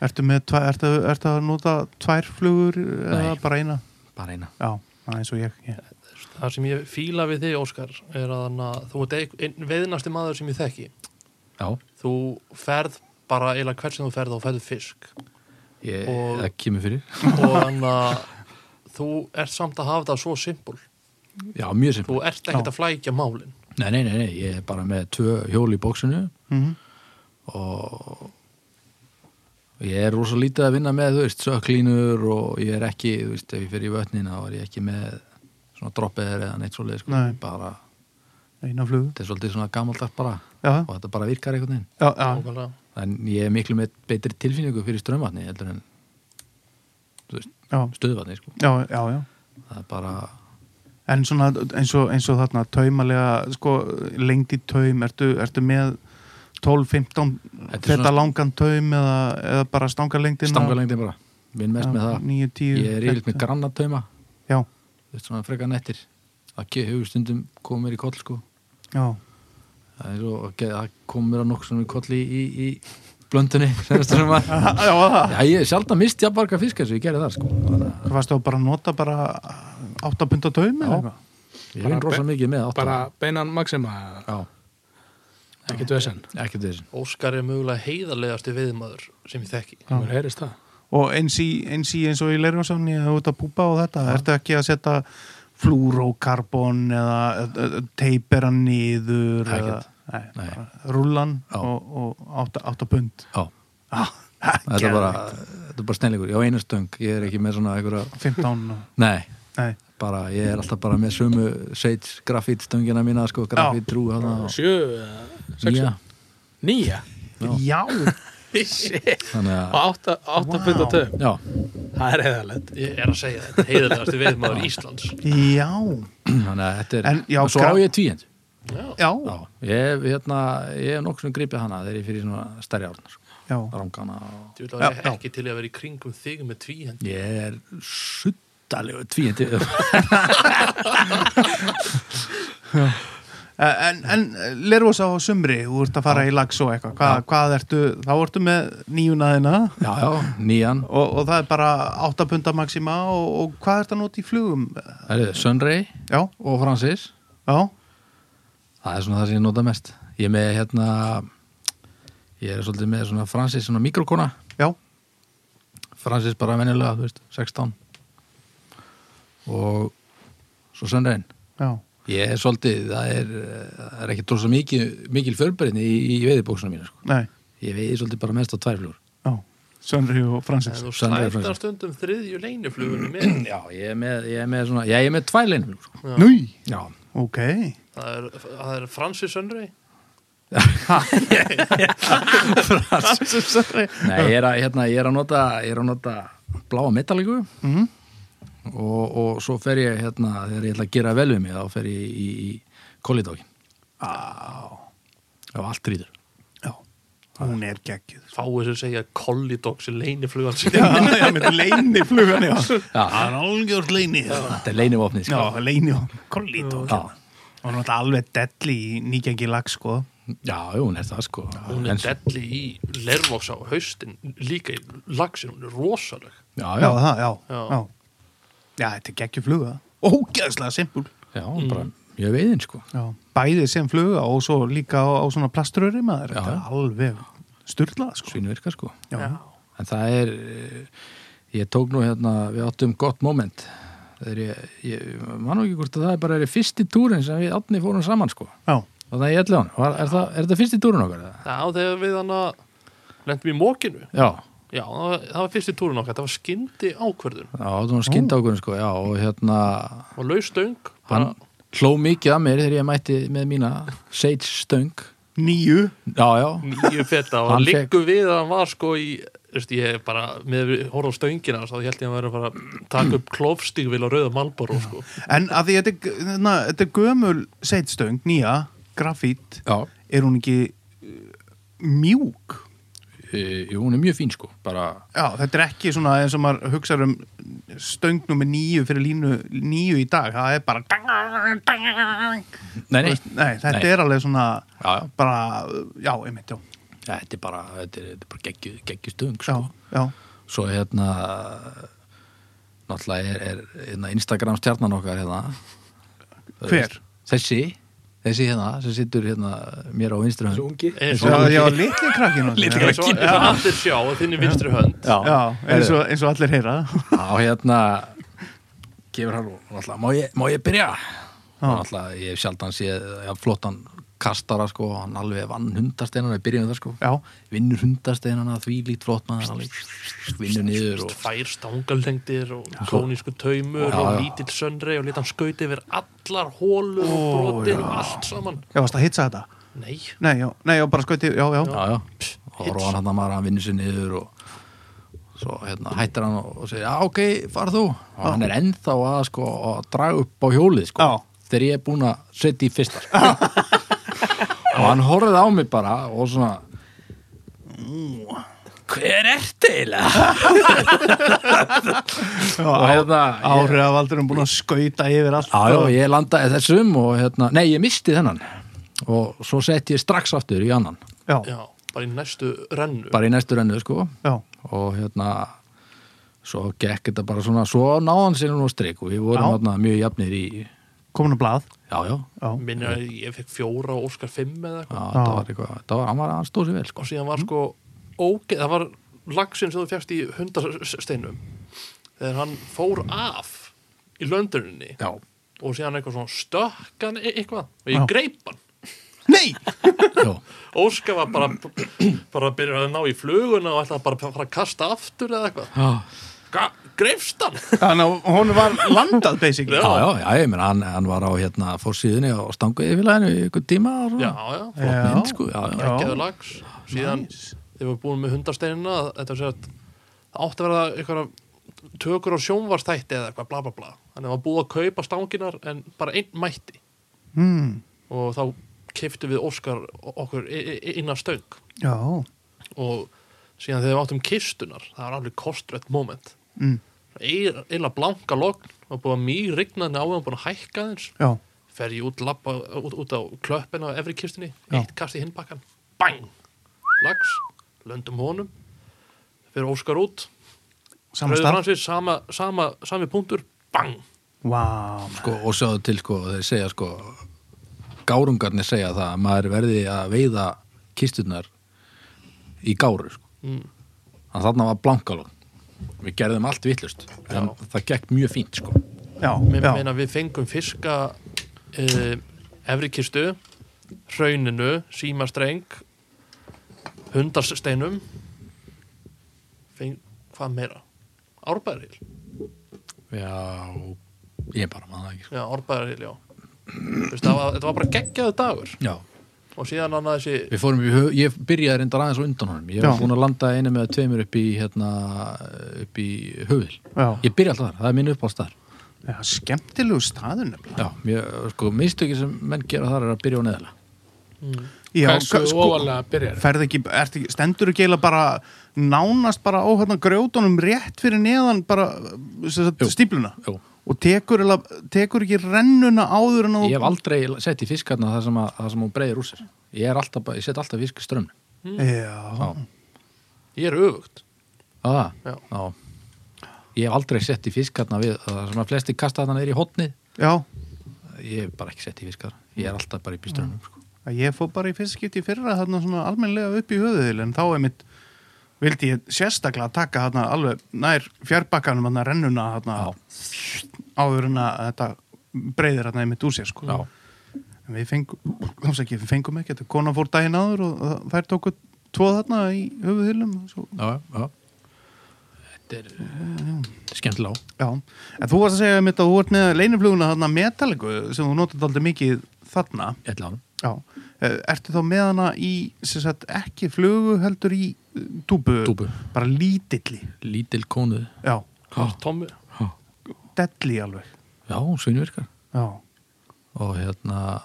Ertu, með, tva- ertu, ertu að nota tvær flugur eða Nei. bara eina? bara eina Já, það er eins og ég. ég. það sem ég fíla við þig Óskar er að hana, þú ert ein- einn veiðnasti maður sem ég þekki já, þú ferð bara eila hvert sem þú ferð og ferð fisk ég, Og- það kemur fyrir og hann að þú ert samt að hafa það svo simpul já, mjög sem, þú ert ekkert að flækja málin nei, nei, nei, nei ég er bara með tvö hjól í bóksinu Mm og ég er rosa lítið að vinna með, þú veist, sökklínur og ég er ekki, þú veist, ef ég fyrir í vötnin þá er ég ekki með svona droppeður eða neitt svoleið, sko, Nei. bara Eina flugu. þetta er svolítið svona gamaldags bara Já, og þetta bara virkar einhvern veginn já, já. Nákvæmlega. en ég er miklu með betri tilfinningu fyrir strömvatni heldur en þú veist, Já, stöðvatni sko. já, já, já. það er bara, En svona eins og, eins og þarna taumalega, sko, lengt í taum, ertu, ertu með 12-15 Þetta er feta svona- langan taum eða, eða bara stangalengdina? stangalengdin bara minn mest með það, 9-10. ég er yfirleitt með grannatauma Já, þú veist svona frekar nettir það ke- hefur stundum komið mér í koll sko já, [LAUGHS] það er svo, ok, það kom mér að nokkuð svona í koll í, í, í blöndunni [LAUGHS] senast sem var já, það. Já, ég sjálf að misti að barga fisk eins og ég gerði það sko Þannig að Hvað varstu að bara nota bara 8 punta taum eða Já. eitthvað? Ég Bara vinn rosa be- mikið með átta Bara beinan maxima, eða? Já, ekki döðsenn. ekkert þessin Óskar er mögulega heiðarlegasti veiðmaður sem ég þekki Það mér heyrist það. og eins í, eins í eins og í leirjónsafni eða út að púpa og þetta, ertu ekki að setja flúrókarbon eða teipera niður Ekkert. eða nei, Nei. bara rúllan Já. og, og átta, átta pund Já, ah, þetta er bara, þetta er bara snellingur, ég á einu stöng, ég er ekki með svona einhverja, 15 og, nei, nei, bara, ég er alltaf bara með sömu seit grafít stöngina mína, sko, grafít trú hana og, [LAUGHS] Sjö, eða sex, já, nýja. já, þannig Ah. að, átta, átta wow. pund á töfum já, [CLEARS THROAT] það er eðalegt Ég er að segja þetta, heiðarlegasti veiðmaður Íslands Já, þannig að þetta er En, já, svo gra- á ég tvíend já, já, ég, hef, hérna, ég hef nokkuð sem gripið hana þegar ég fyrir svona stærri árnar sko. já. rangana og Þú vil Já, já. ekki til í að vera í kringum þig með tvíhend ég er suttalegu tvíendi Eh, En, en lervos á sumri, þú ert að fara í lags og eitthvað, Hva, hvað ertu, þá ertu með nýjunaðina já, já, nýjan og, og það er bara 8 punda maxima og, og hvað ertu að nota í flugum? það er Sunray Já, og Francis já, það er svona það sem ég nota mest ég er með hérna ég er svolítið með svona Francis svona mikrokona já, Francis bara venjulega, þú veist, 16 og svo Sunrayn já, ég er svolítið, það er, eh, það er ekki trósa mikil, mikil förberðin í, í veiðibóksuna mínu sko. nei, ég veiði svolítið bara mest á tvær flúr já, sumri og Francis. En þú Sannlega, slætar Francis. stundum þriðju leinuflugunni með já, ég er með, ég er með svona já, ég er með tvær leinum sko. Núi, já, ok, Það er, það er Francis Önrei [LAUGHS] Francis sumri. Nei, ég er að, hérna, ég er að nota, ég er að nota bláa metalliku Mhm. og, og svo fer ég hérna, þegar ég ætla að gera vel við mig þá fer ég í, í kollitókin á allt rýtur Já, hún er geggjuð. Fáið sem segja Collidog sem leiniflugan sem [LAUGHS] Já, já, með leini flugan, já. Já. Það er algjör leini. þetta er leinivopnið Já, sko. leini og kollító. já, Og hún er náttúrulega alveg delli í nýgengi lag, sko. já, jú, hún er það sko Hún En- er delli í lervoks á haustin líka í lagsin, hún er rosaleg já, Já, já, það, já. Já. Já, já þetta er geggjur fluga. Ógeðslega simpul. já, hún bara mjög veiðin sko Já. Bæði sem fluga og svo líka á, á svona plaströri maður. Já. Þetta er alveg styrlað, sko. svínu virka sko Já. Já. en það er, eh, ég tók nú hérna við áttum gott moment þegar ég, ég man nú ekki hvort að það er bara er fyrsti túrin sem við átni fórum saman sko Já. Þannig að ég ætla hann, var, er, það, er þetta fyrsti túrun okkar? eða? Já, þegar við hann að lendum í mókinu Já, Já, það var, það var fyrsti túrun okkar, það var skyndi ákvörðun já, það var skynd ákvörðin sko, já, og hérna, og laustöng hann bara, hló mikið að mér þegar ég mætti með mína Sage Stöng, Nýju. já, já, nýju feta og Hann hann fékk- liggur við að hann var sko í þú veist, ég bara, með við horfum stöngina þá held ég að vera bara að taka upp klofstígvil á rauða malboro sko En að því þetta, er- na, þetta er gömul seitstöng, nýja, grafít, já, er hún ekki uh, mjúk? e, jú, hún er mjög fín sko, bara, Já, þetta er ekki svona eins og maður hugsa um stöngnum með nýju fyrir línu nýju í dag, það er bara dang, dang. nei, nei, Nei, þetta Nei. er alveg svona já, já, bara, já, einmitt, já ja, þetta er bara, þetta er, þetta er bara geggju, geggju stöng Já, sko, já, svo hérna, náttúrulega er, er hérna, Instagram stjarnan okkar hérna, Þú Hver? veist, Þessi, þessi hérna, sem sittur hérna mér á vinstri hönd. ungi eins já, og, já litli krakkinu Litli eins og, eins og allir sjá að þinni vinstri hönd Já, eins og, eins og allir heyra Já, hérna gefur hann og náttúrulega, má ég, má ég byrja? Og náttúrulega, ég hef sjaldan séð já, flottan kastara, sko, hann alveg vann hundasteinana í byrjun það, sko Já, vinnur hundasteinana, því lít flott maður alveg, vinnur niður og tvær stangalengdir og kónísku taumur Já, og já. lítill sönrei og leta hann skauti yfir allar hólur og brotin og allt saman ég varst að hitsa þetta Nei, Nei, já, nei, já, bara skoiti, já, já, já, já, og hits. róan hann að maður, hann vinnur sér niður og svo hérna hættir hann og, og segir, já, ok, far þú og hann er ennþá að, sko, að draga upp á hjólið, sko, Já. þegar ég er búin að setja í fyrsta, sko og hann horfði á mig bara og svona "Mm, hver ertu eiginlega? já og hérna, ég, Áhrifavaldur er búin að skauta yfir allt já, já, og- ég landaði þessum og hérna, nei, ég misti þennan og svo setti ég strax aftur í annan, já, já, bara í næstu rennu bara í næstu rennu, sko já, og hérna svo gekk þetta bara svona svo náðan sér nú strik og við vorum Já. hérna, mjög jafnir í já, komin að blað já, já, Já, minni að ég fekk fjóra og Óskar fimm eða eitthvað það var eitthvað það var, hann var hann stóð sér vel sko. og síðan var sko ógeð, það var lagsin sem þú fjast í hundasteinum þegar hann fór af í lönduninni já, og síðan eitthvað svona stökkan e- eitthvað og ég Já. greip hann Nei, já, Óskar var bara [CLEARS THROAT] bara að byrja að ná í fluguna og ætlaði bara að fara að kasta aftur eða eitthvað já, Ga- greifst hann þannig að hún var landað basically já, já, já ég meina hann, hann var á hérna fórsíðunni og stanguði félaginu í ykkur tíma og já, svona, já, flott Já. mynd sko já, já, Já. geðu lags síðan þegar við erum búin með hundasteinina þetta er sér að það átti að verða einhverja tökur á sjónvarstætti eða eitthvað bla bla bla þannig að það var búið að kaupa stanginar en bara einn mætti mm, og þá keiftu við Óskar okkur i- i- innan stöng já og síðan þegar við áttum kistunar það var alveg kostrött moment mm, eila blanka logn og búið að mýr rignaðin á hann búin að hækka þins já, fer ég út, labba, út, út á klöppin á efri kistunni, Já. eitt kast í hinbakkan bang, lags löndum honum fyrir Óskar út, sama Rauður starf Hansvís, sama, sama, sami punktur bang, wow, sko, og sjáðu til sko, þeir segja sko gárungarnir segja það að maður verði að veiða kisturnar í gáru sko. Mm. þannig þarna var blankalón við gerðum allt vittlust en það gekk mjög fínt sko já, Mér já, meina við fengum fiska uh, efri kistu hrauninu, símastreng hundasteinum feng, hvað meira? Árbæðaril já, ég bara maður það ekki sko. Já, árbæðaril, já Vist, það var, Þetta var bara geggjaðu dagur já, og síðan annað þessi við fórum, í hö- ég byrjaði reyndar aðeins á undan honum, ég Já. var búin að landa einu með tveimur upp í hérna, upp í höfðil, já, ég byrja alltaf þar það er minn upp á staðar já skemmtilegu staður nefnilega já, ég, sko, mistöki sem menn gera þar er að byrja á neðala já, hversu sko- ofalega byrjar ferð ekki, ert ekki, stendur ekki eiginlega bara nánast bara á hérna grjótunum rétt fyrir neðan bara sem sagt, Jú. stífluna Jú. og tekur, eiginlega- tekur ekki rennuna áður en á Ég hef aldrei sett í fiskarna það sem, að, það sem hún breyðir úr sér. Ég, er alltaf, bara- ég set alltaf fisk í strömmu. já, ég er öfugt Ah, Já. já. Ég hef aldrei sett í fiskarna við það sem að flesti kasta þarna er í hotnið. já, Ég hef bara ekki sett í fiskarna. Ég er alltaf bara upp í strömmum. Sko. Að ég fór bara í fyrst skipti í fyrra þarna svona almennlega upp í höfuðil en þá er mitt vildi ég sérstaklega taka þarna alveg nær fjárbakkanum þarna rennuna þarna áður en að þetta breyðir þarna einmitt úr sér sko Já. en við fengum, komst ekki, við fengum ekki þetta konan fór daginn áður og það- þær tóku tvo þarna í höfuðilum svo, Já, já. Þetta er, þetta er skemmtilega á. já, en þú varst að segja mitt að þú ert með leinifluguna þarna metaliku sem þú notar aldrei mikið þarna Ég ætla á hann. Já, Eh, ertu þá með hana í sem sagt, ekki flugu heldur í eh, túbu, Túbu. bara lítilli Lítil kónuð. Já, Hvað er Tommi? delli alveg Já, hún svinvirkar. Já, Og hérna,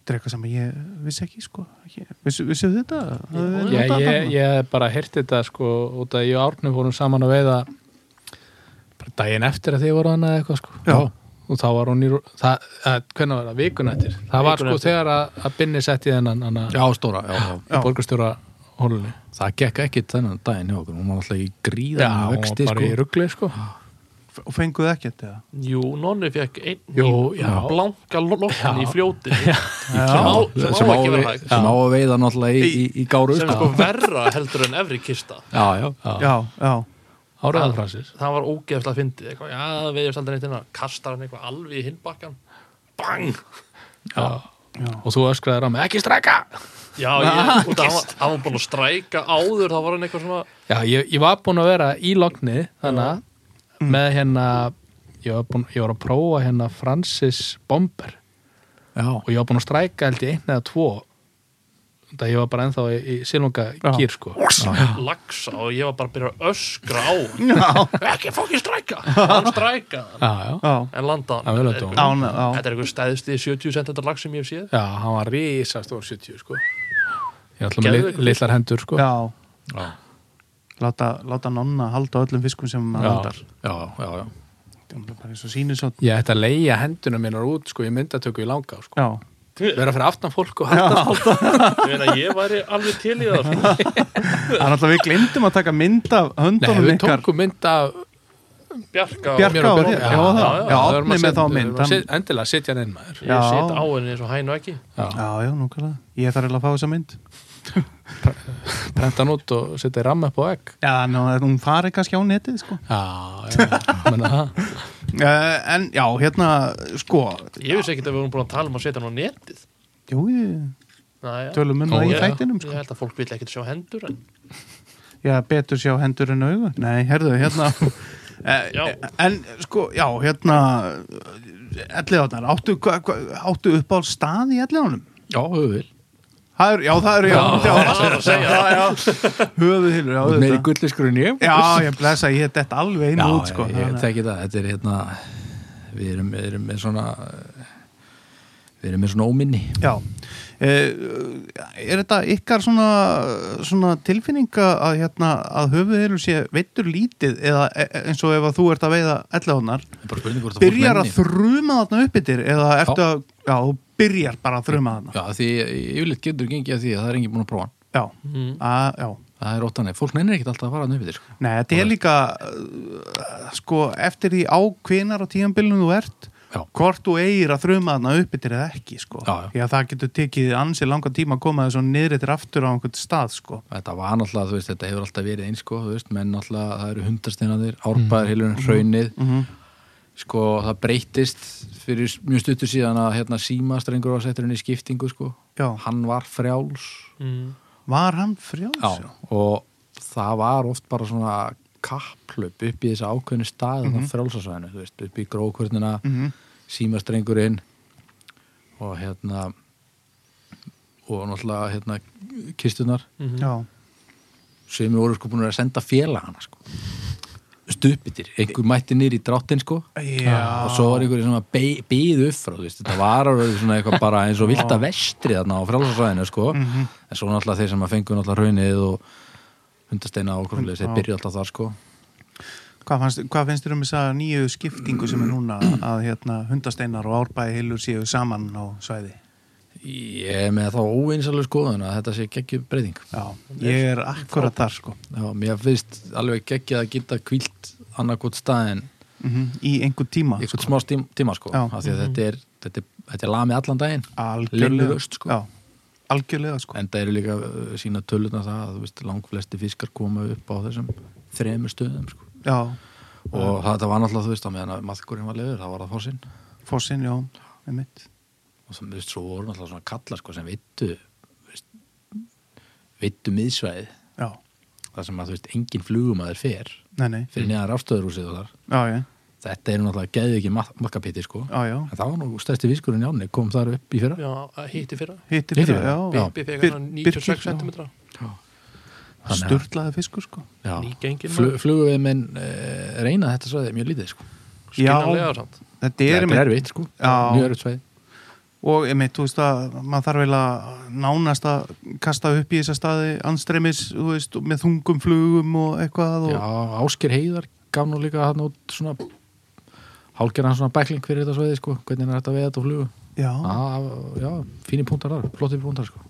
þetta er eitthvað sem ég vissi ekki sko ekki. Vissu, vissu þetta? Hafið þið Já, notað ég, þarna? ég hef bara heyrti þetta sko út að ég og Árni vorum saman að veiða bara daginn eftir að þið voru hann eða eitthvað sko Já. og þá var hún í, rú- það, að, hvernig var það, vikun eftir það var Vikuna sko eftir. þegar að, að Binni setti þennan hana, já, stóra, já, já. Já. í borgarstjóra hólunni Það gekk ekki þennan daginn hjá okkur. Hún var alltaf í Já, gríðan og vexti, bara sko. í ruggli sko F- Og fenguðu ekkert eða? Jú, Nonni fekk einn Jú, í já. blanka lokkan í fljóti sem á, Já, sem á sem á ekki verið að- hægt sem á að veiða náttúrulega í, í, í gáru sem er sko verra heldur en efri kista já, já, já. já, já, Áraðan fransins það var ógeðslega fyndið eitthvað, já, það veiðist aldrei neitt innan kastar hann eitthvað alveg í hinbakkan bang, já. og þú öskraði rámi, ekki stræka já, ég, út af hann var- hann var búin að stræka áður, þá var hann eitthvað svona Já, ég, ég var búinn að vera í logni þannig með Mm. hérna ég var, búinn, ég var að prófa hérna Francis Bomber Já. og ég var búinn að stræka held ég einn eða tvo það ég var bara ennþá í, í silunga gýr sko lagsa og ég var bara að byrja að öskra á hann. Já, ekki fókin stræka, hann strækaði hann Já, já, já, en landaði Það er hann vel að Þetta dóma. án, já, er eitthvað stæðsti 70 cm lag sem ég hef séð já, hann var rísa stór 70 sko ég er alltaf með Geðveikur. lit- litlar hendur sko já. Já. Láta, láta nonna halda á öllum fiskum sem maður Já. handar já, já, já. Það er bara eins og sínusótt Ég ætti að leia henduna minnar út sko í myndatöku í langa sko. Já, vera fyrir aftan fólk og halda ég, meina, ég væri alveg til í það sko. það er alltaf við glemdum að taka mynd af Nei, höndunum við ykkar tókum mynd af Bjarka og Bjarka Mér og og Bjarka. þér, já, já, já, Já, já, já, það verður opni maður með set- þá verður mynd maður hann, set- Endilega sitja hann inn maður ég Já. sit á henni eins og hænu ekki Já, já, núkvæmlega, ég þarf eiginlega að fá þessa mynd prenta hann út og setja í ramma upp á egg Já, ná, hún fari kannski á netið, sko Já, já, menna það uh, En já, hérna, sko ég vissi ekkert að við vorum búin að tala um að setja hann á netið Jú, ég Næja. tölum um Ó, það í já. þættinum, Ég sko held að fólk vil ekkert sjá hendur en Já, betur sjá hendur en augu Nei, herðu, [LAUGHS] hérna Já. uh, En, sko, já, hérna Elliðarnar, áttu, hva- hva- áttu upp á stað í Elliðarnum? já, höfðil Það er, já, það eru, já, já, það var það að segja. já, já. höfuð hilur, já, Þú ert meiri auðvitað. gulliskur en ég Já, ég blessa, ég er dett alveg inn Já, og út, sko. ég, ég þannig að- þekki það, þetta er hérna við erum, við erum með svona eh, við erum með svona óminni Já, Eh, er þetta ykkar svona, svona tilfinninga að, hérna, að höfuðilur sé veittur lítið eða e- eins og ef að þú ert að veiða ellahóðnar, bara spurning hvort byrjar að þruma þarna uppbyttir eða ertu Já. að, já, þú byrjar bara að þruma þarna Já, því yfirleitt getur gengið að því að það er engin búin að prófa hann. Já, að, já það er óttanir, fólk nennir ekkert alltaf að fara að nöfnir sko. Nei, þetta er líka uh, sko, eftir því á hvenar á tíðanbylunum þú ert Já. hvort þú eigir að þruma þarna uppbyttir eða ekki, sko Já, já. því að það getur tekið ansi langa tíma að koma þessu niður eftir aftur á einhvern stað, sko þetta var náttúrulega, þú veist, þetta hefur alltaf verið eins sko, þú veist, menn náttúrulega, það eru hundarsteinaðir árbæðarhilurinn, hraunið sko, það breytist fyrir mjög stuttu síðan að hérna símastrengur var settur inn í skiptingu sko Já. hann var frjáls Mm. Var hann frjáls? Já, og það var oft bara svona kapplöp upp í þessa ákveðnu staði mm -hmm. frálsasvæðinu, þú veist, upp í grókvörnina Mhm. símastrengurinn og hérna og náttúrulega hérna kistunar, Já, sem voru sko búin að senda félagana sko stupitir, einhver mætti nýr í dráttin sko já. og svo var einhver svona be býð upp frá, þú veist, þetta var alveg svona eitthvað bara eins og vilda vestri þarna á frálsasvæðinu sko, Mhm. en svo náttúrulega þeir sem að fengu náttúrulega raunið og hundasteina og okkurlega, þeir Já. byrja alltaf þar sko Hvað, fannst, hvað finnst þér um þessa nýju skiptingu sem er núna að hérna, hundasteinar og árbæði heilur séu saman á svæði? ég er með þá óeinsalur skoðun að þetta sé geggjum breyting Já, ég er akkurat þar sko Já, mér finnst alveg geggjað að geta kvílt annarkot staðin mm í einhvern tíma eitthvað smá tím, tíma sko, Já. af því að þetta er þetta er, þetta er lamið allan daginn algjörlega Linnulaust, sko. Já, algjörlega sko en það eru líka uh, sína tölurna það að þú veist, langflesti fiskar koma upp á þessum þremur stöðum sko. Já, og þetta var náttúrulega þú veist á meðan að maðkurinn var lefur, það var það fórsinn fórsinn, já, með mitt og þú veist, svo voru náttúrulega svona kallar sko, sem vittu veist, vittu miðsvæði Já, þar sem að þú veist, engin flugumæður fer nei, nei, fyrir neðan rafstöðurúsið og þar já, já, þetta eru náttúrulega geðið ekki makkapiti sko. já, já. en það var nú stærsti fiskurinn í ánni kom þar upp í fyrra Já, hitti fyrra Hittir Hittir fyrir, það, já, já. já. Bippi Bir- fekk hann 96 Birkir, já. cm Þannig að- Sturlaði fiskur sko Já. Nýgengin Flu- fluguminn eh, reyna þetta svæði mjög lítið sko. Skinnarlega samt Þetta er þetta einmitt- er erfitt sko. Já. mjög erfitt svæði og einmitt, þú veist að maður þarf vel að nánast að kasta upp í þessa staði anstremis, þú veist, með þungum flugum og eitthvað og Já, Ásker Heiðar gaf nú líka hann út svona hálgerðan svona bækling fyrir þetta svæði sko, hvernig er þetta veið þetta á flugu já, Já, já, fínir punktar þar, flottir punktar sko.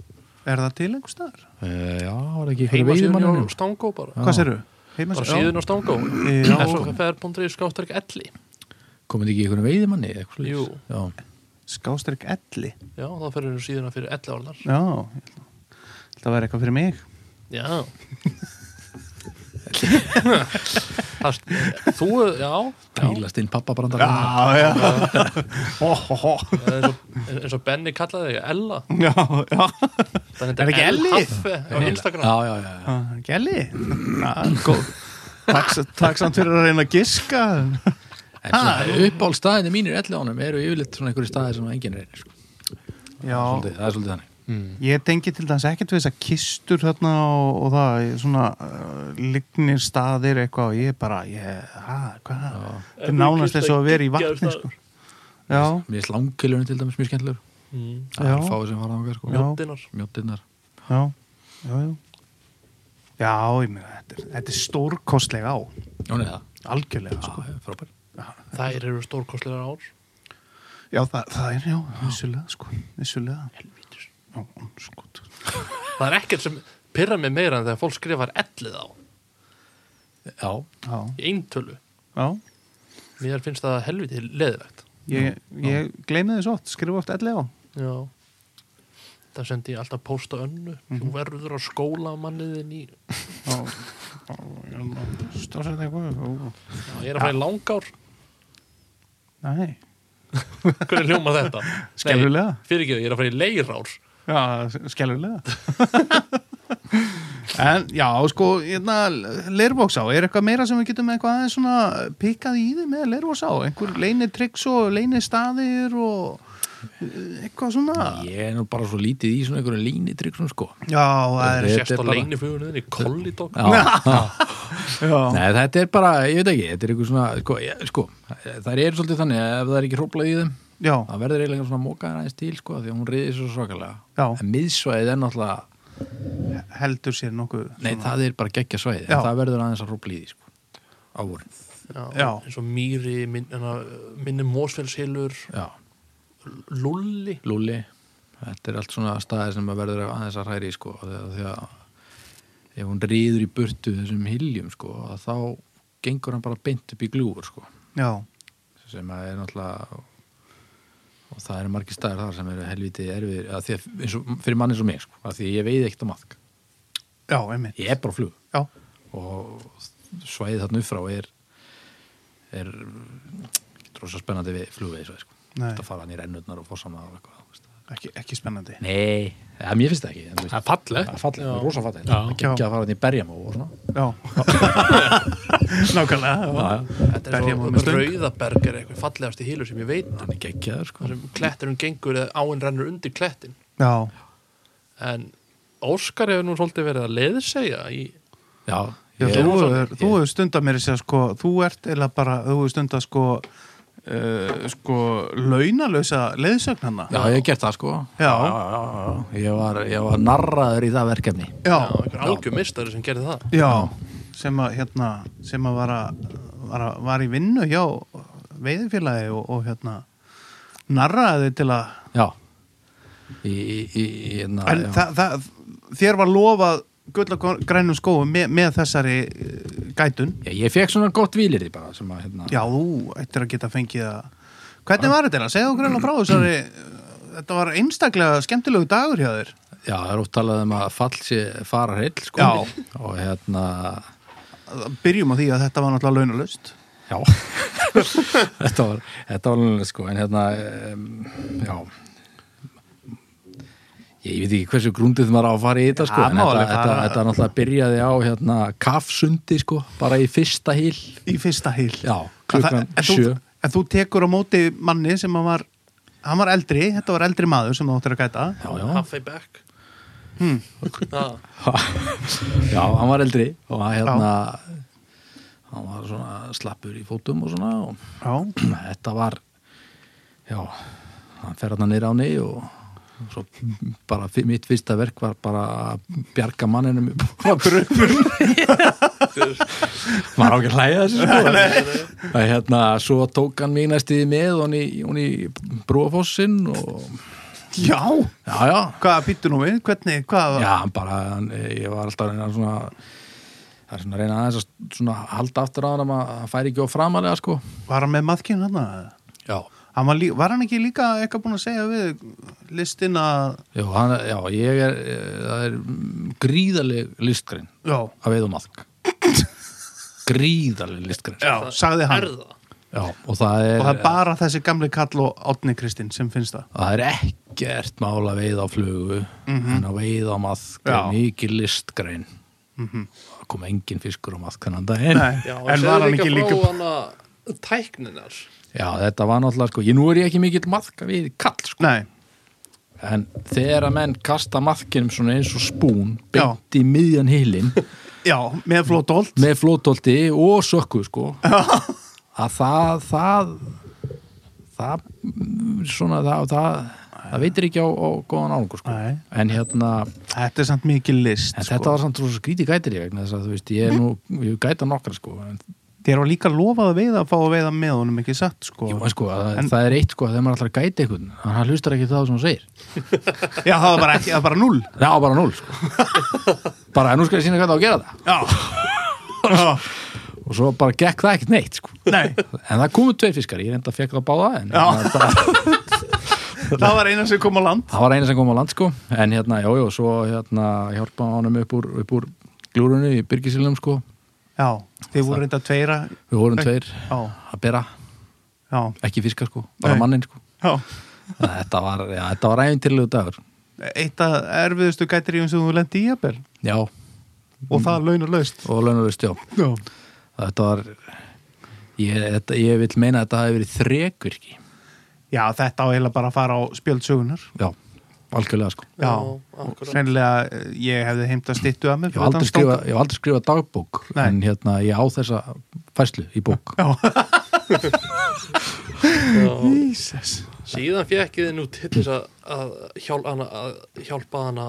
er það til einhver staðar? Eh, Já, var ekki hérna? einhverju Heima veiðum síðan hann á Stangó bara Hvað serðu? Bara síðan á Stangó Já. SFR.ri skáttar ekki elli Komið ekki einhverju veiðumanni eitthvað svoleiðis? Jú. Já, Skástrík elli Já, þá ferur þú síðan fyrir elli álnar Já, ég ætla- þetta væri eitthvað fyrir mig Já [LAUGHS] Það, þú, já, já. bílast inn pappabrandar já Hó, hó, hó Það er eins og- eins og Benni kallaði þig Ella Já, já Þannig Er ekki Elli? Haffe á Instagram Já, já, já, já. Ah, Ekki elli? Já, góð Takk, takk samt fyrir að reyna að giska En svona uppál staðinu mínir elli ánum eru yfirleitt svona einhverju staði sem enginn reynir sko. Já, svolítið, Það er svolítið þannig Ég tengi til dæmis ekkert við þess að kistur þarna og, og það, ég- svona uh, lignir staðir eitthvað og ég bara, ég, ha, hvað, þetta er nánast eins og að vera í vatni, sko. Já, Mér er slangilurinn til dæmis mjög skemmtilegur Mm. Það Já. er fáið sem fara þangað sko. Mm. Já. Dinnar Mjóttinnar já, já, já. Já, ég meina, þetta, er- þetta er stórkostlega á, Já, neða, algjörlega, sko. frábær Þær eru stórkostlegar ár Já, það, það er, já, vissulega, sko, vissulega. Helvítis. Já, sko, Það er ekkert sem pyrra mig meira en þegar fólk skrifar ellið á Já, já, í eintölu já, Mér finnst það helviti leðilegt ég, ég gleymi þess oft, skrifa oft ellega á. Já Það sendi ég alltaf posta önnu Mhm. Þú verður að skóla manniðin í Já, já, stórsett eitthvað, já, Já, Ég er að fara í langár nei, Hvernig ljóma þetta? [LAUGHS] Skelfilega. Fyrir ekki, ég er að fara í leirár Já, skellulega [LAUGHS] En já, sko, hérna, leirvóksá, er eitthvað meira sem við getum eitthvað aðeins svona pikkað í því með leirvóksá? Einhver leinir tryggs og leinir staðir og eitthvað svona Ég er nú bara svo lítið í svona einhverju línitryggsum sko já, það er [LAUGHS] Þetta sérst er á bara- legni fugurinn í kollidokk Já, já. já, Nei, þetta er bara, ég veit ekki, þetta er eitthvað svona, sko, ég, sko það eru svolítið þannig að ef það er ekki hróplað í þeim, já, það verður eiginlega svona mókaðar aðeins til, sko, því að hún reyði svo svakalega. Já. En miðsvæðið er náttúrulega, heldur sér nokkuð nei, það er bara geggja svæðið, Já. en það verður aðeins að hrópla í því, sko, á vorin. Já. eins og Mýri, minn, hana, minni Mósfellshilur Já, Lulli lúli, þetta er allt svona staðið sem að verður aðeins að hræri, sko, þegar, þegar ef hún reyður í burtu þessum hiljum, sko, að þá gengur hann bara beint upp í gljúfur, sko. já, sem að er náttúrulega og það eru margir staðar þar sem eru helviti erfir að því að eins og, fyrir manni eins og mig sko, að því að ég veið ekkert á maðk já, einmitt ég er bara á flug já, og svæðið þarna upp frá er er ekkert rosa spennandi við flugveið svæði sko. Nei. þetta fara hann í rennutnar og fórsana og eitthvað þú veist. ekki, ekki spennandi nei, ja, mér finnst það ekki en þú veist, Það er fallegt. það er fallegt, það er rosa fallegt Já. ekki að fara hann í berjamó og svona já [LAUGHS] nákvæmlega, já, þetta er Berja maður með svo um stöng. Rauðaberg er eitthvað fallegasti hilur sem ég veit um. hann er geggjaður sko. þar sem kletturinn gengur eða áinn rennur undir klettin já, en Óskar hefur nú svolítið verið að leiðsegja í já, já ég- þú ég- hefur- þú hefur stundað mér að segja sko, þú ert eða bara, þú hefur stundað sko Uh, sko launalösa leiðsögn hana Já, ég hef gert það sko Já. já, já, já. Ég, var, ég var narraður í það verkefni Já, einhver algjör mistari sem gerði það Já, sem að hérna sem að var, að, var, að, var í vinnu hjá veiðfélagi og, og hérna narraði til að Já Í, í, í, hérna, í na, en það, það, þér var lofað gull og grænum skóum með, með þessari eh, gætun já, Ég fekk svona gott výlir bara sem að hérna Já, þú ættir að geta fengið að Hvernig var þetta? Segðu okkur grænum frá þessari Þetta var einstaklega skemmtilegu dagur hjá þér Já, það er oft talað um að fall sé fara heill sko Já. Og hérna Byrjum á því að þetta var náttúrulega launalust Já [LAUGHS] Þetta var, þetta var alveg sko En hérna, um, já Ég, ég veit ekki hversu grúndið maður á að fara í þetta sko Já, En má þetta, alveg þetta, fara- þetta náttúrulega byrjaði á hérna kaffsundi sko Bara í fyrsta hýl í fyrsta hýl Já, klukkan en, þú- sjö. en þú tekur á móti manni sem að var hann var eldri, þetta var eldri maður sem þú áttir að gæta Já, já Halfway back hmm. [LAUGHS] Já, hann var eldri og hann hérna hann var svona slappur í fótum og svona og [CLEARS THROAT] já, þetta var já, hann fer hann neyra á ney og og svo bara fi- mitt fyrsta verk var bara að bjarga manninum frá [LAUGHS] dröfnum maður á ekki að hlæja þessu sko. að hérna, svo tók hann mig næstiði með hann í, hann í brúafossin og já. já, já, hvað býttu nú við, hvernig, hvað Já, hann bara, hann, ég var alltaf að reyna svona það er svona að reyna aðeins að svona halda aftur á hann að hann færi ekki á framalega sko var hann með maðkinn hann Já, hann var, lí, var hann ekki líka eitthvað búin að segja við listin að Jú, hann, já ég er eh, það er mm, gríðaleg listgrein já, að veiða [LAUGHS] maðk gríðaleg listgrein sko. já, sagði hann Erða já, og það er, og það er bara þessi gamli kall og Átni Kristinn sem finnst það það er ekkert mál að veiða á flugu en að veiða á maðk Mhm. Já. Mhm. er mikið listgrein það kom engin fiskur á maðk þannig daginn Nei, Já, en var hann ekki líka frá hana tækninar já, þetta var náttúrulega sko, ég nú er ég ekki mikill maðka við kall sko nei, En þegar að menn kasta maðkinum svona eins og spún beint í miðjan hilin já, með flótólt með flótolti og sökku sko að það það það mm, svona það, það, það veitir ekki á, á góðan ángur sko Nei. en hérna þetta er samt mikið list en sko. þetta var samt svo skrítið gætir ég vegna þess að þú veist ég er nú ég hef gæta nokkra sko en, þér var líka lofað að veiða að fá að veiða með honum ekki satt sko jú, en sko að, En- það er eitt sko að þegar maður alltaf gæti einhvern en hann hlustar ekki það sem hann segir Já, það var bara ekki, það var bara null það var bara núl sko [LAUGHS] bara nú skal ég sína hvað það á að gera það Já, já og svo bara gekk það ekkert neitt sko. Nei, en það komu tvei fiskar, ég reynda að fekk það báða en Já. en það, það var eina sem kom á land það var eina sem kom á land sko. en hérna, já, já, svo hérna, hjálpa honum upp úr, upp úr glúrunni í byrgisilnum, sko Já, þið voru reynda tveira við vorum tveir Já, að bera, já, ekki fiskar sko bara Nei. mannin sko já þetta var, já, þetta var æfintilegu dagur Eitt af erfiðustu gætiríum sem þú lendi í jafnvel já, Og það launar laust og lönnulust, já Já, þetta var ég, þetta, ég vil meina að þetta hafi verið þrekvirki já, þetta á eiginlega bara að fara á spjöldsögunar já, algjörlega sko Já, akkurat. sennilega eh, ég hefði heimt að styttu að mig ég hef aldrei skrifað skrifa ég hef aldrei skrifað dagbók Nei. en hérna ég á þessa fæslu í bók Já. Jesus síðan fekk ég þið nú til þess að, að, hjálp, hana, að hjálpa hana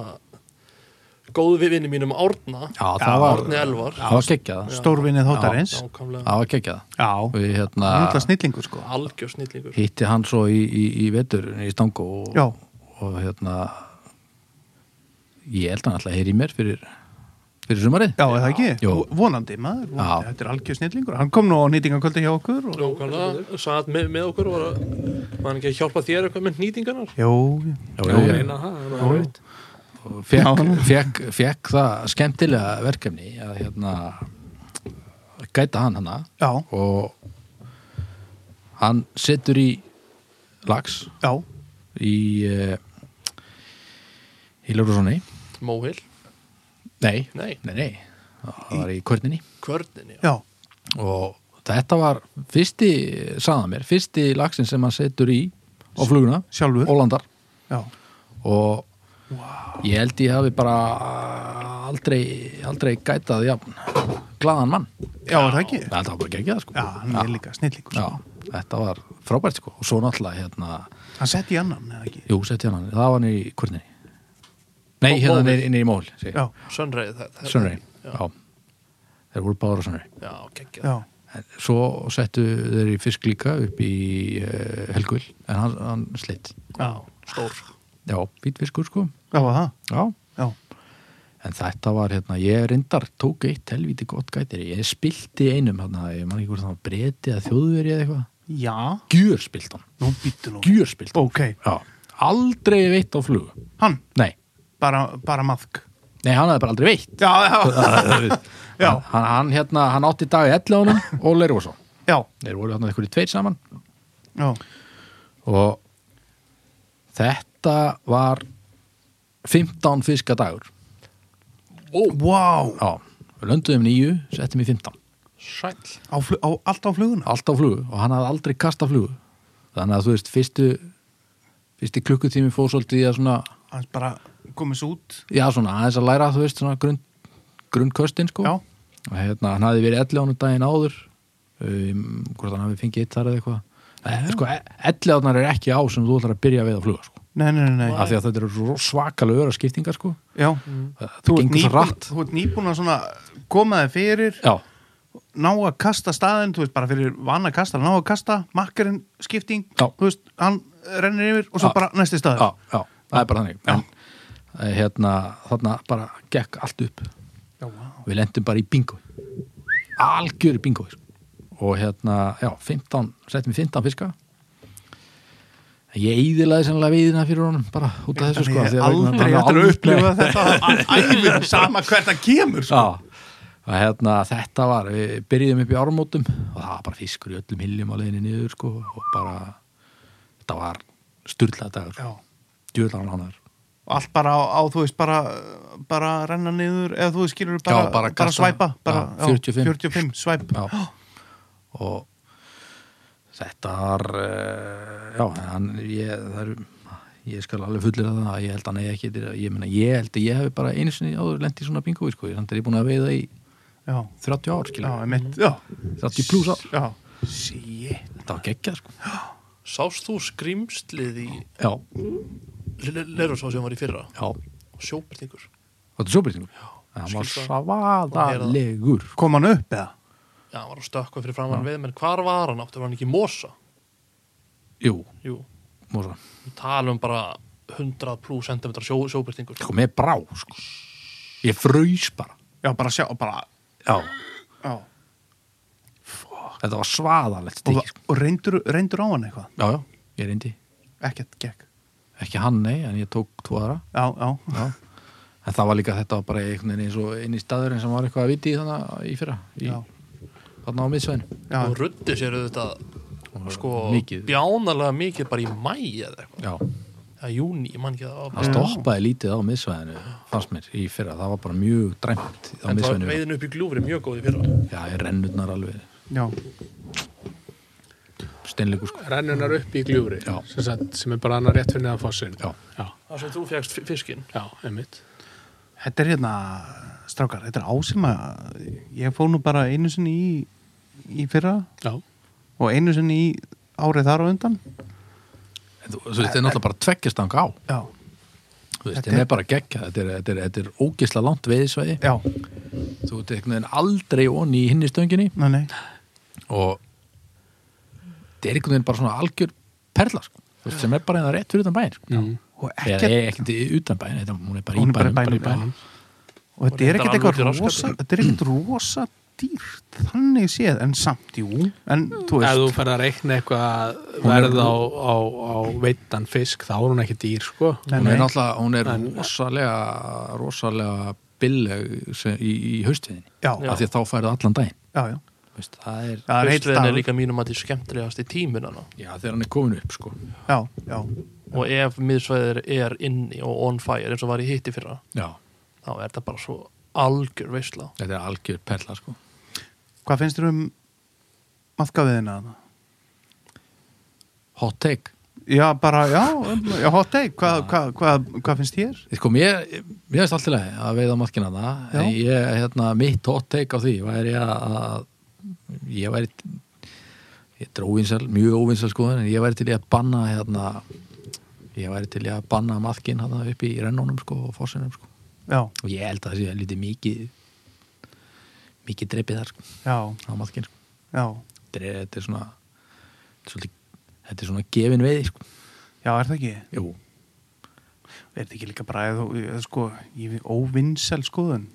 góðu við vinnum mínum Árna já, það var Árni Elvar það var geggjað Stórvinnið þóttarins nákvæmlega það var geggjað Já, við hérna hundla snillingur sko algjör snillingur hitti hann svo í, í, í vetur í stangu og, Já, og hérna ég held hann alltaf heyri í mér fyrir fyrir sumarið já, er það ekki? Jú. Vonandi maður, vonandi, Já. þetta er algjör snillingur Hann kom nú á nýtingakvöldi hjá okkur og... nákvæmlega, satt með, með okkur og var að, var hann ekki að hjálpa þér eitthvað með nýtingarnar Jú, jú. Já, ég- Neina, það er bara veit. fekk, Já. fekk, fekk það skemmtilega verkefni að hérna gæta hann hana já, og hann setur í lags já, í eh, í Ljóðurssoni Móhil, nei, nei, nei, nei það var í Kvörninni kvörninni já, og þetta var fyrsti, sagða mér, fyrsti lagsin sem hann setur í á fluguna sjálfur Ólandar Já, og ég held ég hafi bara aldrei, aldrei gætað jafn, glaðan mann já, er það ekki? þetta var bara geggjað sko Já, hann er líka snillingur Já, þetta var frábært sko og svo náttúrulega hérna, Hann setti í annan, eða ekki? jú, setti hann það var hann í hvernig nei, hérna Mól. niður- niður í mól segi ég. Já, Sönreið það, það Sunray, já þeir voru báður á Sunray Já, geggjað já, svo settu þeir í fisk líka upp í uh, Helgul en hann, hann slitt já, Stór já, fýtt fiskur sko já, var það já, Já, En þetta var hérna, ég reyndar tók eitt helvíti gott gætir, ég spilti einum hérna, ég man ekki hvort það var breyti eða þjóðveri eða eitthvað, já, gjör spilt hann nú býttu nú gjör spilt hann, Ok, já, aldrei veitt á flugu, hann, nei bara, bara maðk nei, hann hefði bara aldrei [LAUGHS] veitt Já, já, Já. hann, hann, hérna, hann átti dag í 11 honum og Leirvarsson, já, þeir voru hérna einhverju tveir saman já, og þetta var 15 fiska dagur wow já, við lönduðum nýju, settum í 15 Sæll á, flu- á, Allt á fluguna allt á flugu og hann hafði aldrei kasta flugu þannig að þú veist, fyrstu fyrsti klukkutími fór svolítið í að svona, Hann bara komið svo út já svona aðeins að læra, þú veist, svona grunn, grunnköstin sko, Já, og hérna, hann hafði verið 11 ánum daginn áður um, hvort hann hafi fengið eitt þar eða eitthvað En, sko, 11 ánar er ekki á sem þú ætlar að byrja við að fluga sko, nei, nei, nei, nei. af því að þetta eru svo svakalega öra skiptingar sko, Já, þú gengur svo rætt þú ert nýbúin að svona koma þig fyrir, já, ná að kasta staðin, þú veist bara fyrir vana kasta, ná að kasta, makkarinn skipting, Já. þú veist, hann rennir yfir og svo Já. bara næsti staður. já, já, það er bara þannig en, eh, hérna, þarna bara gekk allt upp Já, vá. við lendum bara í bingo algjör bingo sko. og hérna, já, 15 settum við 15 fiska En ég íðilaði sennilega veiðina fyrir honum bara út af þessu sko Ég af því hef að vegna- aldrei hann eftir að aldrei- upplifa þetta á [LAUGHS] æfum, sama hvert það kemur, sko. Já, og hérna þetta var, við byrjuðum upp í ármótum og það var bara fiskur í öllum hiljum á leiðinni niður sko og bara þetta var styrlað dagur Já. djúðlan hannar Og Allt bara á, á, þú veist, bara, bara renna niður, eða þú veist, skilur bara, Já, bara kasta. svæpa, bara, Já, 45, 45. svæp. já. [GASPS] og þetta var eh, já, hann, ég, það er ég skal alveg fullir að það að ég held að hann eigi ekki eftir að- ég, meina, ég held að ég hef bara einu sinni áður lent í svona bingo sko, þannig er ég búin að veiða í Já, 30 ár, já, skilja, emitt, já, 30 pluss ár já. Shit. þetta var geggjað, sko Sást þú skrýmslið í já, Lerursá sem var í fyrra já, Sjóbyrtingur þetta er sjóbyrtingur hann var skilja. svadalegur Kom hann upp, eða? Já, hann var að stökkva fyrir framann við menn hvar var hann áttur var hann ekki í mosa jú, Jú, músa, við talum um bara 100 plus centimetra sjó, sjóbyrtingur sko, með brá sko. ég fröys bara Já, bara sjá, bara, já, já. þetta var svaðalegt Og, stikki, sko. og reyndur, reyndur á hann eitthvað? já, já, ég reyndi Ekkert gekk. ekki hann, nei, en ég tók tvo aðra Já, já, já. en það var líka þetta var bara einhvern veginn eins og inn í staðurinn sem var eitthvað að viti í þannig í fyrra í, Já. þarna á miðsveðinu já. og ruddi sér auðvitað sko mikið. bjánalega mikið bara í mæ eða eitthvað, já, eða júni, ég man ekki það var það stoppaði lítið á miðsveðinu fannst mér í fyrra, það var bara mjög dræmt á en það miðsveðinu, veiðin upp í gljúfri mjög góð í fyrra já, ég rennurnar alveg já. steinleikur sko. rennunar upp í gljúfri Já. sem, sagt, sem er bara annar rétt fyrir neðan fossin Já. já, Það sem þú fegst fiskinn já einmitt Þetta er hérna, strákar, þetta er á sem að ég fóð nú bara einu sinni í, í fyrra já, og einu sinni í árið þar á undan. En þú- þú veist, Þetta er náttúrulega bara tveggjastanga á Já. Þú veist, Þetta Þetta er- er bara geggja, þetta er, þetta er, þetta er ógisla langt veiðisvæði Já, Þú ert einhvern veginn aldrei onni í hinni stönginni nei, nei. og þetta er einhvern veginn bara svona algjör perla sko. Þú veist, sem er bara eða rétt fyrir utan bæinn sko. Mm. Og eða ekkert, er ekkert í- utan bæinn þetta- hún er bara Hún í er bara í bæinn bara í bænum, bænum. og þetta er ekkert reyndar alveg út í eitthvað rosa, rassgatið. þetta er ekkert rosa dýrt, þannig séð, en samt, jú, en þú ef þú veist, ferð að reikna eitthvað Hún er- verð á, á, á veittan fisk þá er hún ekki dýr sko Nei, hún er nei. náttúrulega hún er rosalega rosalega billeg sem, í, í haustviðin já, já, af því að þá færðu allan daginn já, Þú veist, það er, það er heilt Haustliðin er dagur, líka mínum að því skemmtilegast í tíminana já þegar hann er komin upp sko. já, já, og ef miðsvæðir er inni og on fire eins og var í hitti fyrra já, þá er þetta bara svo algjör veisla þetta er algjör perla sko. hvað finnst þér um maðkaviðina þarna? hot take Já, bara, já, já, hot take, hvað hva, hva, hva finnst þér? Sko, mér, mér finnst allt í lagi að veiða matkina það Já. en ég, hérna, mitt hot take á því væri að ég væri ég er óvinsal, mjög óvinsal sko en ég væri til í að banna hérna, ég væri til í að banna matkin hérna, upp í rennónum sko og fórsinum sko Já, og ég held að það sé lítið mikið mikið dreipið þar sko já, á matkin sko, já, þetta er, þetta er svona þetta er svolítið- þetta er svona gefin veiði sko já, er það ekki? Jú. Er þetta ekki líka bara, eða, eða, sko, ég við óvinnsel skoðun?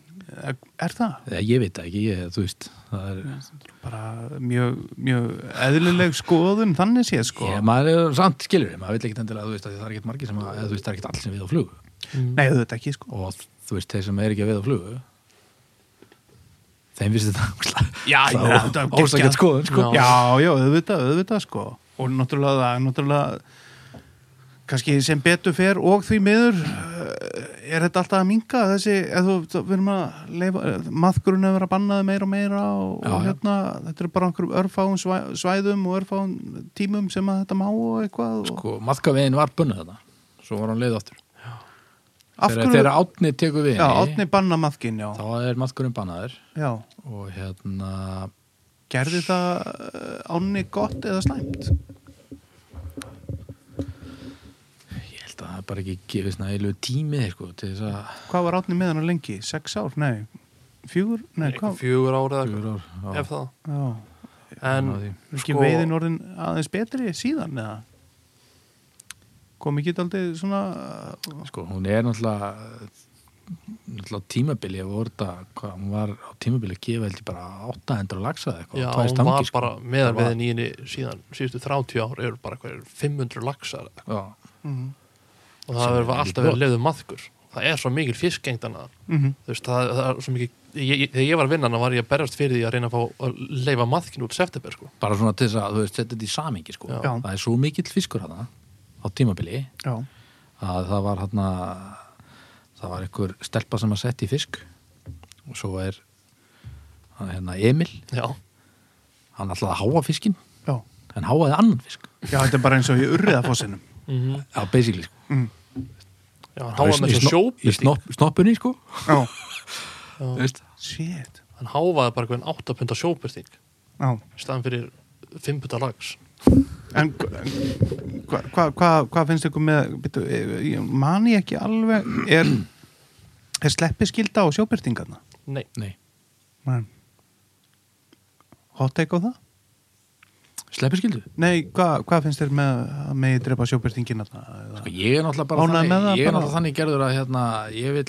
Er, er það? Eða ég veit það ekki, ég, þú veist það er, Bara mjög, mjög eðlileg skoðun, þannig séð, sko. Ég, maður er samt skilur, maður vil ekkert endilega þú veist að það er ekkert margir sem að, eða, þú veist, það er ekkert allir sem við á flugu Nei, auðvitað ekki, sko. og þú veist, þeir sem er ekki að við á flugu þeim finnst þetta ógeðslega- Já, já, það var þetta er geggjað. ósakett skoðun sko. Já, já, auðvitað, auðvitað, sko. Og náttúrulega, það er náttúrulega, kannski sem betur fer og því miður, eh, er þetta alltaf að minka þessi, eða þú, þú við erum að leifa, maðgrunni að vera bannaði meira og meira og, Já, og já. hérna, þetta er bara einhverjum örfáum svæ, svæðum og örfáum tímum sem að þetta má og eitthvað. Og, sko, maðkavegin var bönnuð þetta svo var hann leið aftur af þegar, þegar átni tekur við já, átni banna maðgin, já. þá er maðkurinn bannaður já. og hérna Gerði það eh, ánni gott eða slæmt? ég held að það er bara ekki gefið snælu tími sko, til þess að Hvað var átni með hann lengi? Sex ár? Nei, fjúr? Nei, Eitthvað hvað? fjögur ára eða fjögur ár eitthvað, já, ef það Já. en náði því. Er ekki sko, veiðin orðin aðeins betri síðan eða kom ekki aldrei svona uh, sko, hún er náttúrulega náttúrulega á tímabili ef voru þetta, hvað, hún var á tímabili að gefa heldur bara 800 lagsa eða eitthvað já, á tvær hún stangir, var sko. bara Það var- meðarviðin í henni síðan síðustu 30 ár eru bara hverjir 500 laxar já, mm og það Sem hefur er alltaf mikið verið leiðu maðkur það er svo mikil fiskengdana -hmm. þú veist, það, það er svo mikið ég, ég, þegar ég var vinnana var ég að berjast fyrir því að reyna að fá að leifa maðkin út september sko. bara svona til þess að þú veist, setja þetta í samingi sko. Já. það er svo mikill fiskur hana á tímabili já, að það var hérna það var einhver stelpa sem að setja í fisk og svo er hann, hérna Emil, já, hann ætlaði að háa fiskin já, en háaði annan fisk já, þetta er bara eins og í urriðafossinum já, basically sko. já hann háfaði með Í þessu sno- í sjóbyrting snopp, snoppunni sko. já, Þú veist, shit hann háfaði bara hverjum 8 punda sjóbyrting já. í staðan fyrir 5 punda lags en hvað hva, hva, hva finnst ykkur með byrju, eh, ég mani ekki alveg er, er sleppiskilda á sjóbyrtingarna nei, nei, Nei. hot take á það? sleppir skildu Nei, hvað hva finnst þér með að megi drepa sjóbyrtingin þarna? eða? Sko, ég er náttúrulega bara Ánægð þannig, með það ég er bara? náttúrulega þannig gerður að hérna, ég vil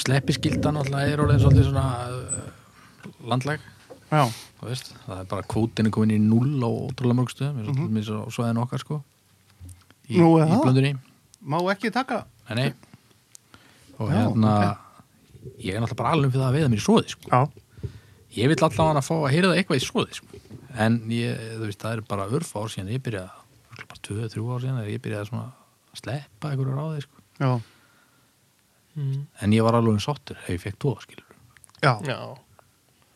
sleppi skilda náttúrulega er orðin svolítið svona uh, landlæg, Já, þú veist það er bara kvótinu komin í null á ótrúlega mörg stöðum, eins og til dæmis á svæðin okkar sko í, Mhm. Nú, er í það? blöndunni má ekki taka nei, nei. og Já, hérna ég er náttúrulega bara alveg fyrir það að veiða mér í svoði sko. Já, ég vil allavega hann að fá að heyra það eitthvað í svoði sko. en ég, þú veist, það er bara örf ár síðan ég byrjaði, örugglega bara 2-3 ár síðan þegar ég byrjaði svona að sleppa einhverju ráði sko. já, mm. en ég var alveg sáttur þegar ég fekk tóða skilur já. já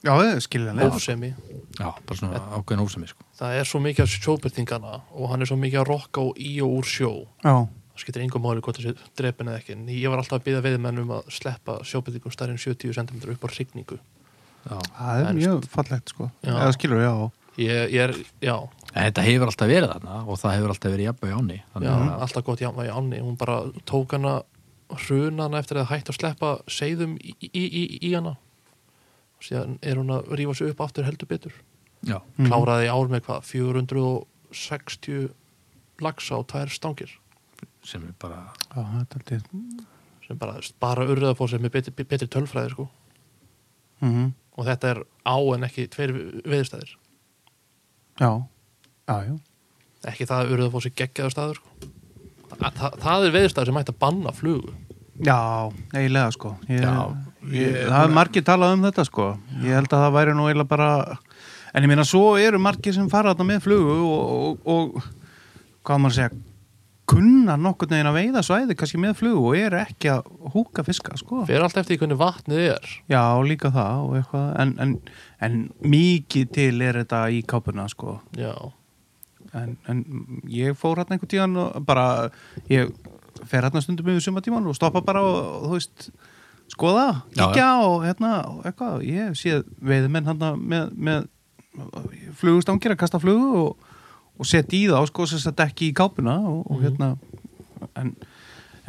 Já, það er skiljanlega. ósemi já, bara svona ákveðin ósami sko. það er svo mikið af sjóbyrtingana og hann er svo mikið að rokka og í og úr sjó Já, það skiptir engum máli hvort það sé drepin eða ekki en ég var alltaf að byggja veiðmennum að sleppa sjóbyrtingum starri en 70 cm upp á hrygningu já. það er En- mjög fallegt sko. Já. Eða skilur, já. ég, ég er, já, En þetta hefur alltaf verið þarna og það hefur alltaf verið jafnvæg áni já þannig að alltaf gott jáma í ánni hún bara tók hana hrunana eftir að hægt að sleppa seiðum í, í, í, í hana og síðan er hún að rífa sig upp aftur heldur betur já, Mhm. kláraði í ár með hvað 460 lagsa og tær stangir sem er bara Já, það er aldrei... sem bara, bara urðað fór sem er betri, betri tölfræði sko. Mhm. og þetta er á en ekki tveir viðstæðir Já, já, já. ekki það að urðað fór sem geggjaður staður sko. það, það, það er viðstæður sem ætti að banna flugu Já, eiginlega sko ég, Já, ég, Það er margir talað um þetta sko Ég held að það væri nú eiginlega bara En ég meina svo eru margir sem fara þarna með flugu og, og, og hvað á maður að segja kunna nokkurn veginn að veiða svæði kannski með flugu og eru ekki að húka fiska sko fyrir allt eftir því hvernig vatnið er Já, líka það og eitthvað en, en, en mikið til er þetta í kápuna sko já, en, en ég fór hérna einhvern tíðan og bara ég fer hérna stundum yfir sumatíman og stoppa bara og, og þú veist skoða, Já, kíkja og hérna og eitthvað, ég sé veiðmenn hérna með, með flugustangir að kasta flugu og, og setja í þá sko sem sett ekki í kápuna og, og Mhm. hérna en,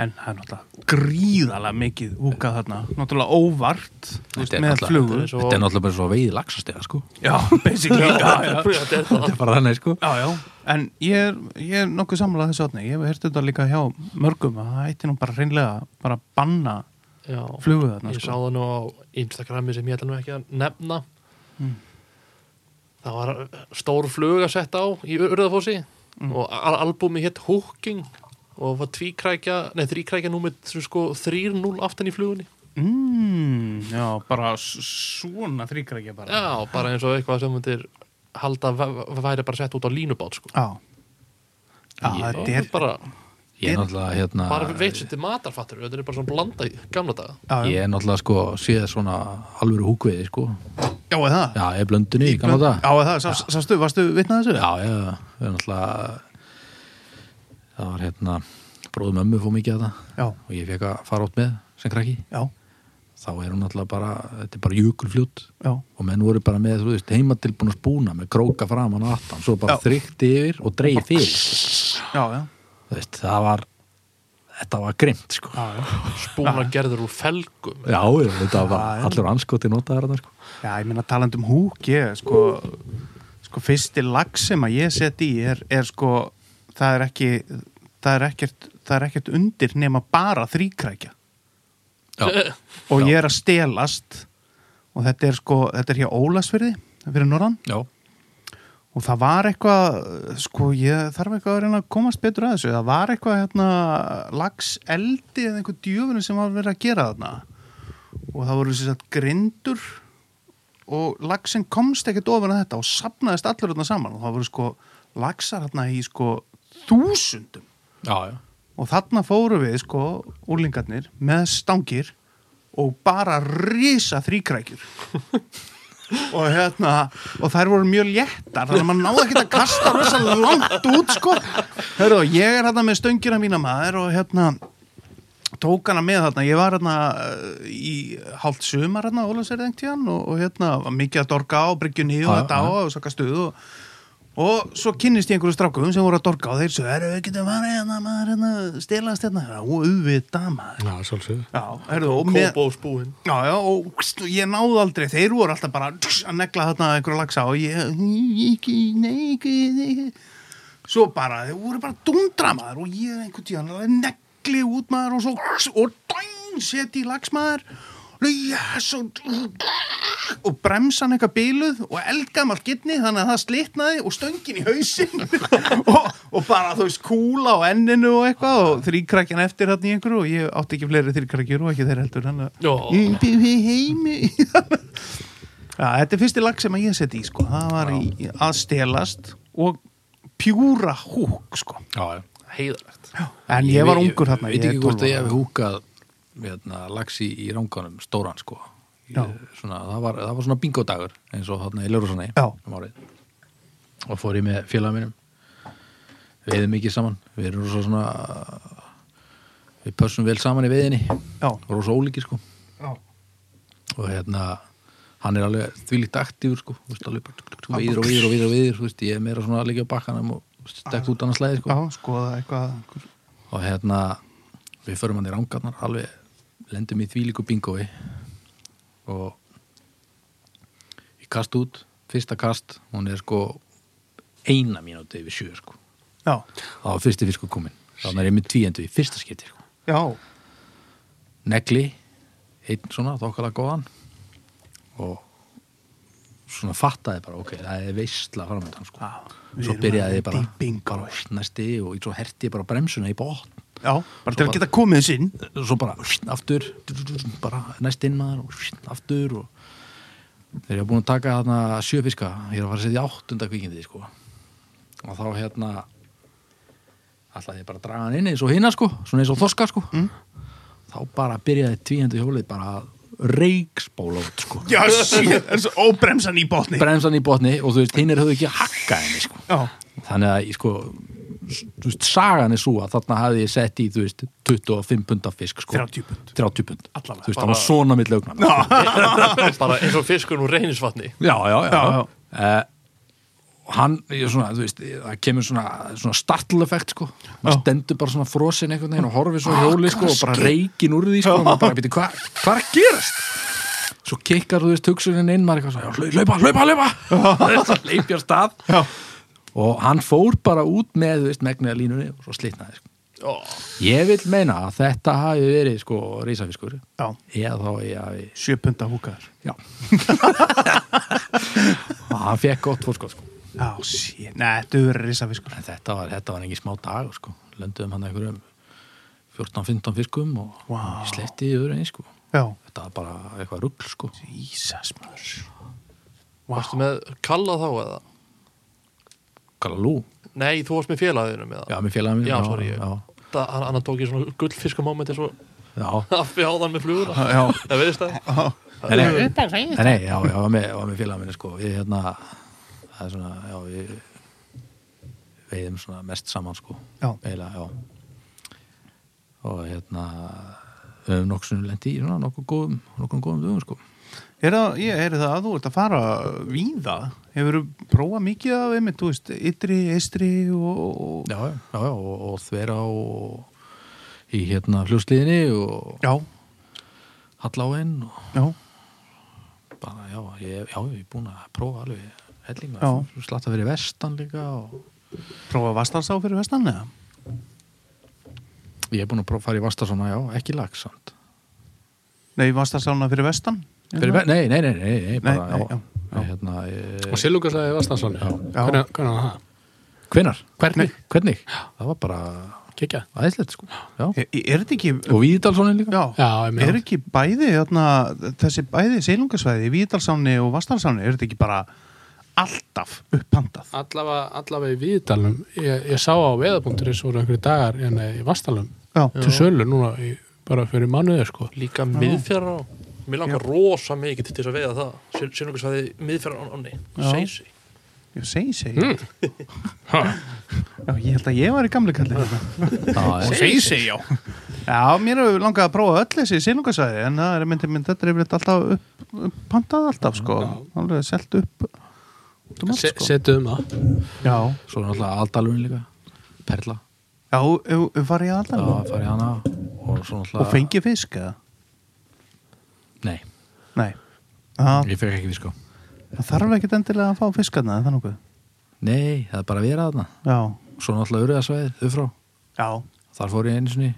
en það er náttúrulega gríðalega mikið húka þarna, náttúrulega óvart þú veist, Þetta er með náttúrulega- flugu Svo- þetta er náttúrulega bara svo veiði lagsastega sko [LAUGHS] já, [LAUGHS] basically já, já. þetta er það þetta er bara þannig sko Já, já, en ég er, ég er nokkuð samlega þessu átni, ég hef hert þetta líka hjá mörgum að það ætti nú bara reynlega bara að banna já, flugu þarna ég sá sko. það nú á Instagrami sem ég ætla nú ekki að nefna Mm. það var stór flug að setja á í urðafósi Mm. og al albumi hétt Hooking og var tvíkrækja, nei þríkrækja númið sko 3-0 aftan í flugunni mm, Já, bara s- svona þrýkrakja bara Já, bara eins og eitthvað sem myndir halda væ- væ- væri bara sett út á línubát sko. Já, já þetta er bara, ég er náttúrulega hérna bara veit sér til matarfattur þetta er bara svona blanda í gamla daga Já, ég já, er náttúrulega sko séð svona alvöru húkveiði sko já, er það já, ég er blöndunni í gamla dag Já, er það, sá- sástu, varstu vitnað þessu? já, já, við erum náttúrulega það var hérna bróðum ömmu fór mikið að það já, og ég fekk að fara átt með sem krakki já, þá er hún náttúrulega bara, þetta er bara jökulfljót já. og menn voru bara með, þú veist, heimatilbúna spúna með króka framan og aftan, svo bara Já. þrykti yfir og dreigir fyrir já, já. þú veist, það var þetta var grimt, sko já, spúna Ah. gerður úr felgum já, þetta var Já, já. allur anskoti notaðar þarna, sko. Já, ég meina taland um húk, ég sko, sko fyrsti lag sem að ég set í er, er sko, það er ekki, það er ekkert, það er ekkert undir nema bara þrýkrækja já, og Já. ég er að stelast og þetta er sko, þetta er hjá Ólasfyrði fyrir Norðan já, og það var eitthvað, sko, ég þarf eitthvað að reyna að komast betur að þessu, það var eitthvað hérna lags eldi eða einhver djöfunum sem var verið að gera þarna og það voru sem sagt grindur og lagsin komst ekkert ofan að þetta og sapnaðist allur þarna saman og það voru sko lagsar þarna í sko þúsundum já, já. og þarna fóru við sko úrlingarnir með stangir og bara risa þrýkrækjur og hérna og þær voru mjög léttar þannig að maður náði ekkert að kasta rosa langt út sko Hörru, og ég er hérna með stöngina mína maður og hérna tók hana með þarna, ég var hérna eh, í hálft sumar hérna Ólasverðing tíðan og, og hérna var mikið að dorka á bryggjunni og Já, þetta á já. og saka stuð og, og svo kynnist ég einhverju strákum sem voru að dorka og þeir svo, herru, við getum farið hérna maður hérna, stelast hérna, og auðvitað maður Já, sjálfsögðu Já, herru, og með kópa og spúin Já, já, og kst, ég náði aldrei, þeir voru alltaf bara tss, að negla þarna einhverju lagsa og ég, ekki, nei, ekki, nei, svo bara, þeir voru bara dundra maður og ég einhvern tíðan alveg negli út maður og svo, kss, og dæn, seti í lags maður, yes, og, og bremsan eitthvað bíluð og eldgamalt getni, þannig að það slitnaði og stöngin í hausinn [LAUGHS] og, og bara, þú veist, kúla á enninu og eitthvað og þrýkrakjan eftir þarna í einhverju og ég átti ekki fleiri þrýkrakjur og ekki þeir heldur, þannig að Jó. Ég byrði heimi [LAUGHS] Já, þetta er fyrsti lag sem að ég seti í sko. það var í, að stelast og pjúra húk sko. já, já. [LAUGHS] heiðarlegt en ég, var ungur ég þarna veit ekki hvort að ég ára. hef húkað hérna, lagsi í ránganum stóran, sko Já. svona, það, var, það var svona bingodagur eins og þarna í Ljórusanei Já. um árið og fór ég með félag mínum veiðum mikið saman við erum rosa svona við pössum vel saman í veiðinni Já. rosa ólíkir sko Já. og hérna hann er alveg þvílíkt aktífur sko þú veist, alveg bara veiðir og veiðir og veiðir og veiðir þú veist, ég er meira svona að liggja á bakkanum og stekk út annars leið sko Já, skoða eitthvað einhver- og hérna við förum hann í rángarnar alveg lendum í þvílíku bingói og ég kast út fyrsta kast, hún er sko eina mínúti yfir sjö sko Já, það var fyrsti fiskur komin þannig er ég með tvíendu í fyrsta skipti sko. já, negli einn svona þokkala góðan og svona fattaði bara ok, það er veistla framöndan sko. Ah, við svo erum að byrjaði ég lenda bara, í bingó. bara næsti og svo herti ég bara bremsuna í bótt sko. já, bara til bara- að geta komið sinn svo bara aftur bara næst inn maður og aftur og þegar ég var búin að taka þarna sjö fiska ég er að fara að setja í áttunda kvikindi sko. og þá hérna ætlaði ég bara að draga hann inn eins og hinna sko, svona eins og þorska sko. þá bara byrjaði tvíhendu hjólið bara að reikspóla út sko. Já, shit, þessu óbremsan í botni bremsan í botni og þú veist, hinn er höfðu ekki að hakka henni sko Já, þannig að ég sko s- þú veist, sagan er svo að þarna hafði ég sett í þú veist, 25 pund af fisk sko. 30 pund. 30 pund, Allavega, þú veist, það Bara- var svona mitt lögnan já, bara eins og fiskur úr reynisvatni já, já, já. Já, já. Eh, og hann, ég svona, þú veist það kemur svona, svona startlefekt sko. maður Já. stendur bara svona frosin einhvern veginn og horfir svo í hjóli sko, og bara reikin úr því sko, og maður bara býti, hvað hva er að gerast? svo kikkar þú veist hugsunin inn maður er eitthvað svo, já, hlaupa, hlaupa, hlaupa leipja stað já, og hann fór bara út með, þú veist, megniða línunni og svo slitnaði sko. Ég vil meina að þetta hafi verið sko reysafiskur já, eða þá ég hafi sjö punda húkaður já [LAUGHS] og hann fekk gott fórskot sko Já, shit, neða, þetta verður risafiskur en þetta var, þetta var engin smá dagur sko lönduðum hann einhverjum 14-15 fiskum og Vá. sletti yfir einn sko Já, þetta var bara eitthvað rugl sko Jesus, maður varstu með kalla þá eða? Kalalú, nei, þú varst með félagðinum eða? já, mér félagum já, sorry, ég, já, Það, hann, hann tók í svona gullfiskamoment eins og já. að fjáðan með fluguna Já, það verðist [LAUGHS] það Nei, nei, nei, nei, já, já, var með, var með félag minni sko Við hérna, það er svona, já, við veiðum svona mest saman sko Já. Eiginlega, já Og hérna, við höfum nokkuð sem lendi í svona nokkuð góðum, nokkuð góðum dögum sko er það, ég er það að þú ert að fara víða Hefur þú prófað mikið af einmitt, þú veist, ytri, eistri og, og Já, já, já, já, og, og þvera og í hérna fljósliðinni og Já, halláinn og já, bara, já, ég, já, ég er búin að prófa alveg helling Já. maður, slatta fyrir vestan líka og prófað vastarsá fyrir vestan eða? ég er búin að prófa að fara í vastasona, já, ekki lagsamt Nei, vastarsána fyrir vestan Hérna. Fyrir, ve- nei, nei, nei, nei, nei, bara, Nei, nei, já, já, já. Hérna, og e, Silungarslæði Vastansson Já. hvernig hvernig var það? Hvenar? Hvernig? Hvernig? Það var bara Kekja? aðeinslegt sko já. Er, er þetta ekki Og Víðdalssonin líka? Já, Já, ég meina er ekki bæði hérna, þessi bæði seilungasvæði Víðdalsáni og Vastarsáni, er þetta ekki bara alltaf upphantað allavega, allavega í viðdalum ég, ég sá á veðabunduris voru einhverju dagar hérna í vastalum Já, til sölu núna í, bara fyrir mánuði sko líka miðfjara á mér langar rosa mikið til þess að veiða það sérnokkarsvæði miðfjara á ánni seinsi ég segi segi Já, ég held að ég var í gamli kallið Já, já. Segi segi, já Já, mér hefur langað að prófa öll þessi seilungasvæði en það er myndi, myndi, þetta er yfirleitt alltaf upp, upphantað alltaf, sko alveg selt upp út um allt, Se, sko. setu um það Já, Svo er náttúrulega Aldalurinn líka Perla, já, ef- ef var ég já, alltaf farið hana Og svo náttúrulega og fengi fisk, eða? Nei, Nei Það, ég fekk ekki við sko það þarf ekkert endilega að fá fiskarna, er það nokkuð? Nei, það er bara að vera þarna Já, Svo náttúrulega Urðasvæðið, uppfrá já, Þar fór ég einu sinni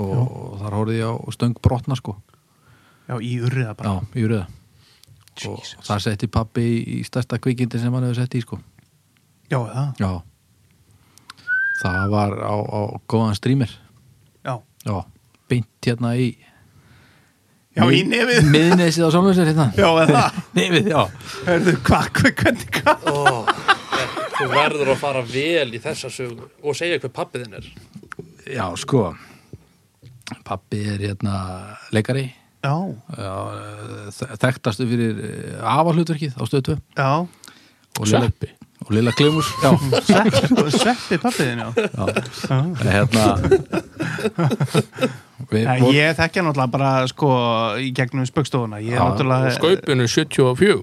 Og, og þar horfði ég á stöng brotna sko já, í urriða bara. Já, í Urða Og þar setti pappi í stærsta kvikindi sem hann hefur sett í sko Já, það, Já Það var á, á góðan streamer já. Já Beint hérna í Já, í nefið. Miðnesið á Sólfjörnsir hérna Já, eða það. [LAUGHS] Nefið, já Hörðu, hvað, hvað, hvernig, hvað? Ó, þú verður að fara vel í þessa sögu og segja hver pappið þinn er Já, sko Pappi er hérna leikari já, Já, þe- þekktastu fyrir afahluturkið á stöðu 2 já og Lilla- Sveppi. og Lilla Glimus já, [LAUGHS] Svepp- sveppi pappiðin, já já. En hérna við, Nei, vorum- ég þekkja náttúrulega bara sko í gegnum spöggstofuna ég er Já, náttúrulega Skaupinu 74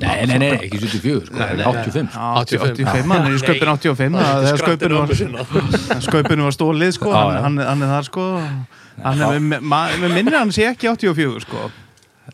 nei, nei, nei, ekki 74 sko, 85 sko. Já, 85, 85 hann er í sköpun 85 það- þegar sköpun var, sköpun var stólið sko, Já, hann, já. hann, hann er þar sko hann er með, með, með minni hann sé ekki 84 sko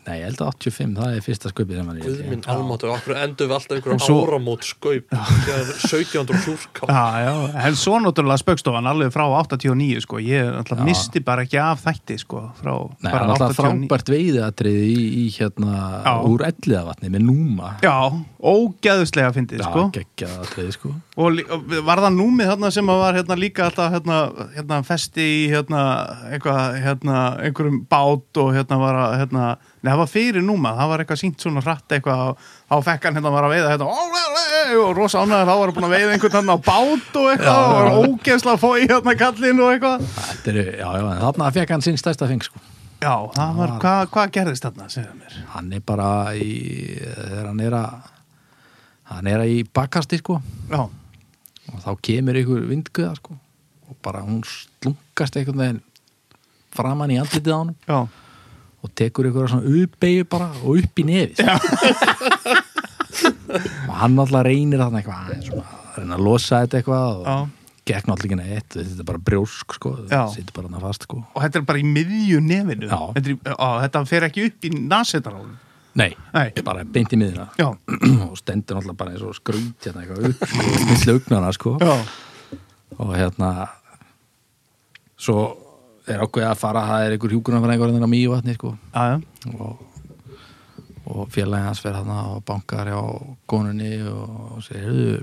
nei, ég held að 85, það er fyrsta sköpið sem hann er í. Guðminn almáttur, okkur endur við alltaf einhverjum svo- áramót skaup þegar 1714 já, já, en svo náttúrulega spöggstofan alveg frá 89 sko ég náttúrulega misti bara ekki af þætti sko frá Nei, bara hann er alltaf frábært veiðatriði í, í hérna, Já. úr elliðavatni með núma já, ógæðuslega fyndið sko geggjað atriði sko og, lí- og var það númið hérna sem að var hérna líka alltaf hérna, hérna festi í hérna, eitthvað, hérna einhverjum bát og hérna var að hérna, nei það var fyrir númað, það var eitthvað sínt svona hratt eitthvað á, á fekkan hérna var að veiða hérna, ó, ó, ó, ó, og rosa ánæður þá var hann búin að veiða einhvern hérna á bát og eitthvað og var ógeðslega að fá í hérna kallinn og eitthvað Þetta er, já, já, en þarna fekk hann sinn stærsta feng sko já, það var, hvað hva gerðist þarna segðu mér, hann er bara í þegar hann er að hann er að í bakkasti sko já, og þá kemur ykkur vindguða sko og bara hún slungast einhvern veginn framan í andlitið á hann já og tekur ykkur svona uppeyju bara og upp í nefið [LAUGHS] og hann alltaf reynir þarna eitthvað aðeins svona, að reyna að losa þetta eitthvað og Já. gekk náttúrulega ekki neitt þetta er bara brjósk sko, Já. situr bara hann fast sko og þetta er bara í miðju nefinu Já. þetta, er, í- á, þetta fer ekki upp í nasetarálum nei, Nei. bara beint í miðina já, [CLEARS THROAT] og stendur náttúrulega bara eins og skrýt hérna eitthvað upp sko, milli augnana sko já, og hérna svo er okkur að fara það er einhver hjúkunarfræðingur hérna á Mývatni sko já, já. og, og félagin hans fyrir þarna og bankar hjá konunni og segir "Heyrðu,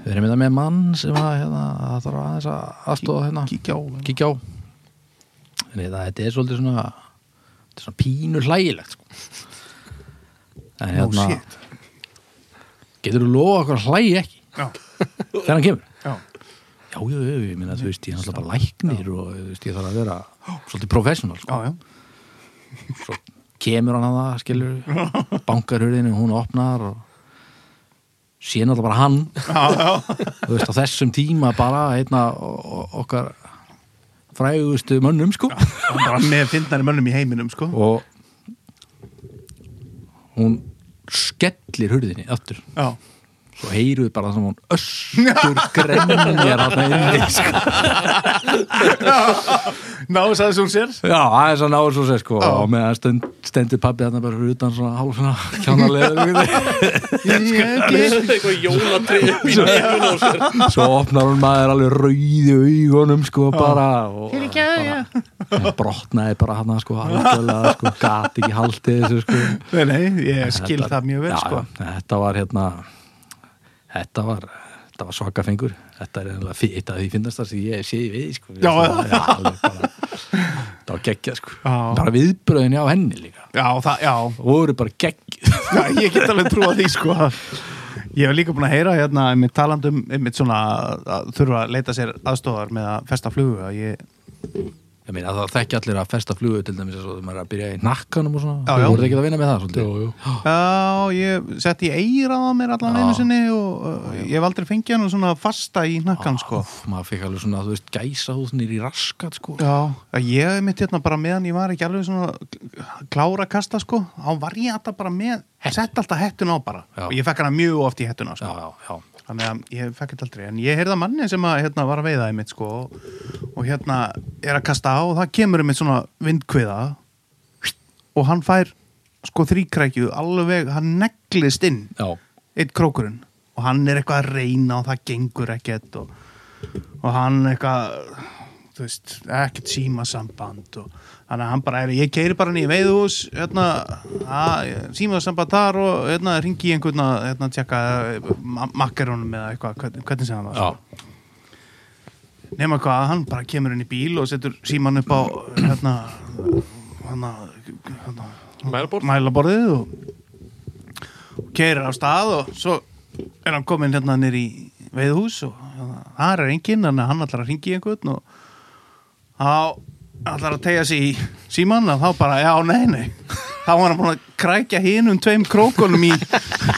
við erum þetta með mann sem að hérna, það þarf aðeins að aðstofa hérna kíkja á kíkja á en þetta, þetta er svolítið svona þetta er svona pínu hlægilegt sko. en Nú, hérna shit. getur þú lofa okkur að hlægi ekki Já, þegar hann kemur já, já, já, já, ég minna, þú veist, ég er alltaf bara læknir og þú veist, ég þarf að vera svolítið professional sko. já, já. kemur hann að það, skilur bankarhurðinu, hún opnar og sé náttúrulega bara hann þú veist, á þessum tíma bara einna o- o- okkar frægustu mönnum, sko Hann er bara með fyndnari mönnum í heiminum, sko. og hún skellir hurðinni aftur Já, svo heyru við bara það sem hún öskur grenjar hann inni sko. ná, sagði svo hún sér. já, aðeins að náður svo sér sko og meðan stend, stendur pabbi hann bara fyrir utan svona hálf svona kjánalega Ég get- eitthvað jólatri upp í nefnum og sér svo opnar hún maður alveg rauði augunum sko bara og bara, hún brotnaði bara hann sko, algjörlega sko, gat ekki haldið þessu sko Nei, nei, ég skil Þetta- það mjög vel, já, sko. já, þetta var hérna þetta var, þetta var svakafengur þetta er einhverja fyrir að því finnast það sem ég sé í við sko. Já, það, já, alveg bara, það var geggja sko. Já. bara viðbröðin á henni líka Já, það, já. og voru bara gegg já, ég get alveg trúa því, sko. Ég hef líka búin að heyra hérna einmitt talandum, einmitt svona að þurfa að leita sér aðstofar með að festa flugu. að Ég, ég meina það þekkja allir að festa flugu til dæmis svo, þegar maður er að byrja í nakkanum og svona Já, þú já. voru ekki að vinna með það svolítið Jú, jú. já, ég setti eira á mér allan Já. einu sinni og uh, ég hef aldrei fengið hann svona fasta í nakkan, sko. Úff, maður fekk alveg svona, þú veist, gæsa húsnir í raskat sko Já, að ég hef mitt hérna bara meðan ég var ekki alveg svona kl- klára að kasta sko, þá var ég alltaf bara með sett alltaf hettun á bara Já. og ég fekk hana mjög oft í hettuna já, sko. já, já. þannig að ég fekk þetta aldrei en ég heyrði að manni sem að, hérna, var að veiða einmitt sko og, og hérna er að kasta á og það kemur einmitt svona vindkviða og hann fær sko þríkrækju alveg, hann neglist inn já. eitt krókurinn og hann er eitthvað að reyna og það gengur ekkert og, og hann eitthvað þú veist, ekkert símasamband og þannig að hann bara er ég keiri bara nýja veiðhús hérna, að, símasamband þar og hérna, ringi í einhvern að hérna, tjekka ma makkarónum eða eitthvað hvernig, hvernig sem hann var já. nema hvað, hann bara kemur inn í bíl og setur síman upp á hérna, hérna, hérna Mælbór mælaborðið og, og sko. keirir af stað og svo er hann kominn hérna nýr í veiðhús og hérna, það er enginn, þannig að hann ætlar að ringi einhvern og þá allar að tegja sig í símann þá bara, já, nei, nei þá var hann búin að krækja hinum tveim krókunum í [LAUGHS]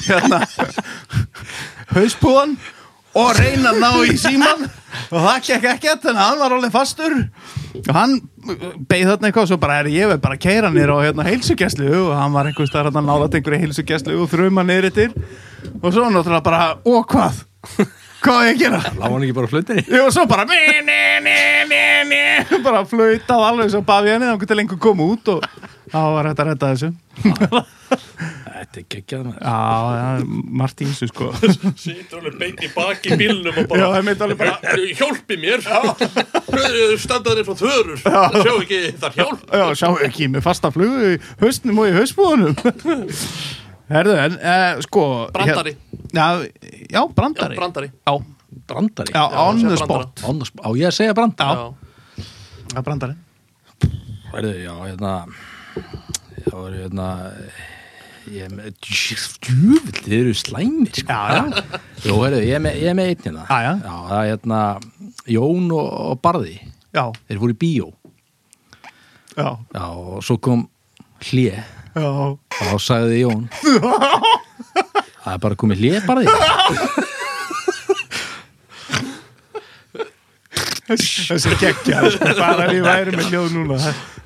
hérna hauspúðan og reyna að ná í símann og það gekk ekkert þannig að hann var alveg fastur og hann beigð þarna eitthvað og svo bara er ég verð bara að keira nýr á hérna heilsugjæslu og hann var einhvers þar að hann náða einhverju heilsugjæslu og þruma niður yttir og svo náttúrulega bara, og hvað? Hvað á ég að gera? Lá hann ekki bara á flutinni? Jú, og svo bara mi, mi, mi, mi, mi, bara flautað alveg svo baf ég henni þá til lengur kom út og þá var þetta að redda þessu Þetta er geggjað maður. Já, já, Martínsu sko Sýtur alveg beint í baki bílnum og Já, bara ég meit alveg bara "Heyrðu, Hjálpi mér Hörðu, standaðir frá þörur Sjá ekki þar hjálp Já, sjá ekki með fasta flugu í haustnum og í haustbúðunum [LAUGHS] Herðu, en eh, sko Brandari. hér, já, já, Já, brandari brandari Já, Brandari? já, Já, on sem the brandara. spot On the spot. Á ég að segja brandari? Já, já, brandari Hörðu, já, hérna Það var hérna Ég er með Djúvill, þið eru slæmir sko. Já, já. Jó, hörðu, ég er með, ég er með einn hérna Já, já. það er hérna Jón og, og Barði Já, Þeir fóru í bíó já, Já, og svo kom hlje já og þá sagði Jón Það er bara komið hlje Barði [LAUGHS] Þessi geggja, [LAUGHS] sko, bara við væri með hljóð núna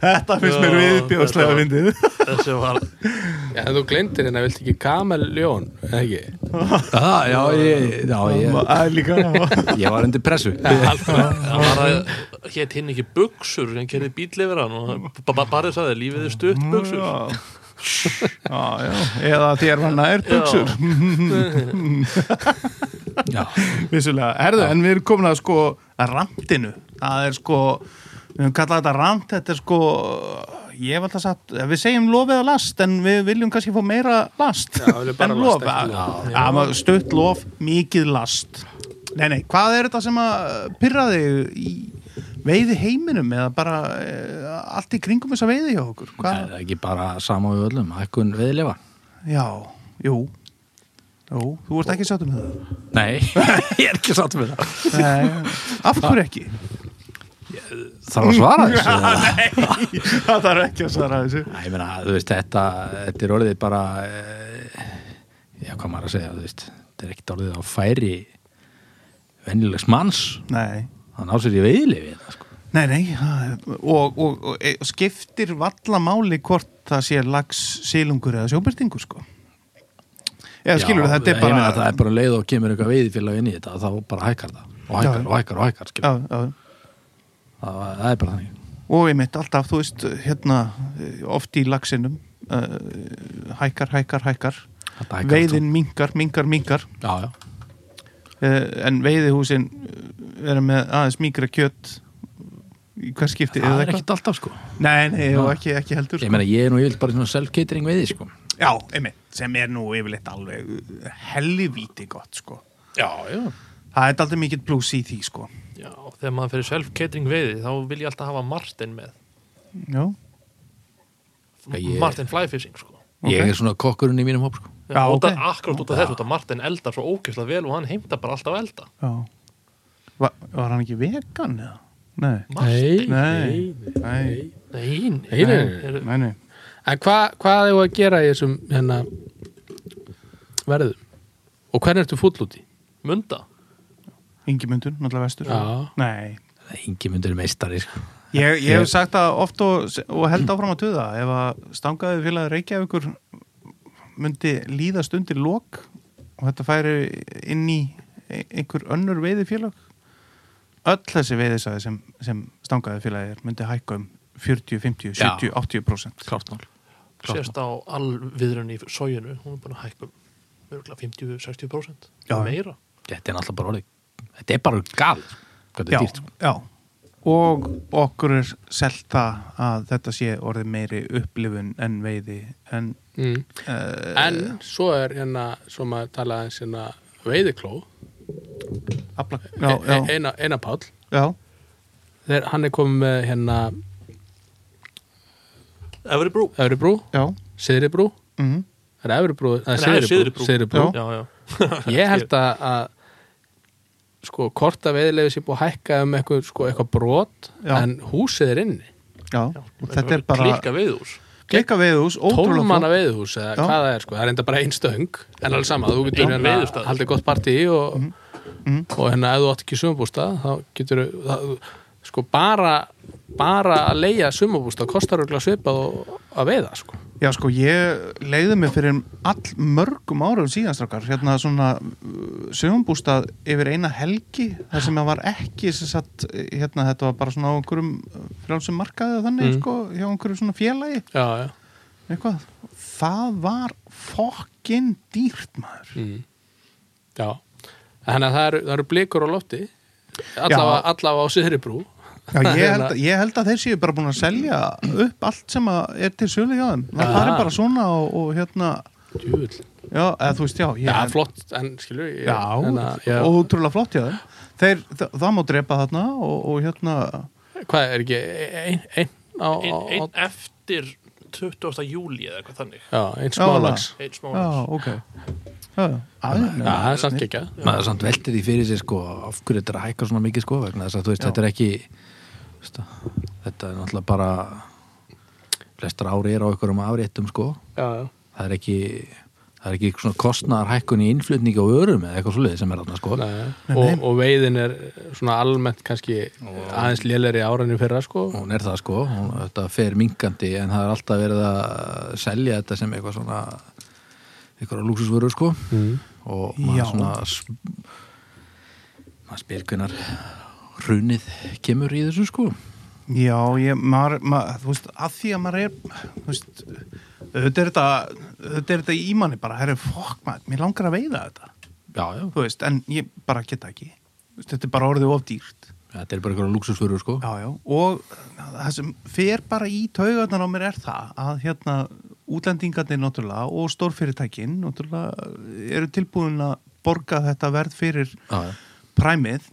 Þetta finnst mér Já, viðbjóðslega þetta- fyndið Þessi var Já, þú glemtir hérna, viltu ekki kameljón, eða ekki? Ah, Já, já, ég, já, ég, Það er líka ég var undir pressu Það var að hétt hinn ekki buksur en gerði bíl yfir hann og bara þess að það lífið er stutt buksur Já. Já, já, eða þér var nær buksur Já, vissulega, herðu, en við erum komin að sko að rantinu, það er sko við höfum kallað þetta rant, þetta er sko ég hef alltaf sagt, eh, við segjum lofið að last, en við viljum kannski fá meira last, Já, við viljum bara en last, lof ekki Já, já, maður stutt lof, mikið last nei, nei, hvað er þetta sem að pyrraði í veiði heiminum eða bara e, allt í kringum þess að veiði hjá okkur það hvað, er ekki bara sama við öllum, hækkun veðilefa já, jú jú, þú ert ekki sáttum með það Nei, [LAUGHS] ég er ekki satt með það Nei, af hverju ekki? Þarf að svara þessu eða? Nei, það þarf ekki að svara þessu Æ, ég meina, þú veist, þetta, þetta er orðið bara, eh, já, hvað maður að segja, þú veist, þetta er ekkert orðið á færi venjulegs manns, Nei, hann á sér í veiðlifi, þetta, sko. nei, nei það- og, og, og e, skiptir valla máli hvort það sé lags silungur eða sjóbyrtingur sko eða skilur já, þetta er Ég meina, það bara er bara leið og kemur eitthvað veiðfélag inn í þetta, þá bara hækkar það, og hækkar, Já. og hækkar, og hækkar, skilur, já, já. það, það er bara þannig. og ég mitt alltaf, þú veist, hérna eh, oft í lagsinum uh, hækkar, hækkar, hækkar Þetta hækkar veiðin minkar, minkar, minkar allt saman. Já, já, Eh, en veiðihúsin er með aðeins mýkra kjött í hver skipti það eða er eitthvað. ekkert alltaf, sko. Nei, nei, og ekki, ekki heldur sko. Ég meina, ég er nú yfirlt bara svona self-catering veiði, sko. Já, einmitt, sem er nú yfirleitt alveg uh, helvíti gott sko. Já, já. Það er aldrei mikill pluss í því sko. Já, þegar maður fyrir self-catering veiði þá vil ég alltaf hafa Martin með Já, Já, ég- Martin flyfishing sko Ok. Ég er svona kokkurinn í mínum hóp, sko. Já, Já, út af, ok. akkurat út af þessu, út af Martin eldar svo ógeðslega vel og hann heimta bara alltaf að elda já Va Var hann ekki vegan eða? Nei, Nei. Martin, nei, nei. nein, Nei, nei, nei. er, nei, nei En hva, hvað hefur að gera í þessum hérna, verðum? Og hvernig ertu fúll út í? munda Ingimundur, náttúrulega vestur Já. Nei, Engi myndur meistari, sko. ég, ég hef sagt það oft og, og held áfram að tuða ef að stangaði félagi Reykjavíkur myndi líðast undir lok og þetta færi inn í ein- einhver önnur veiðifélag öll þessi veiðisæði sem, sem stangaði félagi er myndi hækka um 40, 50, 70, 80% Klart mál. Klart sérst á alviðrun í sójunu hún er búin að hækka um örgulega 50-60% Já. meira Þetta er náttúrulega bara orðið. Þetta er bara gal. Hvað þetta já, er dýrt, sko. já og okkur er selt það að þetta sé orðið meiri upplifun en veiði en Mm. uh, En svo er hérna, svo maður talaði eins hérna veiðikló, afla, já, e- e- já, eina, eina pál, já, þegar hann er komið með hérna Every Brew Öfribrú, já Siðribrú, mhm. það er Öfribrú, Nei, það er Syðri Brú. Siðribrú, Siðribrú. já, já, Ég held að, að sko, korta veiðilegu sé búið að hækka um eitthvað, sko, eitthvað brot, Já. en húsið er inni. já, og þetta er bara klikka veiðhús klikka veiðhús, ótrúlega tólmanna flott. veiðhús eða Já. hvað það er sko, það er enda bara einn stöng en alveg sama, þú getur Einn hérna veiðistaður. haldið gott partí og, Mhm. og hérna ef þú átt ekki sumabústað þá getur sko bara bara að leia sumabústað kostar örugglega svipað og að veiða sko Já, sko, ég leiði mig fyrir all mörgum árum síðanstrakar, hérna svona uh, sögumbústað yfir eina helgi, þar sem það var ekki sem sagt, hérna, þetta var bara svona á einhverjum uh, frjálsum markaði og þannig, Mm. sko, hjá einhverjum svona félagi, já, já. eitthvað. Það var fokkin dýrt, maður. Mm. já þannig að það eru, það eru blikur á lofti allavega, allavega á Siðribrú Já, ég held, að- ég held að þeir séu bara búin að selja upp allt sem að er til sölu hjá þeim. Það Já. fari bara svona og, og hérna, Djúvill. já, eða þú veist, já, ég já, flott, en skilur ég, Já, en að, já, ótrúlega flott hjá þeim Þeir, þa það má drepa þarna og, og hérna, hvað er ekki einn ein, á, á, einn á, ein eftir 20. júli eða eitthvað þannig já, einn smálags einn smá já, ok Já, já, já, aðeins það er samt ekki ekki maður samt veltir því fyrir sér sko af hverju þetta er að hækka svona mikið sko vegna þess að þú veist, þetta er ekki veist, þetta er náttúrulega bara flestar ári er á einhverjum afréttum sko já, já það er ekki það er ekki svona kostnaðar í innflutningi á örum eða eitthvað svoleiði sem er þarna sko Nei, og, og veiðin er svona almennt kannski aðeins lélæri árænni fyrra sko hún er það sko, hún, þetta fer mingandi en það er alltaf verið að selja þetta sem eitthvað svona eitthvað lúksusvöru sko og maður Mm. Já. svona sp- maður spyr hvernar runið kemur í þessu sko Já, ég, maður, maður, þú veist, að því að maður er þú veist, auðvitað er þetta auðvitað er þetta í manni bara, herri, fokk maður mér langar að veiða þetta, já, já, þú veist en ég bara geta ekki, Þú veist, þetta er bara orðið of dýrt, þetta er bara eitthvað lúksusvöru sko já, já, og það sem fer bara í taugarnar á mér er það að hérna útlendingarnir náttúrulega og stórfyrirtækin náttúrulega eru tilbúin að borga þetta verð fyrir já, já, præmið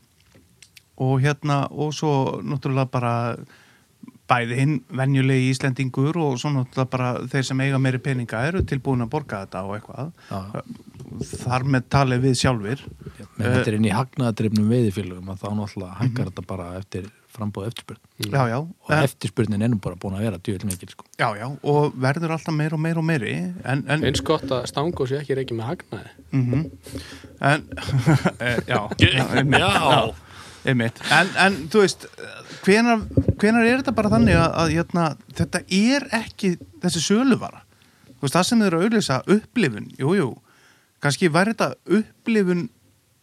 og hérna og svo náttúrulega bara bæði hinn venjulegi íslendingur og svo náttúrulega bara þeir sem eiga meiri peninga eru tilbúin að borga þetta og eitthvað já, já. þar með talið við sjálfir menn þetta Eh. er inn í hagnaðadreifnum veiðifélögum að þá náttúrulega Mhm. hækkar þetta bara eftir frambóð eftirspurn já, já, og eftirspurnin ennum bara búin að vera djúvel mikil [CLEARS THROAT] sko já, já og verður alltaf meir og meir og meiri en, en, eins gott að stangó sé ekki reikið með hagnaði mhm. en [LAUGHS] eh, já, já, einmitt. já, Einmitt. En, en þú veist, hvenar, hvenar er þetta bara þannig að, að hérna, þetta er ekki þessi söluvara? Þú veist, það sem þau eru að auðlýsa upplifun, jú, jú, kannski væri þetta upplifun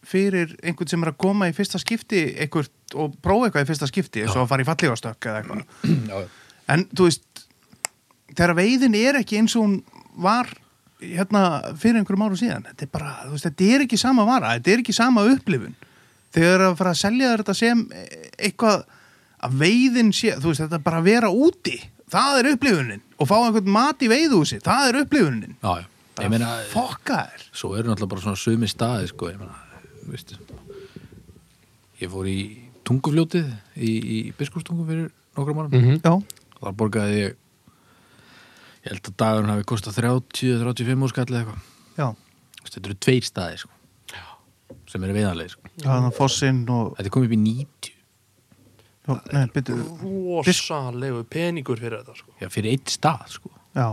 fyrir einhvern sem er að koma í fyrsta skipti einhvert og prófa eitthvað í fyrsta skipti eins og að fara í fallegastökk eða eitthvað. En þú veist, þegar veiðin er ekki eins og hún var hérna fyrir einhverjum árum síðan þetta er bara, þú veist, þetta er ekki sama vara þetta er ekki sama upplifun þegar að fara að selja þér þetta sem e, eitthvað að veiðin sé þú veist, þetta er bara að vera úti það er upplifunin og fá einhvern mat í veiðhúsi það er upplifunin já, já, ég meina fokka þér svo eru náttúrulega bara svona sömi staði sko, ég meina, veistu ég fór í tungufljótið í, í biskupstungu fyrir nokkra mannum mm já, þar borgaði ég ég held að dagurinn hafi kostað 30-35 úrskall eða eitthvað, já, Þú veist, þetta eru tveir staði sko, sem eru veiðanlega sko. það er fossinn og þetta er komið upp í 90 já, nei, byrju, rosalegu peningur fyrir þetta sko. já, fyrir eitt stað sko. já,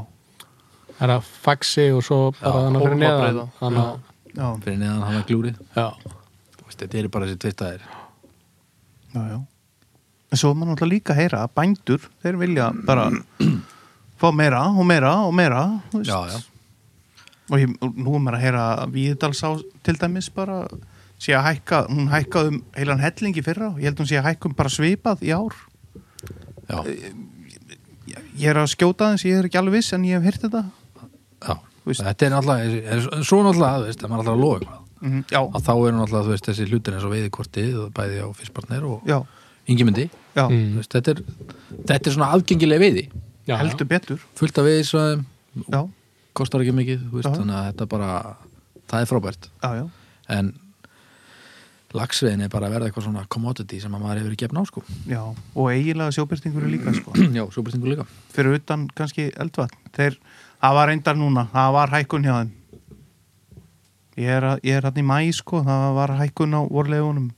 það er að faxi og svo bara þannig fyrir neðan hólmabreiða. þannig að já, fyrir neðan hann að glúrið já, Þú veist, þetta eru bara þessi tveir staðir já, já en svo er maður náttúrulega líka að heyra að bændur þeir vilja bara fá meira og meira og meira þú veist. já, já, og ég, og nú er maður að heyra að Víðdalsá til dæmis bara sé að hækka, hún hækkaði um heilan hellingi fyrra og ég held hún sé að hækka um bara svipað í ár já, ég, ég er að skjóta þess, ég er ekki alveg viss en ég hef heyrt þetta já. veist. þetta er náttúrulega en svo náttúrulega, þú veist, það er alltaf að loga eitthvað mm, já, að þá eru náttúrulega þú veist, þessi hlutin eins og veiðikortið og bæði á fyrstbarnir og já, yngjumundi já Mm. mm. þetta, er- þetta er svona aðgengileg veiði já, já. heldur betur fullt af veiðisvæðum, já, kostar ekki mikið þú veist, Já. þannig að þetta bara, það er frábært já, já, en lagsveiðin er bara að verða eitthvað svona commodity sem að maður hefur gefn á sko [CLEARS THROAT] já og eiginlega sjóbyrtingur er líka sko já, svo byrtingu líka fyrir utan kannski eldvatn þeir, það var reyndar núna það var hækkun hjá þeim ég er, að- ég er hann í mæ sko það var hækkun á vorlegunum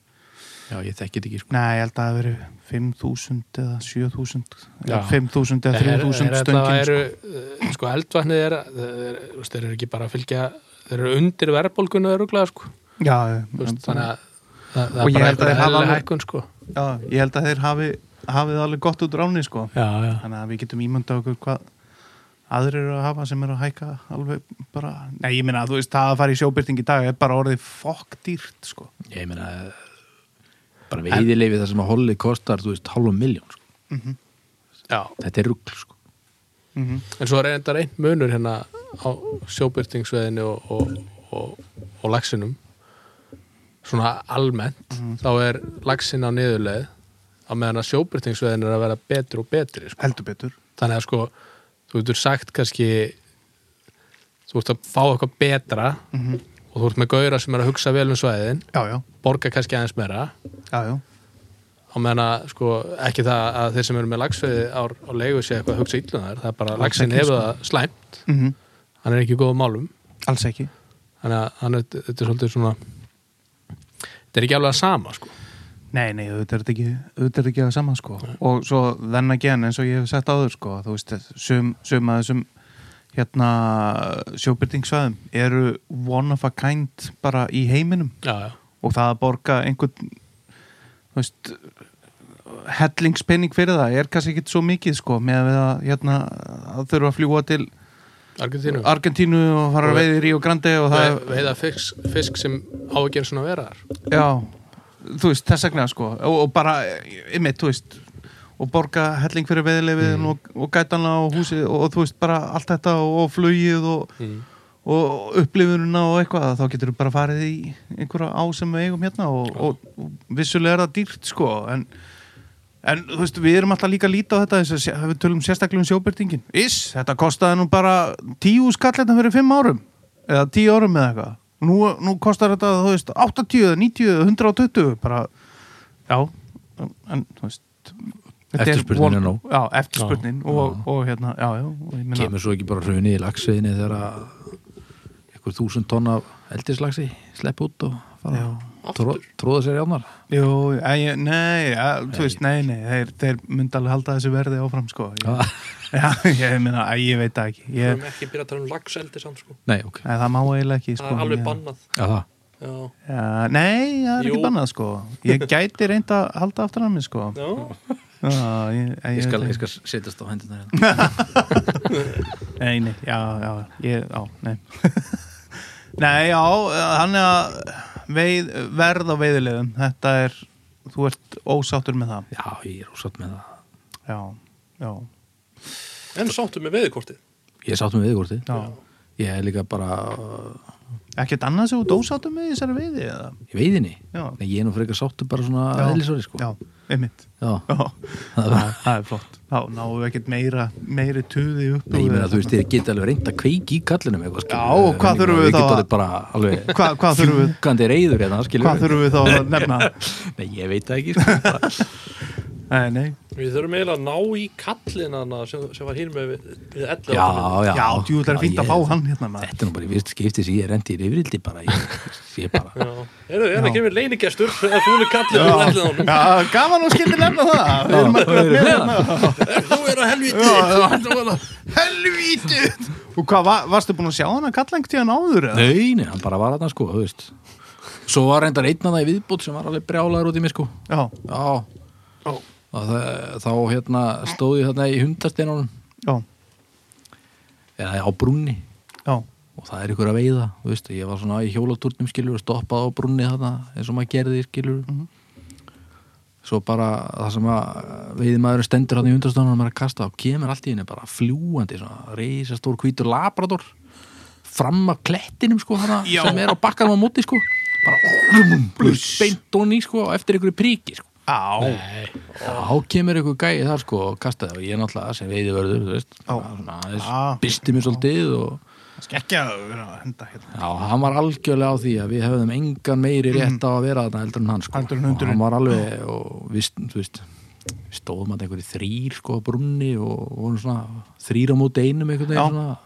já, ég þekki þetta ekki sko. Nei, ég held að það hafi verið 5.000 eða 7.000 eða Já. 5.000 eða 3.000 stöngin sko. Eru, sko eldvatnið er, er, er, þeir eru ekki bara að fylgja þeir eru undir verðbólgunu öruglega sko. sko. Já, ég- Þú veist, þannig að það, það Og er ég bara held að einhver þeir hafa eðlileg alveg- hækkun sko. já, ég held að þeir hafi, hafið alveg gott út ráni sko. já, já, þannig að við getum ímyndað okkur hvað aðrir eru að hafa sem eru að hækka alveg bara, nei ég meina þú veist það að fara í sjóbyrting í dag er bara orðið fokkdýrt sko, ég meina eh, bara veiðileifi þar sem að hollið kostar, þú veist, hálfum miljón sko. Já. þetta er rugl, sko en svo er enda einn munur hérna á sjóbyrtingsveðinu og, og, og, og laxinum svona almennt Mhm. þá er laxin á niðurleið á meðan að sjóbyrtingsveðinu er að vera betri og betri sko. heldur betur þannig að sko þú getur sagt kannski þú ert að fá eitthvað betra Mhm. og þú ert með gauðra sem er að hugsa vel um svæðin já, já, borga kannski aðeins meira já, já, á meðan að sko ekki það að þeir sem eru með lagsveði á, á leigu sé eitthvað að hugsa illum þar það er bara að lagsin hefur það slæmt Mhm. hann er ekki í góðum málum alls ekki þannig að hann er, þetta er svolítið svona þetta er ekki alveg að sama sko nei, nei, auðvitað er þetta ekki auðvitað er þetta ekki að saman sko og svo þenn að gen eins og ég hef sett áður sko þú veist, sum, sum að þessum hérna sjóbyrtingsvæðum eru one of a kind bara í heiminum já, já, og það að borga einhvern þú veist hellingspenning fyrir það er kannski ekki svo mikið sko með að, við að, hérna, að þurfa að fljúa til Argentínu Argentínu og fara Og að veiði í Ríu Grande og það Ve- veiða fisk, fisk sem á ekki einu svona vera þar já, þú veist, þess vegna sko og, og bara, ymmið, þú veist og borga helling fyrir veiðilegið og, og gætanla og húsið og, og þú veist bara allt þetta og, og flugið og, og upplifununa og eitthvað þá getur þú bara farið í einhverja á sem við eigum hérna og, og, og vissulega er það dýrt sko en, en þú veist við erum alltaf líka að líta á þetta þess að sé- við tölum sérstaklega um sjóbyrtingin Ís, þetta kostaði nú bara tíu skalletna fyrir fimm árum eða tíu árum eða eitthvað nú, nú kostar þetta þú veist 80, eða 90, eða 120 bara, já en þú veist þetta er Eftirspurnin von- er nóg. Já, eftirspurnin og, og, hérna, já, já og ég meina- kemur svo ekki bara hrunið í lagsveðinni þegar að einhver þúsund tonna eldislagsi slepp út og fara Já. að tró, tróða sér í ánar Jú, ei, nei, ja, þú veist, nei, nei, þeir, þeir myndi alveg halda þessu verði áfram, sko. Ég, já, [LAUGHS] ég meina, ei, ég veit það ekki. Við Ég, erum ekki að byrja að tala um lagseldi samt sko Nei, ok, nei, það má eiginlega ekki, sko. Það er alveg ég- bannað já það Já, Já, nei, það er Jú. ekki bannað, sko. Ég gæti reynda að halda aftur hann minn, sko. já Já, ég, ei, Ég skal, veit það ég skal setjast á hendunar hérna ekki. Nei, nei, já, já, ég, já, nei. [LAUGHS] nei, já, hann er að veið, verð á veiðilegum. Þetta er, þú ert ósáttur með það. [LAUGHS] Já, ég er ósatt með það Já, já, En sáttu með veðikortið Ég er sátt með viðgorti já. Ég er líka bara uh, Ekkert annað sem þú dósáttum með í þessari veiði eða? í veiðinni Já. Nei, ég er nú frekar sáttu bara svona Já. eðlisori sko Já, einmitt. Já. Já, Það var- það er flott. Þá náum við ekkert meira, meiri tuði upp. Nei, ég meina, þú veist, þér. þeir geta alveg reynda kveiki í kallinum eitthvað, skilur. Já, og hvað En þurfum ég við þá að- meina, Við getum orðið bara alveg Hvað- hvað þurfum við- fjúkandi reyður hérna, skilur. Hvað þurfum við þá að nefna? Nei, ég veit það ekki, sko. bara- Nei, nei. Við þurfum eiginlega að ná í kallin hana sem, sem var hér með við, við ellefu Já, já. Já, djú, það er fínt ég- að fá hann hérna maður. Þetta er nú bara í fyrst skipti sem ég rendi í reyfrildi bara. Ég, ég [LAUGHS] bara, Já. Eru, er það kemur leinigestur [LAUGHS] eða fúli kallin úr Já, ellið honum já, gaman og skildi nefna það. Við erum að vera með hérna. Þú er að helviti Helvítið! Og hvað, va- varstu búin að sjá hann að kalla einhvern tíðan áður eða? nei, nei, hann bara var aðna, sko, þú veist. Svo var reyndar einn að það í viðbútt sem var alveg brjálaður út í mig, sko. Já, Já. Ó. Og það, þá, hérna, stóð ég þarna í hundasteinunum, já, eða á brúnni. já, og það er ykkur að veiða þú veist, ég var svona í hjólatúrnum skilur og stoppaði á brunni þarna eins og maður gerði skilur svo bara það sem að veiði maður stendur hann í hundrastónunum maður er að kasta og kemur allt í henni bara fljúandi svona reisastór hvítur labrador fram af klettinum sko þarna Já. sem er á bakkanum á móti sko bara vrum, þú veist, beint onni sko og eftir ykkur príki sko já, þá kemur ykkur gæi þar sko og kastaði og ég náttúrulega sem veiði verður þú veist, svona, Já. byrsti mér svolítið og skekkja að vera að henda hérna. Já, hann var algjörlega á því að við höfðum engan meiri rétt á að vera þarna heldur en hann sko. Mhm. Heldur en Og hundurinn. hann var alveg og við, st- þú veist, við stóðum að einhverju þrýr sko á brunni og vorum svona þrýr á móti einum einhvern Já. veginn svona.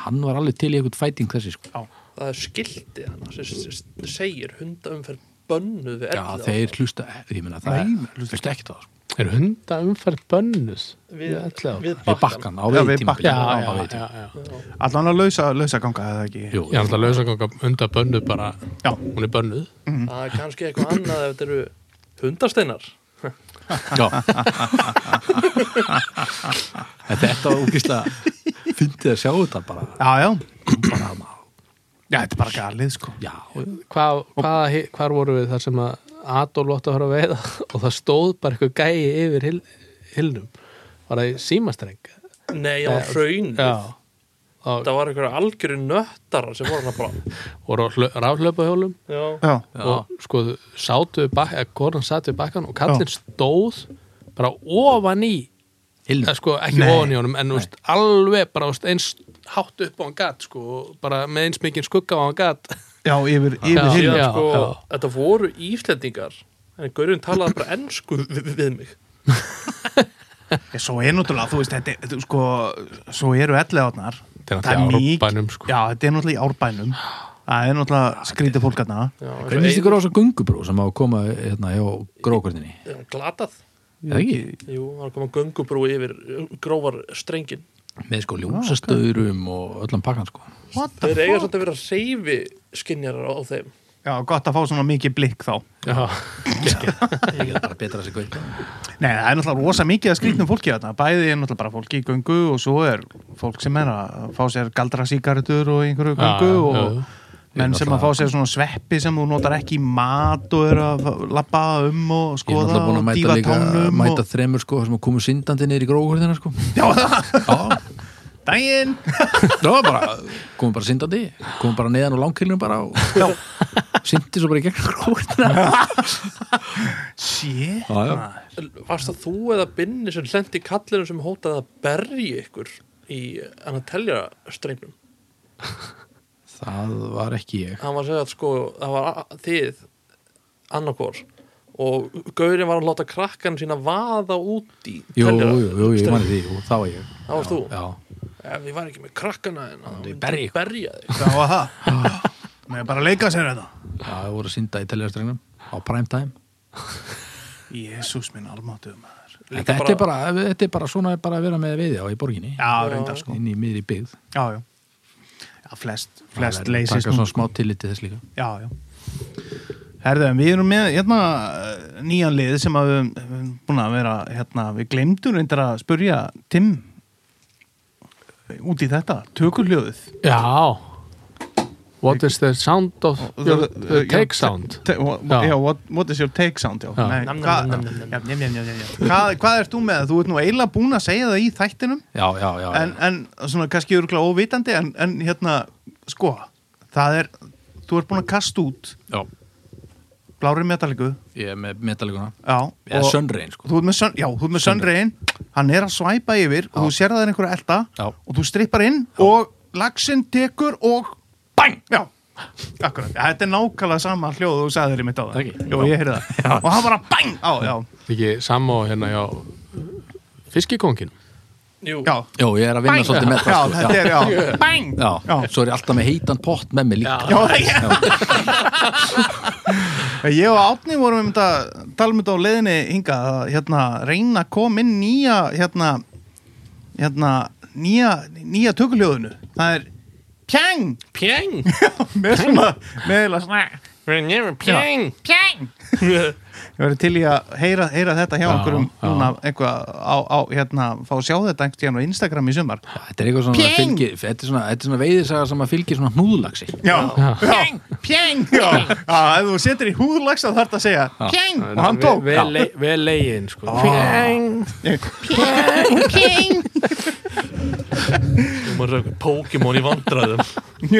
Hann var alveg til í einhvern fæting þessi sko. Það er skildi hana sem s- s- segir hundaumferð bönnuð við Já, elli þeir hlusta, ég meina það Nei, er, hlusta ekki það, sko. Er hunda umferð bönnuð? við, Elliðaár? við Við bakkan bakkan á Já, við veitim. bakkann. Já, á já, veitim. já, já. Allan að lausa, lausa ganga, eða ekki? Jú, Ég er alltaf lausaganga hunda bönnuð bara, Já. hún er bönnuð. það er kannski eitthvað annað ef þetta eru hundasteinar já. [LAUGHS] En þetta var úkislega, fyndið að sjá þetta bara, Já, já. bara maður. Já, þetta er bara galið, sko. Já, Hvað, hvað, hvar voru við þar sem að Adolf átti að fara að veiða [LAUGHS] og það stóð bara eitthvað gæi yfir hill, hillnum. Var það í símastreng? nei, það var hraun Já. Og það var einhverja algjöru nöttarar sem voru hann að bara voru á hlö- rafhlaupahjólum já, Já. og sko sátu við bakkan, eða konan sátu við bakkan og kallinn stóð bara ofan í ilm. eða sko ekki Nei. ofan í honum en úst, alveg bara úst, eins hátt upp á hann gat sko og bara með eins mikið skugga á hann gat Já, yfir, yfir Já. hillum. síðan sko, já. þetta voru íslendingar en Gaurinn talaði bara ennsku við, við mig Ég, Svo er náttúrulega, þú veist, þetta, er- þetta er sko, svo eru ellið átnar. Þetta er náttúrulega í árbænum, sko. Já, þetta er náttúrulega í árbænum. Það er náttúrulega skrítið fólk hérna. já, eins og Hvernig finnst ein- ykkur á þessu göngubrú sem á að koma hérna hjá grókurninni? já, glatað Eða ekki? Jú, það var komað göngubrú yfir uh, grófar strengin Með sko ljósastöðurum og öllan pakkan sko. What the Þeir eiga fuck? svolítið að vera seifi skinjarar á þeim Já, gott að fá svona mikið blikk þá. [LAUGHS] Já, Ég er bara betra þessi göngu. Nei, það er náttúrulega rosa mikið að skrýtnum fólki þarna. Bæði er náttúrulega bara fólki í göngu og svo er fólk sem er að fá sér galdra síkaretur og einhverju Já, göngu já, og já. menn sem að fá sér svona sveppi sem þú notar ekki í mat og er að lappa um og Ég er skoða náttúrulega búin og að mæta dífa líka, tánum mæta og... þremur sko sem að komu syndandi niður í grókurninna sko. Já, [LAUGHS] það, Já, daginn! það var bara, komu bara syndandi, komu bara neðan og langkilnum bara [LAUGHS] og syndi svo bara í gegnum grókurninna. Shit! Já, já. maður. Varst það þú eða Binni sem lendi kallinum sem hótaði að berji ykkur í hann að telja strengnum Það var ekki ég. hann var að segja að sko það var a- þið annarkor og Gaurin var að láta krakkan sína vaða út í Jú, jú, teljara- jú, jú, ég streng. mani því, jú, það var ég. Það varst þú? Já, Ef ég var ekki með krakkana en hann myndi ég berja ykkur. berja þig Það var það. Mér er bara að leika sér hérna? þetta. já, það voru synda í teljarastrengnum á prime time. Jésús minn almáttuð maður. En Þetta er bara, þetta er bara svona bara að vera með veiði á í borginni Já, reyndar sko. inn í miðri byggð Já, já. Já, flest, Það flest er- leysist taka nú. svona smá tilliti þess líka Já, já. Herðu, en við erum með hérna, eh, nýjan lið sem að við höfum- við höfum búin að vera, hérna, við glemdum reyndar að spurja Tim eh, út í þetta, tökuljóðið. já. What is the sound of your, the eh, take sound? Te, what, Já. já, what, what is your take sound, já. Já. Nei, Nam, nam, hvað- nam, nam, nam. Já, njam, njam, njam, njam, njam. Hvað- Hvað ert þú með? Þú ert nú eiginlega búin að segja það í þættinum, Já, já, já, en, en svona kannski örgulega óvitandi, en, en hérna, sko, það er, þú ert búin að kasta út já. blári metalliku, ég er með metalíkuna já. eða og- sönrein sko þú ert með, sun, já, þú ert með sunrain hann er að svæpa yfir og þú sér það er einhverja elda Já. og þú strippar inn og laxinn tekur og bang, já Akkurat, ja, þetta er nákvæmlega sama hljóð og þú sagði þér í mitt á það Ekki? Jú, ég heyrði það Og hann bara bang, á, já, Ekki samá hérna hjá fiskikongin. Jú, já Jó, ég er að vinna Bang. svolítið með Já, það sko þetta er, já, bang Já, Já. svo er ég alltaf með heitan pott með mig líka Já, já. Ég og Átni vorum um þetta talum þetta á leiðinni hinga að hérna, reyna að koma inn nýja hérna, hérna nýja, nýja tökuljóðinu það er pjang pjeng með svona meðlega svona pjeng [LAUGHS] ég verið til í að heyra, heyra þetta hjá einhverjum já. núna eitthvað á, á hérna fá að sjá þetta einhvern tíðan á Instagram í sumar Þetta er eitthvað svona Pjeng. fylgi, þetta er svona, þetta er svona veiðisaga sem að fylgir svona hnúðlaxi Já, pjang, pjang Já, Já, ef þú setur í húðlags þá þarf það að segja pjang og hann tók Vel, vel, le- vel legin, sko. Pjeng. Þú maður sagði Pokémon í vandræðum já,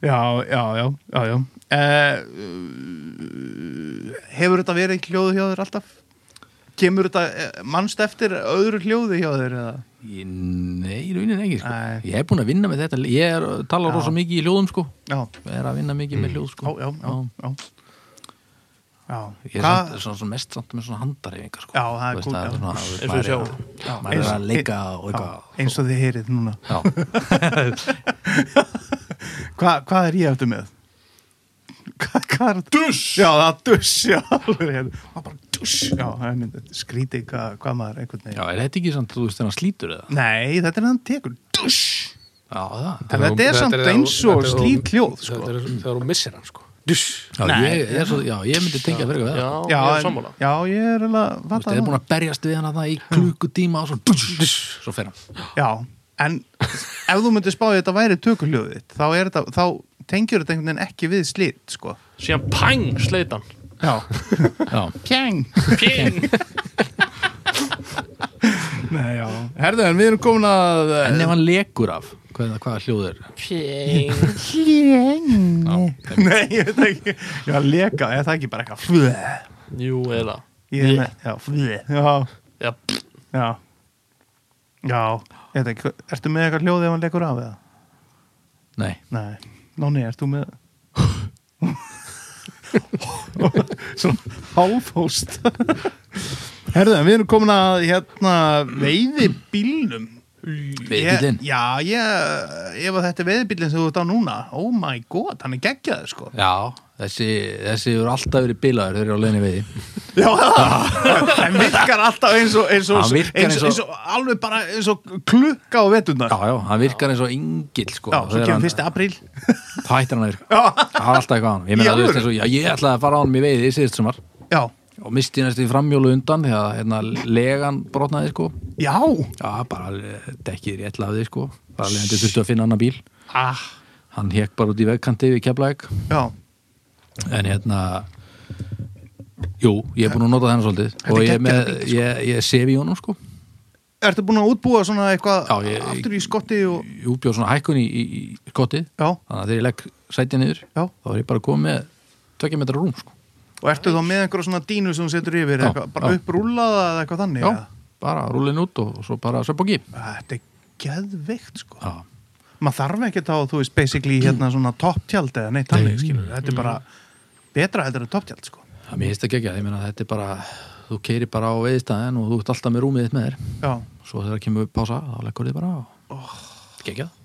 já, já, já, já, já. Uh, hefur þetta verið hljóðu hjá þér alltaf? Kemur þetta eh, mannst eftir öðru hljóði hjá þér? Eða? Ég- Nei, í rauninni ekki sko Nei. Ég er búin að vinna með þetta, ég er, tala rosa mikið í hljóðum sko Já, Ég er að vinna mikið með hljóð já, sko Mm. já, já, já. Já, Ég er Hvað- samt, svona, svona mest samt með svona handareyfingar sko. Já, það er Þú veist, cool, já. svona, þú veist, Eins og maður sjá. er að- maður er Eins- að leika og já, eitthvað eins og þið heyrið núna. já. Hva, hvað er ég eftir með? Hva, hva, hvað er þetta? Duss! Já, það er duss, já, alveg rétt. Það er bara duss, já, það er mynd- skrítið hvað, hvað maður einhvern veginn. Já, er þetta ekki samt, þú veist, þannig slítur eða? Nei, þetta er hann tekur duss. Já, það. En þetta er samt þegar þú- eins og þetta er slít þú- hljóð, sko. Þetta er þegar þú missir hann, sko Duss Já, Nei. ég, er svo, já, ég myndi tengja fyrir við Já, það. já, ég er en- sammála já, ég er alveg, Þú veist, fattar þeir eru það. búin að berjast við hana það í klukkutíma og svo, duss, duss, svo fer hann. Já, en ef þú myndir spáði þetta væri tökuljóðið þitt, þá, er þetta, þá tengjur þetta einhvern veginn ekki við slít, sko. Síðan pang, sleitan Já. Já, Pjang. Ping! [LAUGHS] [LAUGHS] Nei, já. Herðu, en við erum komin að... eh, en ef hann lekur af, hvað, hvaða hljóð er? Ping! Pjang. Nei, ég veit ekki. Já, leka, er það ekki bara eitthvað flöð? Jú, eða Ég er með, já, flöð. Já, Já, pff, já. Já, ég veit ekki, ertu með eitthvað hljóðið ef hann lekur af eða? Nei. Nei, Nóni, ert þú með Svona hálfhóst Herðu, en við erum komin að hérna veiði bílnum Veiðibíllinn? Já, ég, ef að þetta er veiðibílinn sem þú ert á núna Oh my god, hann er geggjaður sko Já, þessi, þessi eru alltaf verið bilaður, þeir eru á leiðinni við því. Já, hann virkar alltaf eins og eins og, Hann eins, virkar eins, eins og- og alveg bara eins og klukka á veturnar Já, já, hann virkar eins og yngill, sko. Já, svo Þegar kemur hann- fyrsti apríl Þá hættir hann að virka. Já, Það var alltaf eitthvað á hann. Ég Í meina, þú alvöru? veist, eins og, já, ég ætlaði að fara á hann í veiði síðust sumar já, og misti næstu í framjólu undan því að hérna, legan brotnaði, sko. já. Já, bara eh, dekkið rétt laðið, sko. Bara leiðandi þurftu að finna annan bíl. ah Hann hekk bara út í vegkanti við keflæk. já. En hérna, jú, ég er búin að nota þennan svolítið. Þetta er Og ég, er með, geggjaður bíll, ég, ég sefi í honum, sko. Ertu búin að útbúa svona eitthvað Já, ég- aftur í skotti og... Ég útbjóð svona hækkun í, í, í kottið. Já, Þannig að þegar ég legg sætja niður, já. þá er ég bara komið með tvekja metra rúm, sko. Og ertu þá með einhverja svona dínu sem þú setur yfir, Já, eitthvað, bara já. upprúlaða eða eitthvað þannig? Já, eða? bara rúlin út og, og svo bara söp og gí. Þetta er geðveikt, sko. Já, Maður þarf ekkert á, þú veist, basically hérna svona topptjald eða neitt þannig, skilur. Þetta er bara betra heldur en topptjald, sko. það mér heist ekki ekki að ég meina að þetta er bara, þú keiri bara á veiðstæðin og þú ert alltaf með rúmið þitt með þér. Já, svo þegar kemur pása, þá leggur þið bara á geggjað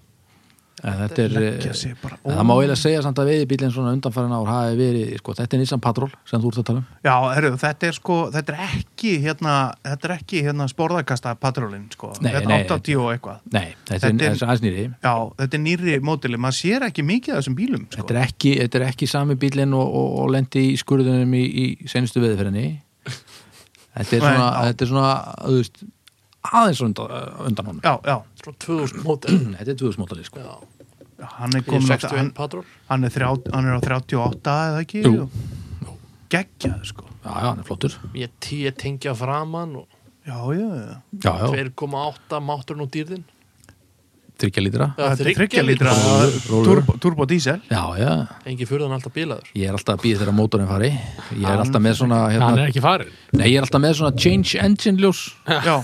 en þetta er, Oh. leggja sig bara en það má eiginlega segja samt að veiðibílinn svona undanfærin ár hafi verið, sko, þetta er Nissan Patrol sem þú ert að tala um, já heru, þetta er sko, þetta er ekki hérna, þetta er ekki hérna sporðakasta patrólinn, sko. Nei, þetta nei. er 80 og eitthvað. nei, þetta Þetta er- Sko. er þessi aðsnýri, Já, þetta er nýri mótili, maður sér ekki mikið af þessum bílum, sko. þetta er ekki þetta er ekki sami bílinn og, og, og lendi í skurðunum í, í senustu veiðferðinni þetta er Nei, svona, já. þetta er svona þú veist, aðeins undan, undan honum Já, já, Svona 2000 mótel [CLEARS THROAT] þetta er tvöðsmótalið, sko Já, hann er ég er komin 61 hann, patról hann er, þrjá, hann er á 38 eða ekki Jú. geggjað sko já, já, hann er flottur Ég er 10 tengja framan og já, já, já. já, já, 2,8 mátturinn og dýrðin tryggja lítra Já, þetta er 30 30 lítra Rólur, rólur. turbo, turbo [LAUGHS] diesel já, já, Engi fyrir hann alltaf bílaður Ég er alltaf að býða þegar mótorinn fari Ég er alltaf með svona Hann hérna, er ekki farin Nei, ég er alltaf með svona change engine ljós já.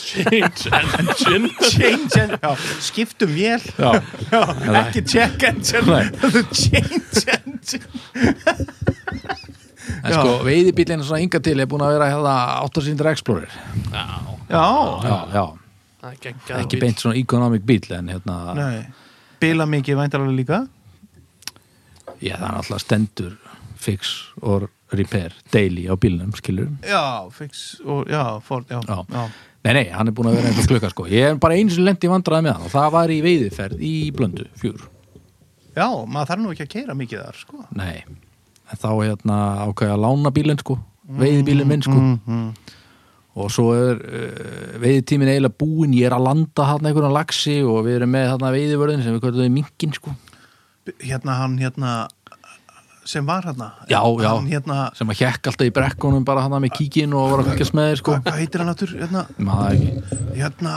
Change engine [LAUGHS] change engine já. skiptum vél Já, já, ekki check engine [LAUGHS] Nei. þetta er change engine en sko, veiðibílinn svona hinga til er búin að vera hérna 8 síndra Explorer já, Já, já, Það er geggjað ekki bíll. beint svona economic bíl en hérna, nei bila mikið væntalega líka ég það er alltaf stendur fix or repair daily á bílnum, skilur já, fix og já, Ford, já, Já. já. Nei, nei, hann er búin að vera einhver klukka sko Ég er bara eins og lendi vandraði með hann og það var í veiðiferð í blöndu, fjör já maður þarf nú ekki að keira mikið þar sko Nei, en þá hérna ákveði að lána bílinn sko veiðibílinn minn sko mm. og svo er uh, veiðitímin eiginlega búinn, ég er að landa hann einhverjum laxi og við erum með þarna veiðivörðin sem við kvöldum í minkin sko hérna hann hérna sem var hérna Já, já. hann hérna sem að hjekk alltaf í brekkunum bara hann með kíkin og var að fylgjast með þér sko Hva- hvað heitir hann aftur hérna, maður ekki, hérna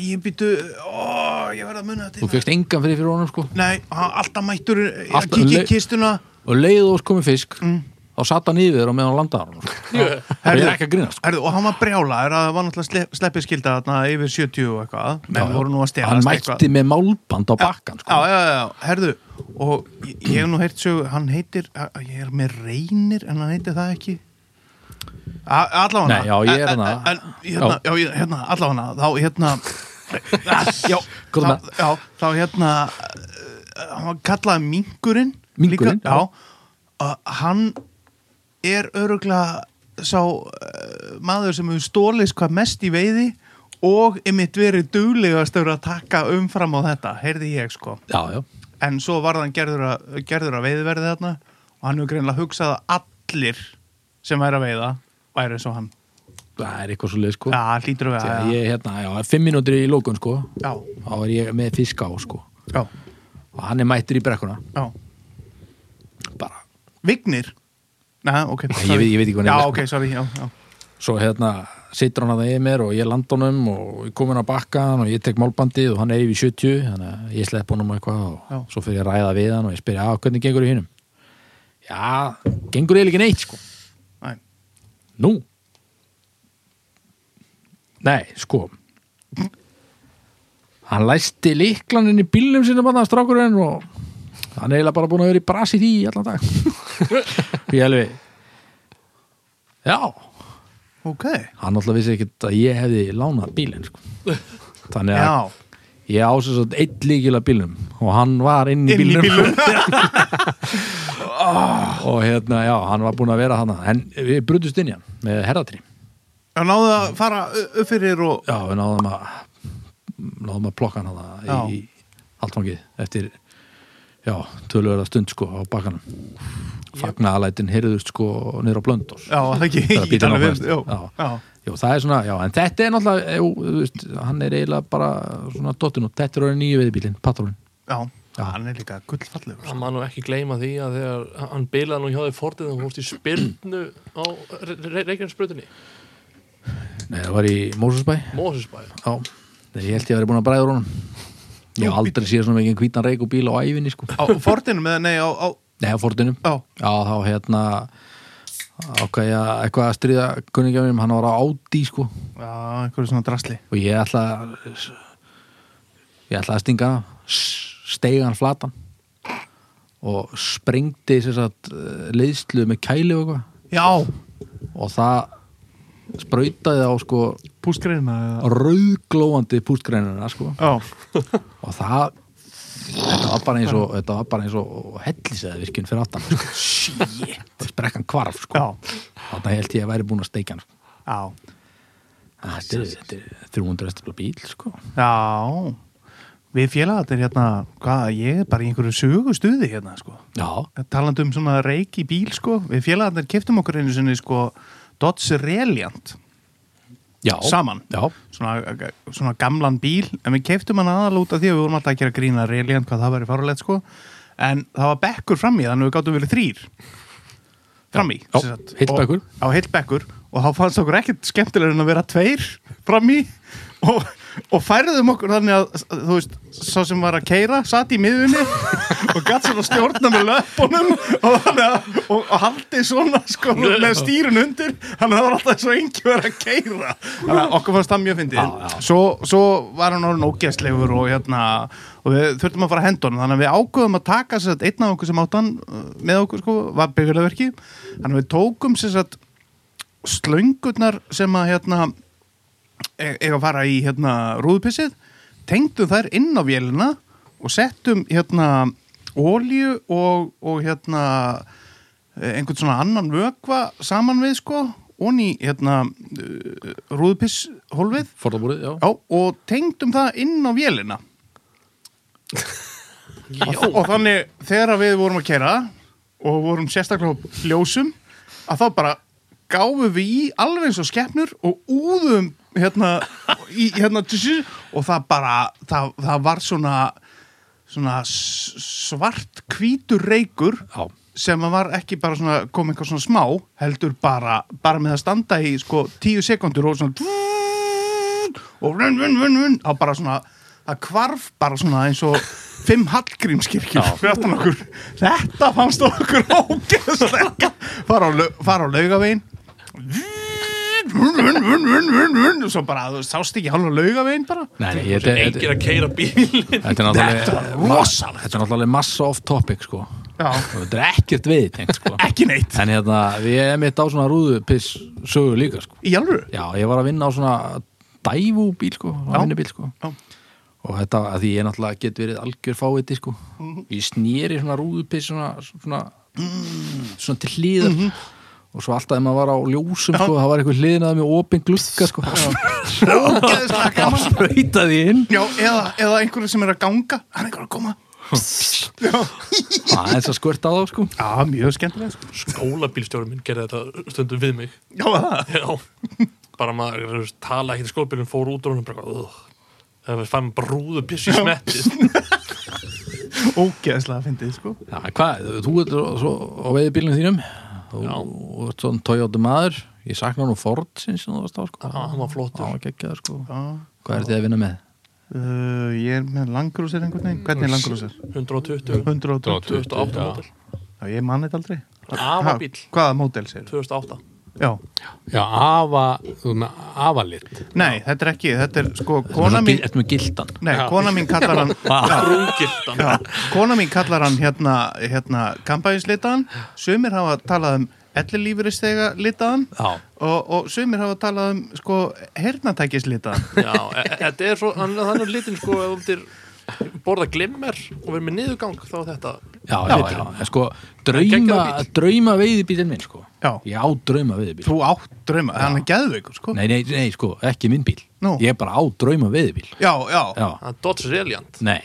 ég býtu, ó, ég verð að muna þetta þú fegst engan fyrir fyrir honum sko nei, hann alltaf mættur eh, að Alltaf kíkja í le- kistuna og leið og komið fisk Mm. þá satt hann yfir og meðan hann landaði hann sko. og ég er ekki að grínast sko Herðu, og hann var brjálaður að það var náttúrulega sle, sleppið skilda þarna yfir 70 og eitthvað menn Já, já. voru nú að stela hann mætti með málband á bakkan sko. já, já, já, já, herðu og ég, ég hef nú heyrt sögu, hann heitir ég er með reynir en hann heitir það ekki allána Nei, já, ég er hana. hérna, já, já hérna, allána þá hérna [LAUGHS] já, Góð þá, með. já, þá hérna eh, hann var kallaði minkurinn Minkurinn, líka, já, að hann er öruglega sá uh, maður sem hefur stólist hvað mest í veiði og einmitt verið duglegast að taka umfram á þetta, heyrði ég sko já, já, en svo varð hann gerður að, gerður að veiðverði þarna og hann hefur greinlega hugsað að allir sem væri að veiða væri eins og hann það er eitthvað svo leið sko Já, hann hlýtur að Þegar veiða ég, hérna, já, fimm mínútur í lókun sko Já, þá er ég með fisk á sko já, og hann er mættur í brekkuna já bara, Vignir Nei, ok Ég sorry. veit- ég veit ekki hvað hann Já, er, ok, sorry, já, já svo hérna situr hann að það mér og ég landa honum og ég kom inn á bakkan og ég tek málbandið og hann er yfir 70 þannig að ég slepp honum eitthvað og Já. svo fyrir ég að ræða við hann og ég spyrja að hvernig gengur í hinum já, gengur eiginlega ekki neitt sko Nei. Nú? Nei, sko Hann læsti líklanin í bílnum sinum að það strákurinn og hann er eiginlega bara búin að vera í brasi því í allan [LAUGHS] dag Því helvi Já, Ok, hann alltaf vissi ekkert að ég hefði lánað bílinn sko. Þannig að já ég ásins að eitt líkil að bílnum og hann var inn í Inn í bílnum, bílnum [LAUGHS] og hérna, já, hann var búin að vera hann en við brutust inn í hann með herratri Já, náðu að fara u- upp fyrir og Já, við náðum að náðum að plokka hann að það í halvfangið eftir já, tölvöra stund sko á bakkanum fagnaðalætin heyrðust sko niður á blöndós Já, það ekki Þegar bíllinn Ítalið áfæðist. við- Já, Já. já Jú, það er svona, já, en þetta er náttúrulega jú, þú veist, hann er eiginlega bara svona dottinn og þetta er orðin nýju veðibílinn, patrólinn Já, hann er líka gullfallur Það má nú ekki gleyma því að þegar hann bilaði nú hjá því fordið og hóst í spyrnu á Reykjanesbrutinni, Nei, það var í Mósusbæ Mósusbæði. Já, þegar ég held ég að vera búin að bræða honum Ég hef aldrei séð svona mikið hvítan reik og bíl á ævinni sko Á fortinum eða nei, á, á Nei, á fordunum Já, Já, þá hérna ákvað ég að- eitthvað að stríða kunningja mínum, hann var á Audi sko já, einhverju svona drasli og ég ætla að ég ætla að stinga hann steiga hann flatan og sprengdi sem sagt, eh, leiðslu með kæli og, eitthvað. Já, og það sprautaði á sko pústgreina eða rauglóandi pústgreinina sko Já, og það þetta var bara eins og, þetta var bara eins og helliseða virkun fyrir aftan sko. shit, sprekkan kvarf sko. já, þarna held ég að væri búin að steikja hann sko. já Ah, þetta er- þetta er 300 estafla bíl sko. Já, við félagarnir hérna, hvað, ég er bara í einhverju sögustuði hérna, sko. já, Talandi um svona reik í bíl, sko. Við félagarnir keftum okkur einu sinni, sko, Dodge Reliant, já Saman. já, svona, svona gamlan bíl, en við keftum hann aðal út af því að við vorum alltaf að gera grína Reliant, hvað það væri farulegt, sko. En það var bekkur fram í, þannig að við gáttum verið þrýr fram í. Já, sem sagt. heill Og- bekkur. Já, heill bekkur. Og þá fannst okkur ekkert skemmtilegur en að vera tveir fram í og, og færðum okkur þannig að, þú veist, sá sem var að keira satt í miðunni og gatt svona stjórna með löpunum og, þannig að- og, og haldið svona sko með stýrun undir þannig að það var alltaf svo engi verið að keira þannig að okkur fannst það mjög fyndið svo, svo var hann orðin ógæstlegur og hérna og við þurftum að fara að henda honum þannig að við ákveðum að taka sér að einn af okkur sem átt hann uh, með okkur sko, var byggulegverki þannig að við tókum sér að slöngurnar sem að hérna e- eiga að fara í hérna rúðupissið tengdum þær inn á vélina og settum hérna ólíu og, og hérna eh, einhvern svona annan vökva saman við sko onni hérna rúðpisshólfið forðabúrið, já Já, og tengdum það inn á vélina og, og þannig þegar við vorum að kera og vorum sérstaklega á ljósum að þá bara gáfum við í alveg eins og skepnur og úðum hérna, í, hérna tjussu, og það bara það, það var svona, svona s- svart hvítur reykur já, sem að var ekki bara svona kom eitthvað svona smá, heldur bara bara með að standa í sko tíu sekundur og svona og vun, vun, vun, vun, þá bara svona það kvarf bara svona eins og fimm hallgrímskirkjur fyrir aftan okkur þetta fannst okkur ógeðslega fara á, lau- fara á laugavegin vun, vun, vun, vun, vun, vun og svo bara, þú veist, sást ekki hálfa laugavegin bara nei, nei, ég- þetta þetta- Engir að keira bílinn. þetta er náttúrulega var rosalegt. þetta er náttúrulega massa off topic sko já, Og þetta er ekkert við tengt sko ekki neitt, en hérna, við erum mitt á svona rúðupiss sögu líka sko í alvöru já, ég var að vinna á svona dævubíl sko, Já. vinnubíl sko Já. og þetta, Mhm. að því ég náttúrulega get verið algjör fáiði sko, ég snýri svona rúðupiss svona, svona svona til hlýðar og svo alltaf ef maður var á ljósum sko, það var einhver hliðinaði með opin glugga sko, Ógeðslega það gaman. [LAUGHS] sprautaði inn Já, eða, eða einhverju sem er að ganga hann er einhverju að koma það er svo skvört á þá sko Já, mjög skemmtilega sko. skólabílstjóri minn gerði þetta stundum við mig Já, það já, [LAUGHS] bara maður þú veist, tala ekkert í skólabílinn, fór út og hann bara "Ugh." það var fann brúðu bjössi smetti Ógeðslega fyndið, sko Já, hvað, þú ert svo á veiði bílnum þínum þú Já. þú ert svona Toyota maður ég sakna nú Ford sinns sem þú varst á sko Já, hann var flottur. Já, geggjaður, sko. Já Hvað er þið að vinna með? Uh, ég er með langrúsir einhvern veginn Hvernig er langrúsir? 120, 120 2008 mótil Já, ég manni þetta aldrei Afa bíl, Ha, Hvaða mótel sér? 2008 Já Já, afa, þú með afa lit Nei, þetta er ekki, þetta er sko Ertu Kona með- mín, Ertu með gildan? nei, kona mín kallar hann brúgildan já, Kona mín kallar hann hérna, hérna Kampæðislitaðan Sumir hafa talað um ellilífuristega litaðan Já. og, og sumir hafa talað um sko hernatækislitaðan já, e- e- þetta er svo hann hann er litin sko, ef þú myndir borða glimmer og verið með niðurgang þá er þetta Já, já, já, en sko drauma, Geggjaður drauma veiði bílinn minn sko Já. Ég á drauma veiði bíl Þú átt drauma, hann er geðveikur sko nei, nei, nei, sko, ekki minn bíl Nú. Ah. Ég er bara á drauma veiði bíl Já, já, já, Já, það er Dodge Reliant nei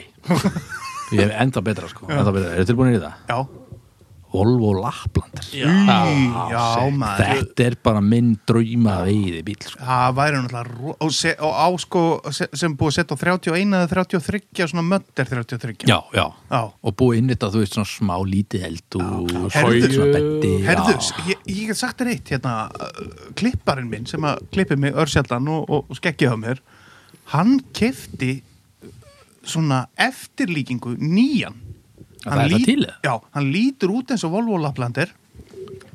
Ég er enda betra sko, enda betra Eru tilbúinir í það? já, Volvo Laplander já, já maður Þetta er bara minn drauma veiði bíl sko Það væri náttúrulega ro- og, se, og á sko se, sem búið að setja á 31 eða 33 svona mött er 33 Já, já, Já. og búið inn þetta, þú veist, svona smá lítið eldús og Herðu. sko. svona betti Herðu, sko. já. s- ég, ég get sagt þér eitt hérna, uh, klipparinn minn sem að klippið mig örsjallan og, og skekkið á mér hann kefti svona eftirlíkingu nýjan Að það er það til, eða? Já, hann lítur út eins og Volvo Laplander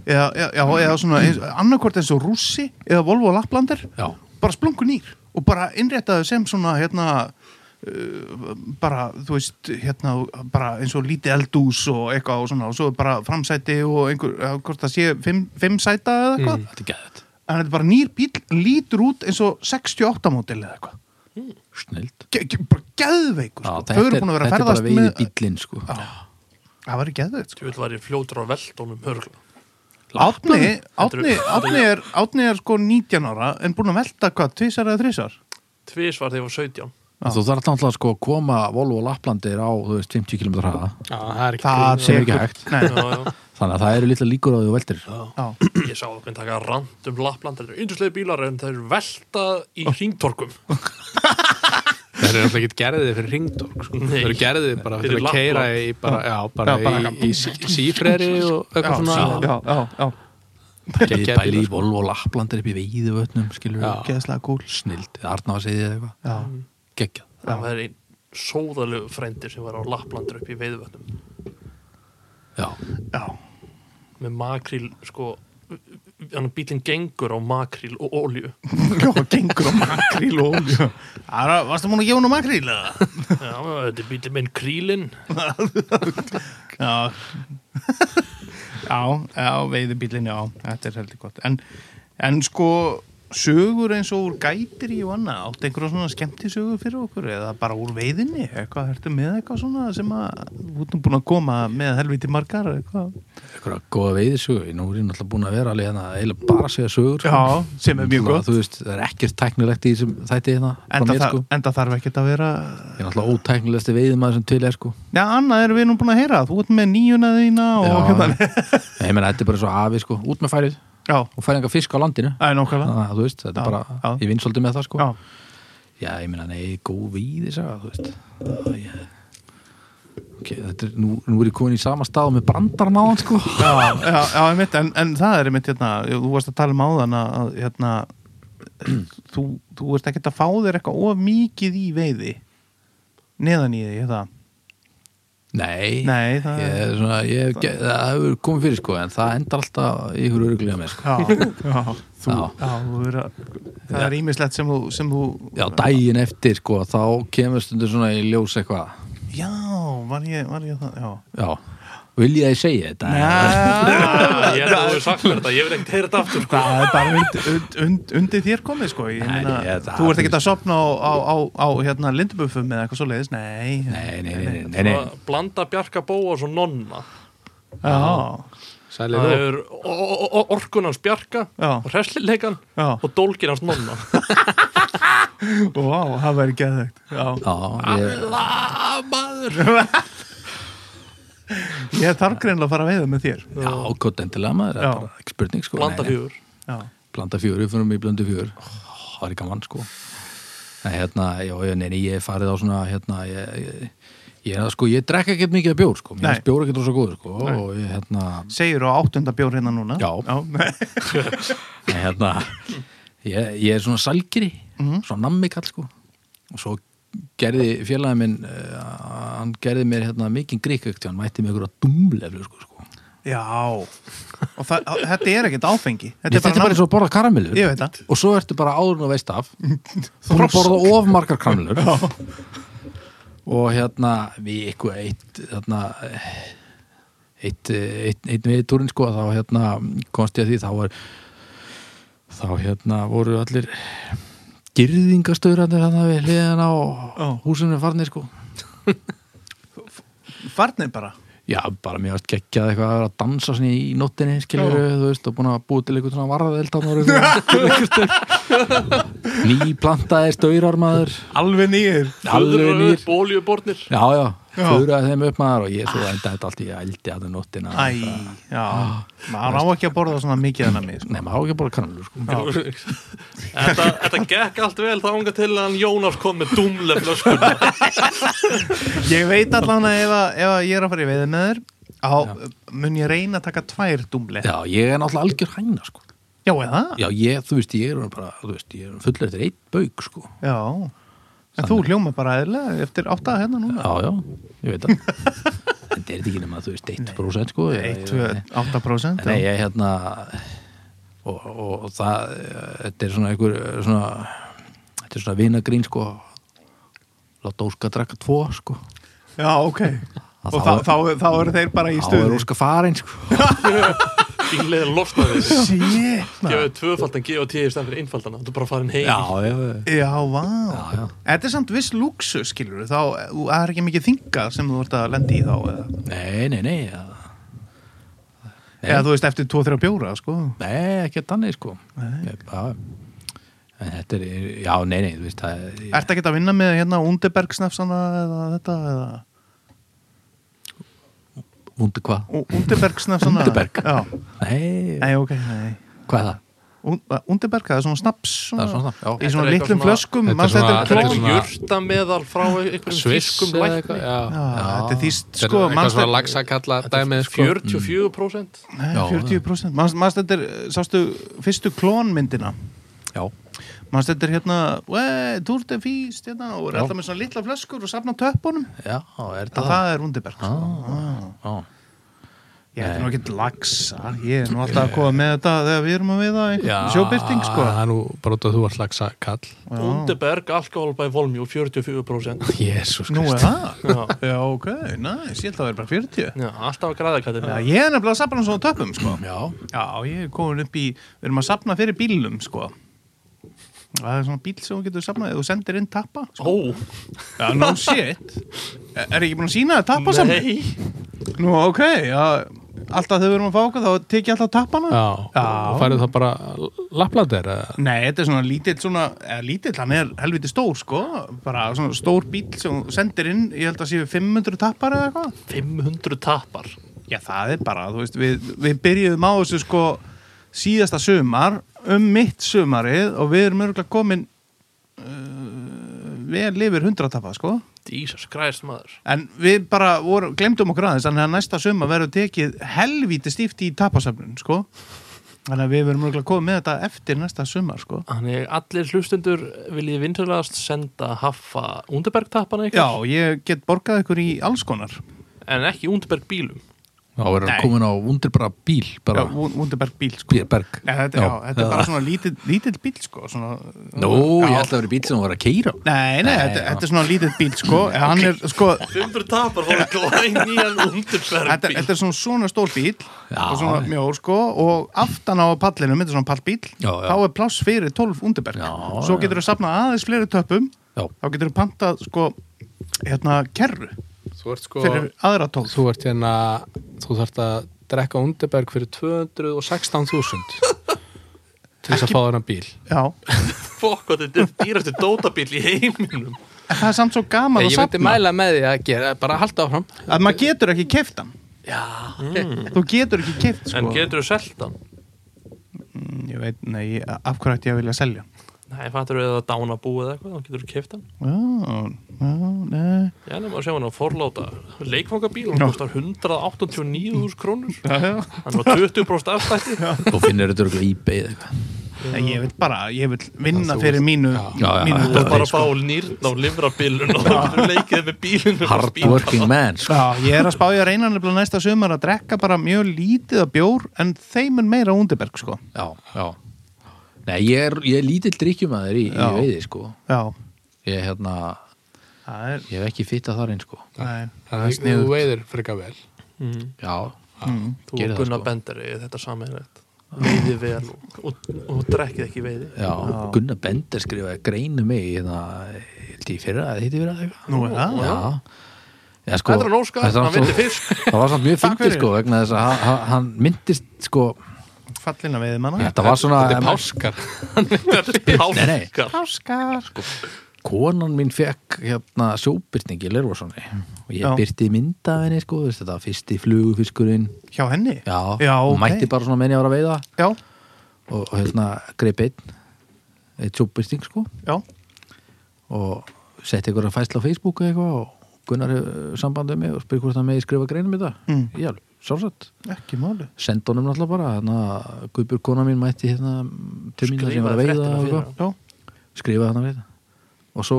eða, eða, já, eða svona eins, annarkvort eins og Rússi eða Volvo Laplander Já. bara splungu nýr og bara innréttaðu sem svona hérna uh, bara, þú veist, hérna bara eins og lítið eldús og eitthvað og svona og svo bara framsæti og einhver, eh, hvort það sé fimm, fimm sæta eða eitthvað Þetta er gæðið, en þetta er bara nýr bíl, lítur út eins og 68 mótil eða eitthvað snild Ge- ge- bara geðveikur, sko. þau eru búin að vera að þetta er bara ferðast veiði með, bílinn, sko það var geðveikt, sko þú vil væri fljótur á veldónum hörgla Átni, Þetta átni, eru- átni, er, átni er sko 19 ára en búin að velta hvað, tvisar eða þrisar tvís var þegar ég var 17 Þú þarf náttúrulega sko að koma Volvo Laplandir á, þú veist, 50 km hraða Já, það er ekki Það Sem er ekki tekur- hægt. Nei, já, já. Þannig að það eru litla líkur á því og veldir já, ég sá okkur taka rand um Lapland þetta eru yndislega bílar en það eru velta í Oh. hringtorkum Það eru alltaf ekki gerðið fyrir ringdorg sko. Nei. Það eru gerðið bara Fyrir fyrir að keira í bara, já, bara, Já, bara í, í, í sífreri og já, eitthvað svona já, já, já. Geðið Geggjaðir bæli bílar, sko. í Volvo Laplandir upp í veiði vötnum, skilur Já. geðslega gúl Snild, Arna var að segja eitthvað já. Geggjað það var einn sóðalegu frendir sem var á Laplandur upp í veiðvötnum Já, já, með makríl sko hann bílinn gengur á makríl og olju já, gengur á makríl og olju Ara, Varstu múin að gefa nú makríl? eða? já, þetta er bílinn minn krílinn Já Já, já, veiði bílinn, já Þetta er heldur gott En, en sko, sögur eins og úr gætir í og annað Átt einhverja svona skemmtisögur fyrir okkur Eða bara úr veiðinni Eitthvað, ertu með eitthvað svona sem að Þú ert nú búin að koma með helviti margar eitthvað eitthvað góða veiði sögur Nú er ég náttúrulega búin að vera alveg hérna eiginlega bara að segja sögur sko. Já, sem er mjög Náttúrulega, gott Þú veist, það er ekkert tæknilegt í þessum þætti hérna frá Enda, mér, þar, sko. enda þarf ekkert að vera Ég er náttúrulega ótæknilegasti veiðmaður sem til er sko Já, annað erum við nú búin að heyra Þú ert með nýjuna þína og Já. hérna Nei, ég meina, þetta er bara svo afi sko, út með færið Já, og færið enga fisk á landinu það er nokkvæmlega Þannig að þú veist, þetta Já, er bara, já. ég vinn svolítið með það sko Já, Já, ég meina, nei, góð víði sagði, þú veist Æ, ég... Ok, þetta er, nú, nú er ég komin í sama stað með brandarn á hann sko já, já, já einmitt, en, en það er einmitt hérna, þú varst að tala um áðan að að, hérna, þú, þú ert ekkert að fá þér eitthvað of mikið í veiði neðan í því, hérna Nei, Nei, það- það... Ég, er svona, ég, hef ge- það hefur komið fyrir sko en það endar alltaf ykkur öruglega með sko Já, [LAUGHS] já, þú, Já. já, þú er að, það er ímislegt sem þú, sem þú Já, daginn eftir sko, þá kemur stundur svona í ljós eitthvað já, var ég, var ég það, já Já, vilja ég segja þetta? [LAUGHS] Ah, ég er að þú hefur sagt mér þetta, ég vil ekkert heyra þetta aftur sko. Það er bara und, und, und, undir þér komið sko ég Nei, meina, ég- það- Þú ert ekkert að sopna á, á, á, á hérna, lindubuffum eða eitthvað svoleiðis, nei Nei, nei, nei, nei, nei, nei. Að blanda Bjarka Bóas og Nonna já, Sælir það þú? hefur o- o- o- orkun hans bjarga Já. og hreslileikan já og dólgin hans nonna Vá, það væri geðvegt Já, Já, ég, La, maður ég þarf greinlega að fara að veiða með þér já, gott endilega maður það Já. er bara ekki spurning sko blanda Nei, nei. fjögur Já, blanda fjör, við fyrir mig blöndu fjör það er gaman sko en hérna, já, já, neini, ég hef farið á svona hérna, ég, ég, ég, ég sko, ég drekka ekkert mikið af bjór sko, mér Nei. finnst bjór ekkert rosa góður sko, og ég, hérna, segir á áttunda bjór hérna núna Já. já. en, hérna ég, ég er svona salgiri svona nammi kall sko og svo gerði félagin minn uh, hann gerði mér hérna mikið gríkvökt, hann mætti mig ykkur að dumleflu sko, sko. [LAUGHS] Já, og það, þetta er ekkert áfengi Þetta, þetta er bara eins og að borða karamellur Ég veit það. Og svo ertu bara áður og veist [LAUGHS] af Þú að borða of margar karamellur Og hérna Við ykkur eitt hérna, Eitt Eitt, eitt við túrin sko Þá hérna komst ég að því Þá var Þá hérna voru allir Girðingastöðrandir hérna við hliðina Já. Og húsinu farnir sko Farnir bara Já, bara mér varst geggjað eitthvað að vera að dansa svona í nóttinni, skilur þú veist, og búin að búið til eitthvað svona varðaðeld [LAUGHS] Nýplantaði staurar maður Alveg nýjir Alveg nýr bóljubornir Já, já, Já. fjöðraði þeim upp maður og ég svo enda þetta allt í eldi að það nóttina Æ, já Maður á ekki að borða svona mikið en að mig Nei, maður á ekki að borða kanalur sko þetta, þetta gekk allt vel þá unga til að hann Jónas kom með dumlefla skurna Ég veit allan að ef, að- ef að ég er að fara í veiði með þér Á mun ég reyna að taka tvær dúmle Já, ég er náttúrulega algjör hæna sko Já, eða? Já, ég, þú veist, ég er orðinn bara, þú veist, ég er fullur eftir eitt bauk sko Já En þú hljóma bara eðlilega eftir átta hérna núna Já, já, ég [LAUGHS] veit það En þetta er þetta ekki nema, þú veist, 1% sko eða- 1-8% Nei, ég hérna og, og, og það eh, þetta er svona einhver eh, svona, þetta er svona vinagrín sko láta Óska drakka tvo sko Já, ok Og þá, þá- þá, þá eru þeir bara í þá er stuði Óska farin sko bíliðin losnaði þessi Sét gefið tvöfaldan GOT í stæðan fyrir einfaldan þú er bara farin heim já, já, Já, vá Já, já. Þetta er samt viss lúksu, skilur Þá þú- það er ekki mikið þinga sem þú ert að lendi í þá Eða, nei, nei, nei ja. Nei. eða þú veist eftir 2-3 bjóra, sko nei, ekki þannig sko nei. Já, en þetta er já, nei, nei, þú veist það er Ertu ekki að vinna með hérna Undeberg snefsana eða þetta eða vundi hvað U- Undeberg snefsana Undeberg? Já, nei, nei, ok, nei hvað er það? Un- Undeberg, það er svona snaps Það er svona snaps, já. Í Þetta er svona eitthvað litlum svona- flöskum Þetta er manstu svona- þetta þetta er er klór? svona- Já, eitthvað jurtameðal frá einhverjum fiskum eða lækni eitthvað, já. Þetta er þýst, Þetta er sko eitthvað manstu- svona lagsakalla dæmið sko. 44% Nei, Já, 40% Manstu manstu þetta er, eh, sástu, fyrstu klónmyndina já, Manstu þetta er hérna, wey, túrt er fýst hérna og er Já. alltaf með svona litla flöskur og safna töppunum já, er Það, það það er Undeberg sko. ah. já, Ég er nú ekkert lagsa Ég er nú alltaf að koma með þetta þegar við erum að veiða einhvern sjóbyrting sko. það er nú bara út að þú var lagsakall Undeberg, alkohol by volume 44% Jésús Nú er Krist það Já. Já, ok, næs, ég held að vera bara 40 Já, alltaf að græða kattir Já, ég er nefnilega að safna svona töpum sko. já, Já, ég er komin upp í Við erum að safna fyrir bílum sko. Það er svona bíl sem þú getur safnað Þú sendir inn tappa sko. Ó, Já, no shit Er er ekki búin að sína það tappa saman? nei Nú, ok, já Alltaf þegar við erum að fá okkur þá tek ég alltaf tappana Já, Já. og færðu það bara lapplatir Nei, þetta er svona lítill svona, eða lítill, hann er helviti stór sko, bara svona stór bíl sem þú sendir inn, ég held að séu 500 tappar eða eitthvað. 500 tapar Já, það er bara, þú veist, við, við byrjuðum á þessu sko síðasta sumar, um mitt sumarið og við erum örgulega komin uh, vel yfir 100 tappar sko. Jesus Christ maður En við bara voru, glemdum okkur aðeins, þannig að næsta sumar verður tekið helviti stíft í tappasöfnun sko. Þannig að við verum örgulega komið með þetta eftir næsta sumar sko. Þannig allir hlustundur viljið vinturlegast senda haffa Undeberg tapana Já, ykkur ég get borgað ykkur í alls konar en ekki Undeberg bílum þá er Nei. hann komin á undir bara bíl Já, bara, Wunderberg bíl sko. Pér Berg Já, þetta, já, þetta er bara svona lítill, lítill bíl sko, svona, Nú, ég Já. ætla að vera í bíl sem hún var að keira Nei, nei, þetta, já. þetta er svona lítill bíl sko. [LAUGHS] Hann er, sko, 500 tapar fóru [LAUGHS] glæn í hann Undeberg þetta, bíl þetta er svona, svona stór bíl Já. og svona mjór sko, og aftan á pallinum, þetta er svona pallbíl Já, já. þá er pláss fyrir 12 Wunderberg Já, svo já. getur þú safnað aðeins fleiri töpum Já, þá getur þú pantað sko, hérna, kerru þú ert sko fyrir aðra tól þú ert hérna þú þarft að drekka undirberg fyrir 216.000 til þess að fá þennan bíl Já, Fokk, hvað þetta er dýrastu dótabíl í heiminum en það er samt svo gaman að ég, ég myndi sapna mæla með því að gera bara halda áfram að maður getur ekki keift hann Já Þú getur ekki keift sko En getur þú selt hann? Mm, Ég veit, nei, ég- af hverju ætti ég að vilja selja Nei, fattur þú eða dánabú eða eitthvað, þá getur þú keift hann Já, já, nei Já, nema að sjá hann á forláta leikfangabíl, hann Já. kostar 189.000 krónur Já, hann var 20% afstætti Þú finnir þetta örgulega íbei eða eitthvað Ég vil bara, ég vil vinna fyrir mínu Já, já, mínu- þetta og bara fá nýrn á livrabílun og það getur leikið með bílinu Hard working man sko. Já, ég er að spá ég að reyna nefnilega næsta sumar að drekka bara mjög lítið af bjór en þeim er meira undirberg sko Já, já Nei, ég er, ég er lítill drikkjumæður í, í Já. veiði sko Já, Ég, hérna, það er, ég hef ekki fitta þar einn sko nei, það er þannig að sniðugt. þú veiðir freka vel Já, Gerið Þú og það, Gunnar sko. Bender er þetta sammeðilegt veiði vel og, og, og drekkið ekki veiði [LAUGHS] já, Gunnar Bender skrifaði greinu mig hérna, held ég í fyrra eða hitti fyrra eða eitthvað Nú er það Já Já, sko, Þetta er hann óskar, þetta var hann vildi svo- fisk Það var samt mjög Takk fyndið fyrir. sko vegna þess að hann, hann myndist sko fallina veiði manna Þetta var svona þetta er páskar Nei, nei. Páskar Áskar konan mín fekk hérna sjóbyrtingi Lervarssoni og ég Já. byrti mynd af henni sko, þú veist, þetta var fyrsti flugufiskurinn Hjá henni? já, Já, hún ok. mætti bara svona menni ára að veiða Já, og, og hérna greip einn eitt sjóbyrting sko já, og setti ykkur að fæsla á Facebook eða eitthvað og Gunnar hefur sambandið mig og spyr hvort hann meði skrifa greinum í það Mm. já, sjálfsagt, ekki máli senda honum náttúrulega bara hérna, Guðbjörg kona mín mætti hérna til mín sem ég var að veiða Skrifaði fréttina og fyrir eitthvað. hann. Já, skrifaði hann að veiða og svo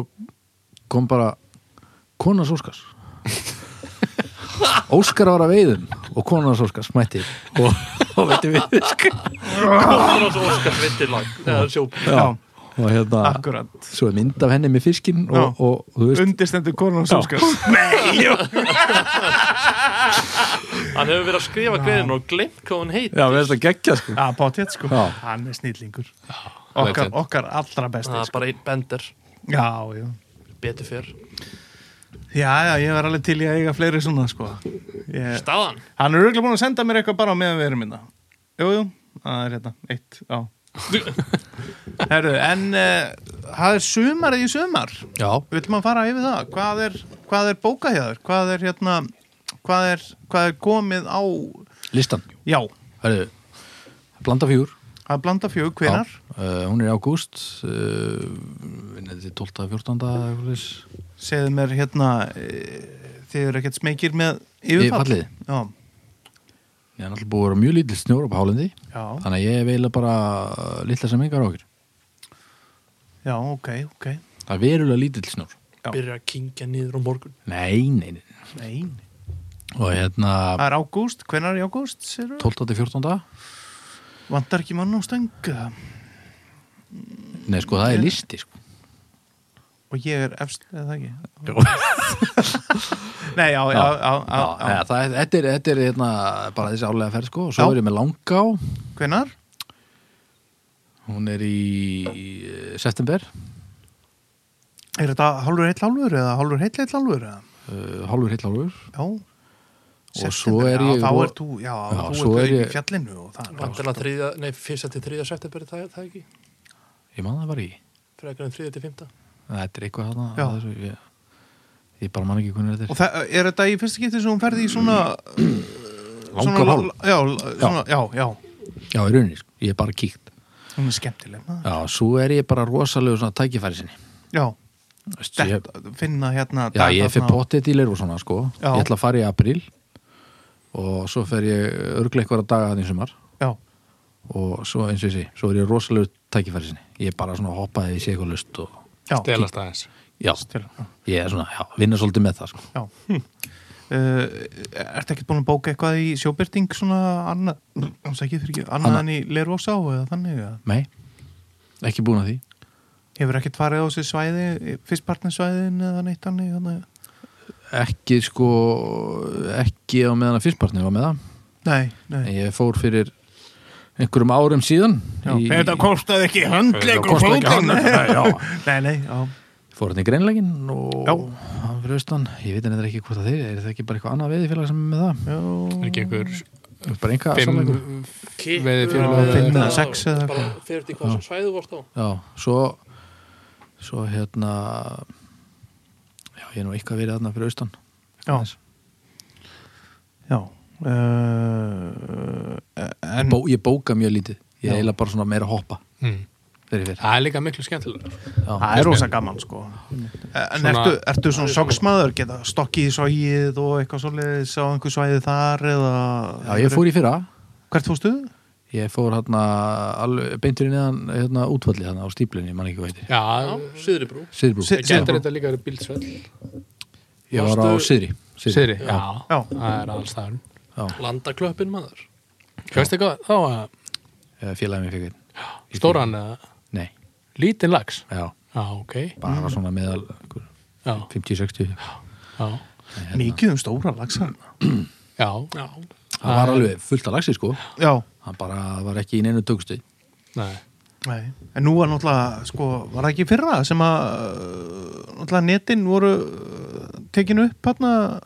kom bara konans [LAUGHS] Óskars Óskar var að veiðum og konans Óskars mætti og, og veitti við Páskar og svo Óskar veiðilag eða sjóbíl já, og hérna akkurat svo er mynd af henni með fiskinn og, Já. og, og þú veist Undirstendur konan Áskar [LAUGHS] Nei, já Hann hefur verið að skrifa greiðin og glemt hvað hann heit já, við erum það geggja sko Já, bátið sko Já. Hann er snillingur Okkar, legend. okkar allra Það besti er sko. bara einn bender Já, já Betur fyrr Já, já, ég var alveg til í að eiga fleiri svona sko ég... Staðan Hann er auðvitað búin að senda mér eitthvað bara á meðan við erum minna. Jú, jú, það er hérna, eitt, já. [LAUGHS] Herru, en uh, það er sumarið í sumar. já, Vill maður fara yfir það? Hvað er, hvað er bókað hjá þér? Hvað er hérna, hvað er, hvað er komið á, listan, já, hörðu blanda fjúr að blanda fjög, hvenar? uh, hún er í ágúst uh, þetta er 12. 14. eða eitthvað leis. Segðu mér hérna, uh, þið eru ekkert smekir með yfirfall. Yfirfallið? Já, ég er náttúrulega búið að vera mjög lítill snjór á hálendi já, þannig að ég veila bara uh, litla sem engar ákjör já, ok, ok. Það er verulega lítill snjór. Já. Byrjar að kynkja niður á morgun Nei, nei, nei. Nei, Og hérna, það er ágúst, hvenar í ágúst? segirðu? 12. til 14. Vantar ekki mann á stöngu? Nei, sko, það er listi, sko. Og ég er efst, eða það ekki? Já. [LAUGHS] Nei, já, já, já, já, já. Já, það er, þetta er, þetta er hérna, bara þessi álega ferð, sko. Og Já. svo er ég með Langá. Hvenar? Hún er í, í eh, september, Er þetta hálfur heill hálfur eða hálfur heill heill hálfur eða? uh, hálfur heill hálfur. Já. Og September, svo er ég- Já, þá er þú, já, Já, þú svo ert er auðvitað ég- í fjallinu og það. Vandilega þriðja, nei, fyrsta til þriðja september er það, það ekki Ég man það bara í. Frekar en þriðja til fymta Þetta er eitthvað þarna. Já. að þessu, Ég, ég bara man ekki hvernig Og þetta er. það, er þetta í fyrsta getið sem hún ferði í svona... Langar svona- hálf. Já, svona, já, já. Já, í rauninni, sko. Ég er bara kíkt. Hún er skemmtileg. maður. Já, svo er ég bara rosalegu svona tækifæri sinni. Já, Þú veist, ég- þetta, finna hérna... Já, dag ég fyrir þarna á- pottið til Leirvossona sko Já. Ég ætla að fara í apríl og svo fer ég örgleik vera daga þannig sumar Já, og svo eins og þessi, svo er ég rosalegu tækifæri sinni Ég er bara svona hoppaði í sig eitthvað lust og já. stelast aðeins já, ég er svona, já, vinna svolítið með það sko Já. Hm. Uh, ertu ekkert búin að bóka eitthvað í sjóbyrting svona annað, ekki, fyrir ekki, annað Annað. en í Lervósá eða þannig eða? Nei, ekki búin að því Hefur ekkert farið á þessi svæði, fyrstpartnarsvæðin eða neitt annir þannig? Ekki sko, ekki á meðan að fyrstpartnir var með það Nei, En nei. Ég fór fyrir einhverjum árum síðan Já. í, kostaði ekki höndleik [LAUGHS] Þetta kostaði ekki hann. Nei, já. Nei, nei, já. fór hann í greinlegin og Já. hann fyrir austan ég veit henni ekki hvort það þeir er það ekki bara eitthvað annað veiðifélag sem er með það Já, er ekki einhver bara einhvað samleikur fimm Kipur Veiði fyrir og- að finna Já, sex eða bara fyrir því hvað svæðu vorst á já, svo svo hérna já, ég er nú eitthvað verið þarna fyrir austan Já. Aðeins. já. Uh, en Bó, ég bóka mjög lítið Já. ég er eiginlega bara svona meira að hoppa mm. fyrir fyrir það er líka miklu skemmtilega það er rosa gaman sko en Svona- ertu, ertu svona sogsmaður geta stokkið í sogið og eitthvað svoleiðis á einhver svæði þar eða já, ég fór í fyrra hvert fórstu? Ég fór hérna alveg beintur í neðan hérna útvalli hérna á stíplinni, mann ekki hvað heitir. já, Já, Suðri brú Siðbrú. Si- það getur Syðri. þetta líka að vera bílsvöld Ég var á Varstu- Siðri. Sýri, já, Já. Já. það er alls það Landaklöppin maður Hverstu eitthvað, þá að Eh, Félagið mér fyrir. stóran eða Nei, lítinn lags já, Já, ok, Mm. bara svona meðal einhver já, 50-60. já, hérna- mikið um stóra lagsa já, Já, Það var alveg fullt af lagsi sko. já, Það bara var ekki í neinu tökstu. nei nei en nú var náttúrulega, sko, var það ekki í fyrra sem að uh, náttúrulega netin voru uh, tekin upp hérna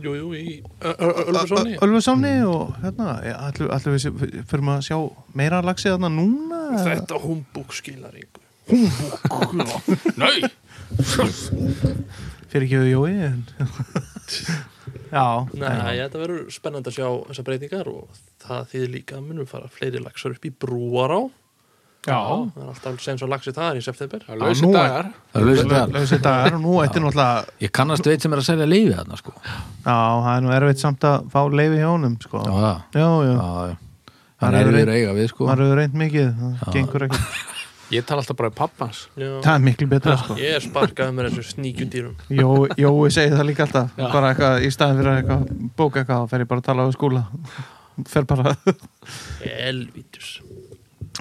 jú, jú, í Ö- Ö- Ölfusóni Ölfusáni og hérna allir, allir við sé- förum að sjá meira lagsi þarna núna eða? Þetta humbúk skilar yngu Nei, fyrir ekki við Jói en... já, Nei, þetta verður spennandi að sjá þessar breytingar og það þýðir líka að munum fara fleiri laxar upp í brúará já. Það er alltaf sem svo laxi það er í september það er lausi nú er- dagar Það er lausið það. Lausir dagar og nú þetta er náttúrulega Ég kannast veit sem er að selja leiði þarna sko. Já, það er nú erfitt samt að fá leifi hjá honum sko. Já, Já, já. já, Já, já. Það er eru erfiður reynd- að eiga við sko. maður hefur reynd mikið það gengur ekki Ég tala alltaf bara um pappans Það er miklu betra sko Ég er sparkaði með þessu sníkjudýrum Jó, Jói segir það líka alltaf bara eitthvað, í staðin fyrir að eitthvað, bóka eitthvað þá fer ég bara að tala á skóla fer bara Elvítus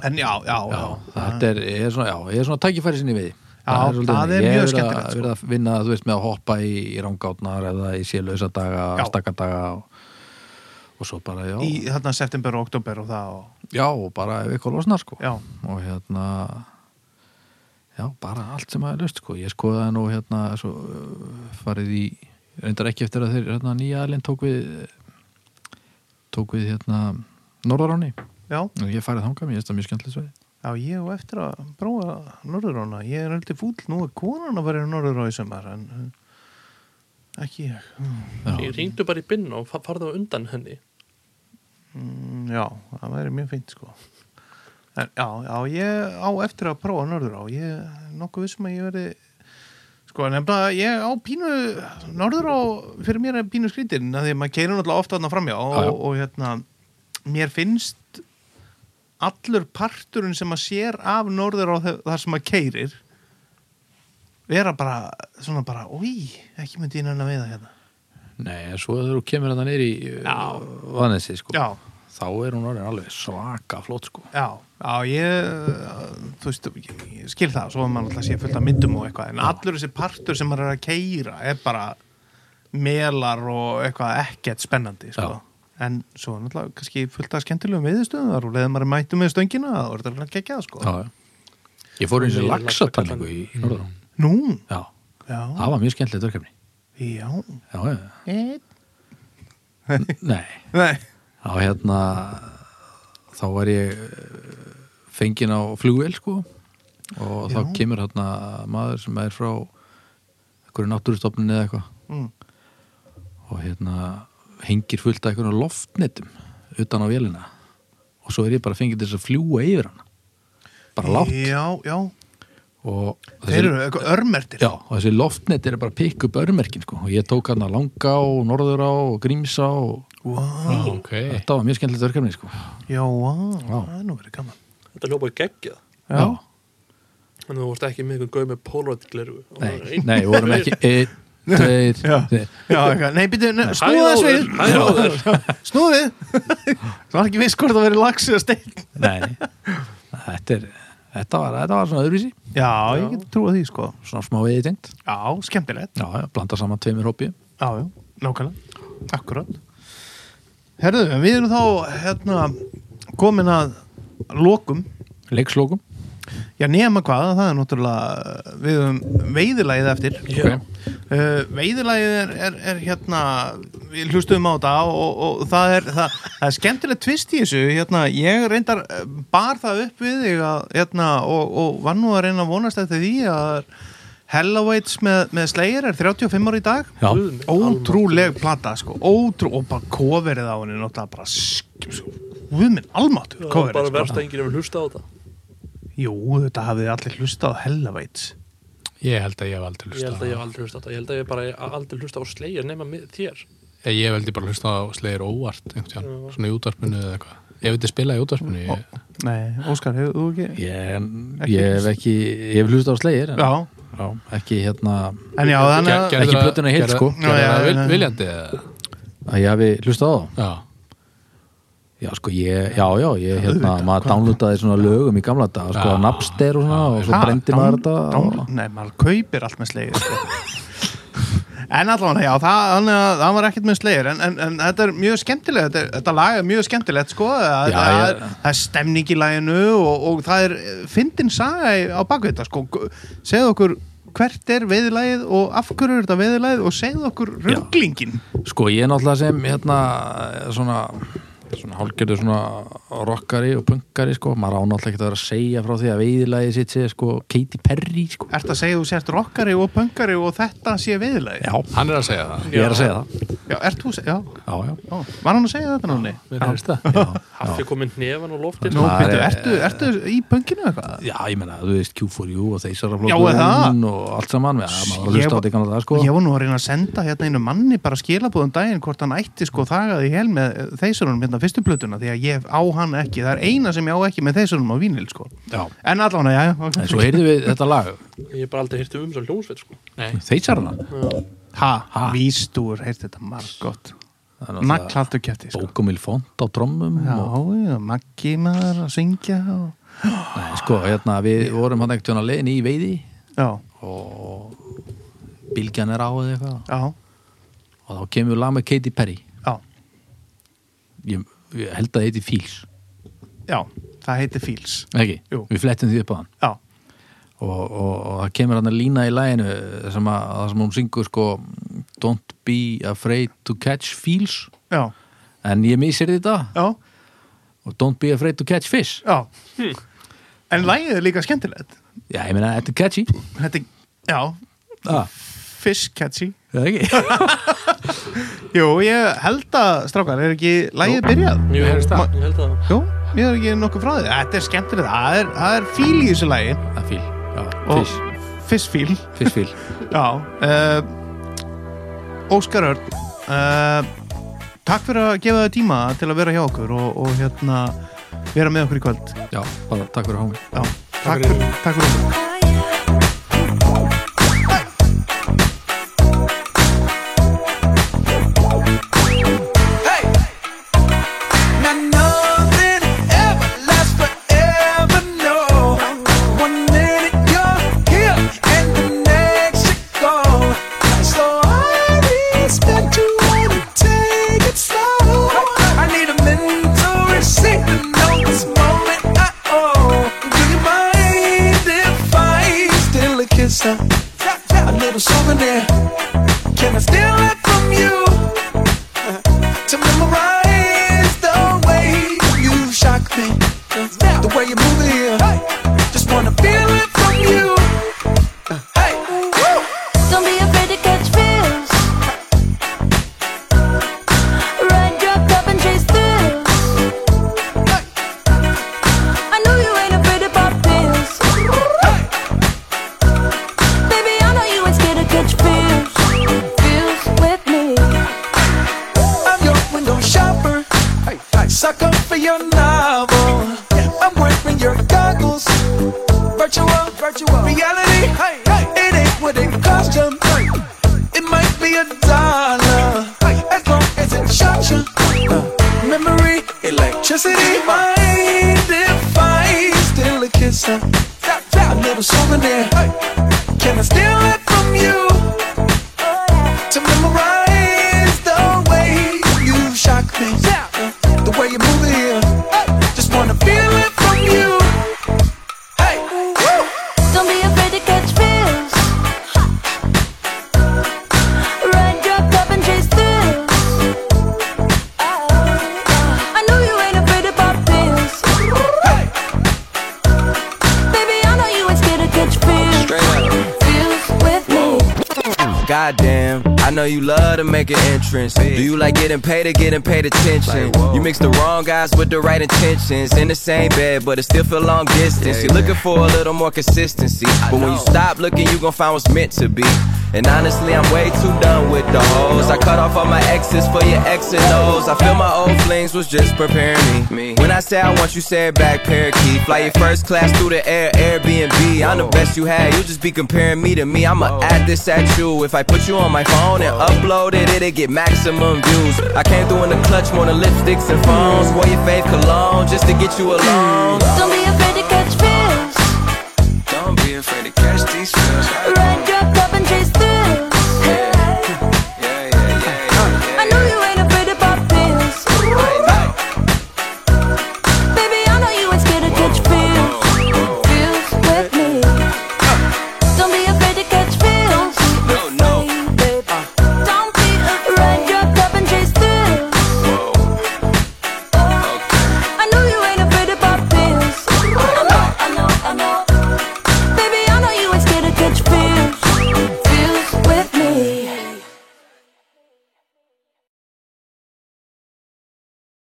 En já, já, já, Já, þetta er, ég er svona, já, ég er svona tækifæri sinni við Já, það er mjög skemmtilegt, Ég sko. hef verið að vinna, þú veist, með að hoppa í, í rángátnar eða í sélösa daga, Já. stakkadaga og, og svo bara, já Í þarna september og oktober og það og, Já, og bara ef eitthvað losnar, sko Já, Og hérna Já, bara allt sem að er löst, sko Ég skoðaði nú hérna svo, uh, farið í, reyndar ekki eftir að þeir hérna, nýja aðlinn tók við tók við hérna Norðaráni, já, en ég hef farið þangað mér, ég veist það mjög skemmtileg sveið já, ég og eftir að prófa norðurána, ég er heldur fúll nú er konan að vera í norðurána í sumar en eh, ekki ég Ég ringdu bara í binn og fa- farðu á undan henni Mm, Já, það væri mjög fint sko en, já, já, ég á eftir að prófa norður á ég er nokkuð vissum að ég verði sko, nefnilega, ég á pínu norður á, fyrir mér er pínu skrítin af því að maður keirir náttúrulega ofta þarna framjá og, Já, já. og hérna, mér finnst allur parturinn sem maður sér af norður á þe- þar sem maður keirir vera bara, svona bara, oi ekki myndi innan að veiða hérna Nei, en svo þegar þú kemur hérna neyri í uh, Vanesi, sko, Já, þá er hún orðin alveg svaka flott, sko. Já, já, ég, þú veist, ég, ég skil það, svo að maður alltaf sé fullt af myndum og eitthvað, en allur þessi partur sem maður er að keira er bara melar og eitthvað ekkert spennandi, sko. Já. En svo er náttúrulega kannski fullt af skemmtilegum viðstöðum þar og leðið maður er mættu með stöngina og er þetta ekki ekki að, sko. Já, já. Ég fór eins og Meiri laxatalningu í, í Norðurán. Nú, Já, já, það var mjög skemmtilegt verkefni. já, Já, já. einn. Nei, Nei, þá hérna, þá var ég eh, fenginn á flugvél, sko, og þá Já. kemur hérna maður sem er frá einhverju náttúrustofninu eða eitthvað mm. og hérna hengir fullt af einhverjum loftnetum utan á vélina og svo er ég bara fengið til þess að fljúa yfir hana bara látt Já, já, og þeir eru eitthvað örmertir. já, og þessi loftnet er bara að pikka upp örmerkin sko. og ég tók hana langa og norður á og grímsa og Vá, Ok, þetta var mjög skemmtilegt verkefni sko. já, vá, Já. það er nú verið gaman. Þetta hljópaði geggjað Já. En þú vorst ekki með einhvern gauð með Polaroid gleru nei, nei, við vorum [LAUGHS] ekki einn, tveir, þrír. Já, eitthvað, nei, byrju, ne- Hæ, snúða þessu við. Óður, hæ, Óður. Snúðið Það [LAUGHS] var ekki viss hvort það verið lags eða stein nei, nei. þetta er þetta var, þetta var svona öðruvísi Já, ég get trúa því sko svona smá veiði tengt Já, skemmtilegt já, já, blanda saman tveimur hópi Já, já, nákvæmlega, akkurat Herðu, en við erum þá hérna komin að lokum leikslokum Já, nema hvað, það er náttúrulega við höfum veiðilagið eftir Já. Ok. Uh, veiðilagið er, er, er hérna við hlustuðum á þetta og, og, og það, er, það, það er skemmtilegt tvist í þessu hérna, ég reyndar eh, bar það upp við þig að, hérna, og, og var nú að reyna að vonast eftir því að Hellawaits með, með Slayer er 35 ári í dag Já. ótrúleg plata sko, ótrú, og bara coverið á henni náttúrulega bara sk- guðminn almáttur Það er coverið bara sko. verst að enginn hefur hlusta á þetta jú, þetta hafið allir hlustað á Hellawaits Ég held að ég hef aldrei Ég held að hlustað á ég hef aldrei hlusta á þetta Ég held að ég bara aldrei hlusta á slegir nema með þér Ég, Eh, ég hef aldrei bara hlustað á slegir óvart einhvern tíðan, svona í útvarpinu eða eitthvað. Ég veit að spila í útvarpinu. Ég, nei, Óskar, hefur þú ekki? Ég, ég hef ekki, ég hef hlust á slegir en, já, já, ekki hérna en já, þannig Ger- að gerðu Ekki það- plötuna í heild, gerðu- sko. gerðu Já, já, það já, vil- já. Viljandi eða? að ég hafi hlustað á það Já. Já, sko, ég, já, já, ég, hérna, maður downloadaði svona lögum í gamla dag, sko, Já. Napster og svona, og svo Ha, brendi dán- maður þetta dán- og- Nei, maður kaupir allt með slegir sko. [LAUGHS] En allavega, já, það, þannig að það var ekkert með slegir en, en, en þetta er mjög skemmtilegt þetta, er- þetta lag er mjög skemmtilegt, sko það, Já, það, ég- er, það er stemning í laginu og, og það er eh, fyndin saga í- á baku þetta, sko Gu- segðu okkur hvert er veðilagið og af hverju er þetta veðilagið og segðu okkur rugglingin Sko, ég er náttúrulega sem, hérna, svona, svona hálgjörðu svona rockari og punkari, sko, maður á náttúrulega ekki að vera að segja frá því að veiðilagi sitt sé, sko, Katy Perry, sko. Ertu að segja þú sért rockari og pöngari og þetta sé veðilagið? Já, Hann er að segja það. ég er að segja það. Já, ert þú, já, Já, já. já, var hann að segja þetta núni? Mér heyrist það. Hafið komin nefan og loftir Nú, Það byrju, er- ertu, ertu í pönginu eitthvað? Já, ég meina, þú veist, Q4U og Já, er það? þeisaraflokkurinn og allt saman, já, maður var að Ég hlusta á var- þetta í gamla dag, sko. Ég var nú að reyna að senda hérna einu manni bara skilabúðum daginn hvort hann ætti sko þagaði í hel með þeisurunum hérna fyrstu plötuna því að ég á hann ekki, það er eina sem ég á ekki með þeisurunum á vínil sko Já. En allan að, já, En ok svo heyrðum við þetta lag, Ég hef bara aldrei hýrt um svo hljómsveit sko þeisarana. Ha, vístúr, heyrst þetta margott Naglhaldur kjæfti sko Bókumil um font á trommum Já, og já, Maggi maður að syngja og... Nei, sko, hérna, við vorum hann ekkert að leiðin í veiði Já, og bylgjan er á eða eitthvað já, og þá kemur lag með Katy Perry já, ég, ég held að það heiti Fíls já, það heiti Fíls ekki, Jú. við flettum því upp á hann Já, og, og, og það kemur hann að lína í læginu sem að, það sem hún syngur sko Don't be afraid to catch Fíls já, en ég misir þetta já, og Don't be afraid to catch fish já En lægið er líka skemmtilegt já, ég meina, þetta er catchy Þetta, er- já, ah, Fish Catchy það ekki Jú, ég held að, strákar, er ekki lægið byrjað? Jú, ég held Ma- það Jú, ég er ekki nokkuð frá því Þetta er skemmtilegt, það er, það er fíl í þessu lægi það er fíl, já, Og- fish, Fish fíl, fish fíl já uh, Óskar Örn uh, Takk fyrir að gefa þau tíma til að vera hjá okkur og, og hérna vera með okkur í kvöld já, bara takk fyrir hómi Já, takk fyrir, takk fyrir okkur Now nothing ever lasts forever, no. One minute you're here and the next you're gone. So I respect you when you take it slow. I need a mental receipt to know this moment I own. Do you mind if I steal a kiss, a, a little souvenir? Can I steal it from you? to memorize the way you shock me, the way you move it here. Just wanna feel it from you. Hey, woo! Don't be afraid to catch fish. Ride your cup and chase thrills. I know you ain't afraid to pop pills. Baby, I know you ain't scared to catch fish. Fish with me. I'm your window shopper, sucker for your novel. I'm wearing your goggles, virtual, virtual reality. It ain't what it cost you. It might be a dollar, as long as it shocks you. Memory, electricity, mind if I steal a kiss? A a little souvenir. Can I steal it from you? to memorize the way you shock me. The way you move it here. Just wanna feel it from you. Hey, woo! Don't be afraid to catch fish. Goddamn, I know you love to make an entrance. Do you like getting paid or getting paid attention? You mix the wrong guys with the right intentions. In the same bed, but it still feel long distance. You're looking for a little more consistency. But when you stop looking, you gon' find what's meant to be. And honestly, I'm way too done with the hoes. I cut off all my exes for your X and O's. I feel my old flings was just preparing me. When I say I want you, say it back, parakeet. Fly your first class through the air, Airbnb. I'm the best you had, you just be comparing me to me. I'ma add this at you. If I put you on my phone and upload it, it'll get maximum views. I came through in the clutch, more than lipsticks and phones. Wore your fave cologne just to get you alone. Don't be